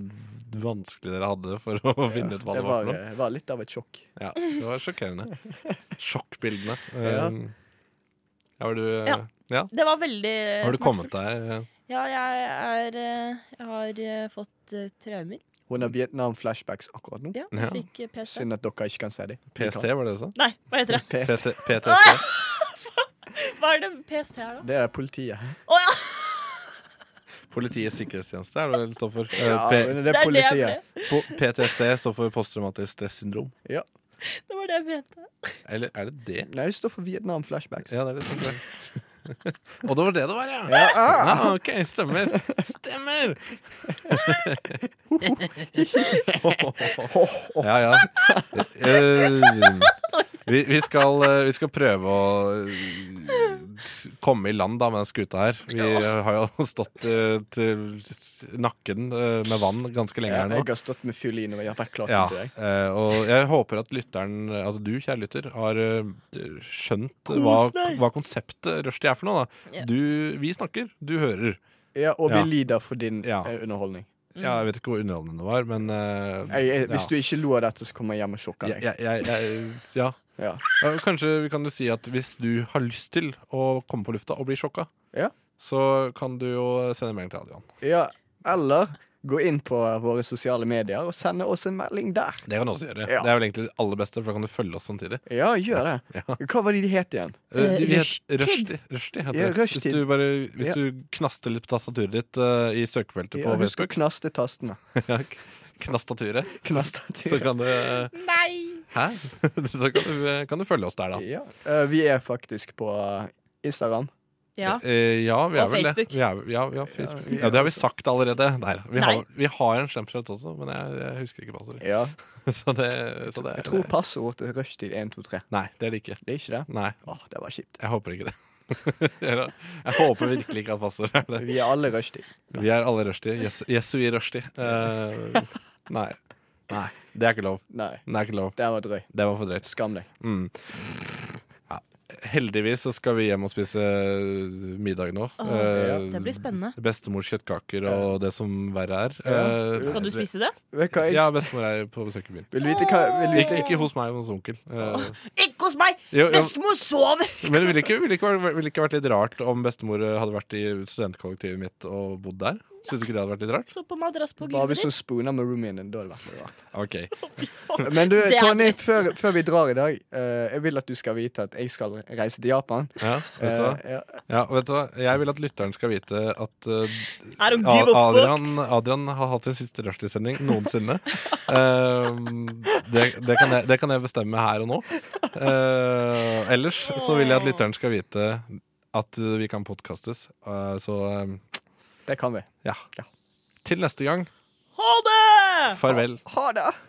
Speaker 4: vanskelig dere hadde for å finne ut hva det var
Speaker 6: Det var,
Speaker 4: for noe.
Speaker 6: eh, var litt av et sjokk.
Speaker 4: Ja, det var sjokkerende. Sjokkbildene.
Speaker 6: Ja.
Speaker 4: Um, ja, var du ja.
Speaker 5: Ja. Det var veldig
Speaker 4: Har du kommet deg eh,
Speaker 5: Ja, jeg er eh, Jeg har eh, fått eh, traumer.
Speaker 6: Hun har Vietnam-flashbacks akkurat nå.
Speaker 5: Ja, jeg
Speaker 4: Ja.
Speaker 5: fikk eh, PC.
Speaker 6: Synd at dere ikke kan se dem.
Speaker 4: PST, var det du sa?
Speaker 5: Nei, hva heter det?
Speaker 6: PST.
Speaker 4: PT, PTSD?
Speaker 5: Hva er det PST er, da?
Speaker 6: Det er politiet.
Speaker 5: Å ja!
Speaker 4: Politiets sikkerhetstjeneste er det vel det står for. Eh,
Speaker 6: Ja,
Speaker 4: P
Speaker 6: men det
Speaker 5: Det
Speaker 6: er
Speaker 5: er det jeg
Speaker 6: politiet.
Speaker 4: po- PTSD står for posttraumatisk stressyndrom.
Speaker 5: Det var det jeg mente.
Speaker 4: Eller er det det?
Speaker 6: Nei, det står for Vietnam-flashbacks.
Speaker 4: Ja, det er det. som er. Og det var det det var, ja!
Speaker 6: Ja, ah,
Speaker 4: Ja, OK, stemmer. Stemmer! ja, ja. Eh, vi, vi, skal, eh, vi skal prøve å eh, komme i land da med den skuta her. Vi har jo stått eh, til nakken eh, med vann ganske lenge
Speaker 6: ja,
Speaker 4: her nå.
Speaker 6: jeg har stått med fiolin og jeg har vært
Speaker 4: Ja,
Speaker 6: til deg.
Speaker 4: eh, og jeg håper at lytteren, altså du kjære lytter, har eh, skjønt hva, hva konseptet Rushdie er for noe.
Speaker 5: Ja.
Speaker 4: Da. Du, vi snakker, du hører.
Speaker 6: Ja, og vi
Speaker 4: Ja.
Speaker 6: lider for din
Speaker 4: Ja.
Speaker 6: eh, underholdning.
Speaker 4: Ja, jeg vet ikke hvor underholdende det var, men eh,
Speaker 6: Jeg, jeg, hvis
Speaker 4: ja.
Speaker 6: du ikke lo av dette, så kommer jeg hjem og sjokker
Speaker 4: jeg,
Speaker 6: deg.
Speaker 4: jeg, jeg, jeg, ja.
Speaker 6: Ja.
Speaker 4: Eh, Kanskje vi kan jo si at hvis du har lyst til å komme på lufta og bli sjokka,
Speaker 6: Ja.
Speaker 4: så kan du jo sende melding til Adrian.
Speaker 6: Ja, eller gå inn på våre sosiale medier og sende oss en melding der.
Speaker 4: Det kan du også gjøre.
Speaker 6: Ja.
Speaker 4: Det er vel egentlig det aller beste, for da kan du følge oss samtidig.
Speaker 6: Ja, gjør det.
Speaker 4: Ja.
Speaker 6: Hva var det de het igjen?
Speaker 4: Eh, de- vi het-
Speaker 5: Rushtid.
Speaker 4: Rushtid. Rushtid heter
Speaker 6: Ja,
Speaker 4: det.
Speaker 6: Rushtid.
Speaker 4: Hvis du, bare, hvis
Speaker 6: Ja.
Speaker 4: du knaster litt på tastaturet ditt eh, i søkefeltet
Speaker 6: Ja,
Speaker 4: på
Speaker 6: husk å
Speaker 4: Facebook,
Speaker 6: knaste tastene.
Speaker 4: ja, k- knastaturet, så
Speaker 6: Knastaturet.
Speaker 4: kan du eh,
Speaker 5: Nei!
Speaker 4: Hæ? så kan du, eh, kan du følge oss der, da.
Speaker 6: Ja. eh, vi er faktisk på eh, Instagram.
Speaker 5: Ja.
Speaker 4: Eh, ja, vi er
Speaker 5: Og
Speaker 4: vel
Speaker 5: Facebook.
Speaker 4: det. Vi er, ja, ja, Facebook.
Speaker 6: Ja,
Speaker 4: Ja,
Speaker 6: vi er
Speaker 4: det har vi
Speaker 6: også.
Speaker 4: sagt allerede. Nei, vi, Har,
Speaker 5: Nei.
Speaker 4: vi har en slemprøvd også, men jeg, jeg husker ikke passordet.
Speaker 6: Ja.
Speaker 4: Så det, så det,
Speaker 6: Jeg tror passordet til rushtid er 123.
Speaker 4: Nei, det er det ikke.
Speaker 6: Det er ikke det?
Speaker 4: Nei,
Speaker 6: Åh, det var kjipt.
Speaker 4: jeg håper ikke det. Eller, jeg håper virkelig ikke at passordet er det.
Speaker 6: Vi er alle rushtid.
Speaker 4: Vi er alle rushtid. Yes, yes, vi er rushtid. Eh, nei. nei. Det er ikke lov.
Speaker 6: Nei,
Speaker 4: Det er ikke lov.
Speaker 6: den var drøy.
Speaker 4: Det var for drøyt.
Speaker 6: Skam deg.
Speaker 4: Mm. Ja. Heldigvis så skal vi hjem og spise middag nå.
Speaker 5: Åh,
Speaker 4: Eh,
Speaker 5: Det blir spennende.
Speaker 4: Bestemors kjøttkaker og det som verre er.
Speaker 6: Ja.
Speaker 4: Eh,
Speaker 5: Skal du spise det?
Speaker 6: Vet du hva, jeg-
Speaker 4: Ja, bestemor er på besøk i byen.
Speaker 6: Vil du vite hva vil du
Speaker 4: Ikke,
Speaker 6: vite?
Speaker 4: ikke hos meg, men hos onkel. Eh,
Speaker 5: Ikke hos meg!
Speaker 4: jo, jo,
Speaker 5: Bestemor sover!
Speaker 4: men det ville ikke, ville, ikke, vært- ville ikke vært litt rart om bestemor eh, hadde vært i studentkollektivet mitt og bodd der? Syns du ikke det hadde vært litt rart?
Speaker 5: Så på madrass på
Speaker 6: Bare
Speaker 5: gulvet
Speaker 6: hvis hun
Speaker 5: ditt.
Speaker 6: spooner med roomien din. Da hadde det vært litt rart.
Speaker 4: Ok,
Speaker 5: Fy faen.
Speaker 6: Men du,
Speaker 5: Det er
Speaker 6: Tony,
Speaker 5: dritt.
Speaker 6: før, før vi drar i dag, eh, jeg vil at du skal vite at jeg skal reise til Japan.
Speaker 4: ja, vet du hva?
Speaker 6: Eh, ja.
Speaker 4: Ja, vet du hva? Jeg vil at lytteren skal vite at eh,
Speaker 5: I don't
Speaker 4: A-
Speaker 5: give a fuck.
Speaker 4: Adrian, Adrian har hatt sin siste rushtidssending noensinne. Eh, det, det, kan jeg, det kan jeg bestemme her og nå. Eh, ellers så vil jeg at lytteren skal vite at eh, vi kan podkastes. Eh, så eh,
Speaker 6: Det kan vi.
Speaker 4: ja. Til neste gang,
Speaker 5: Ha det!
Speaker 4: farvel.
Speaker 6: Ha det!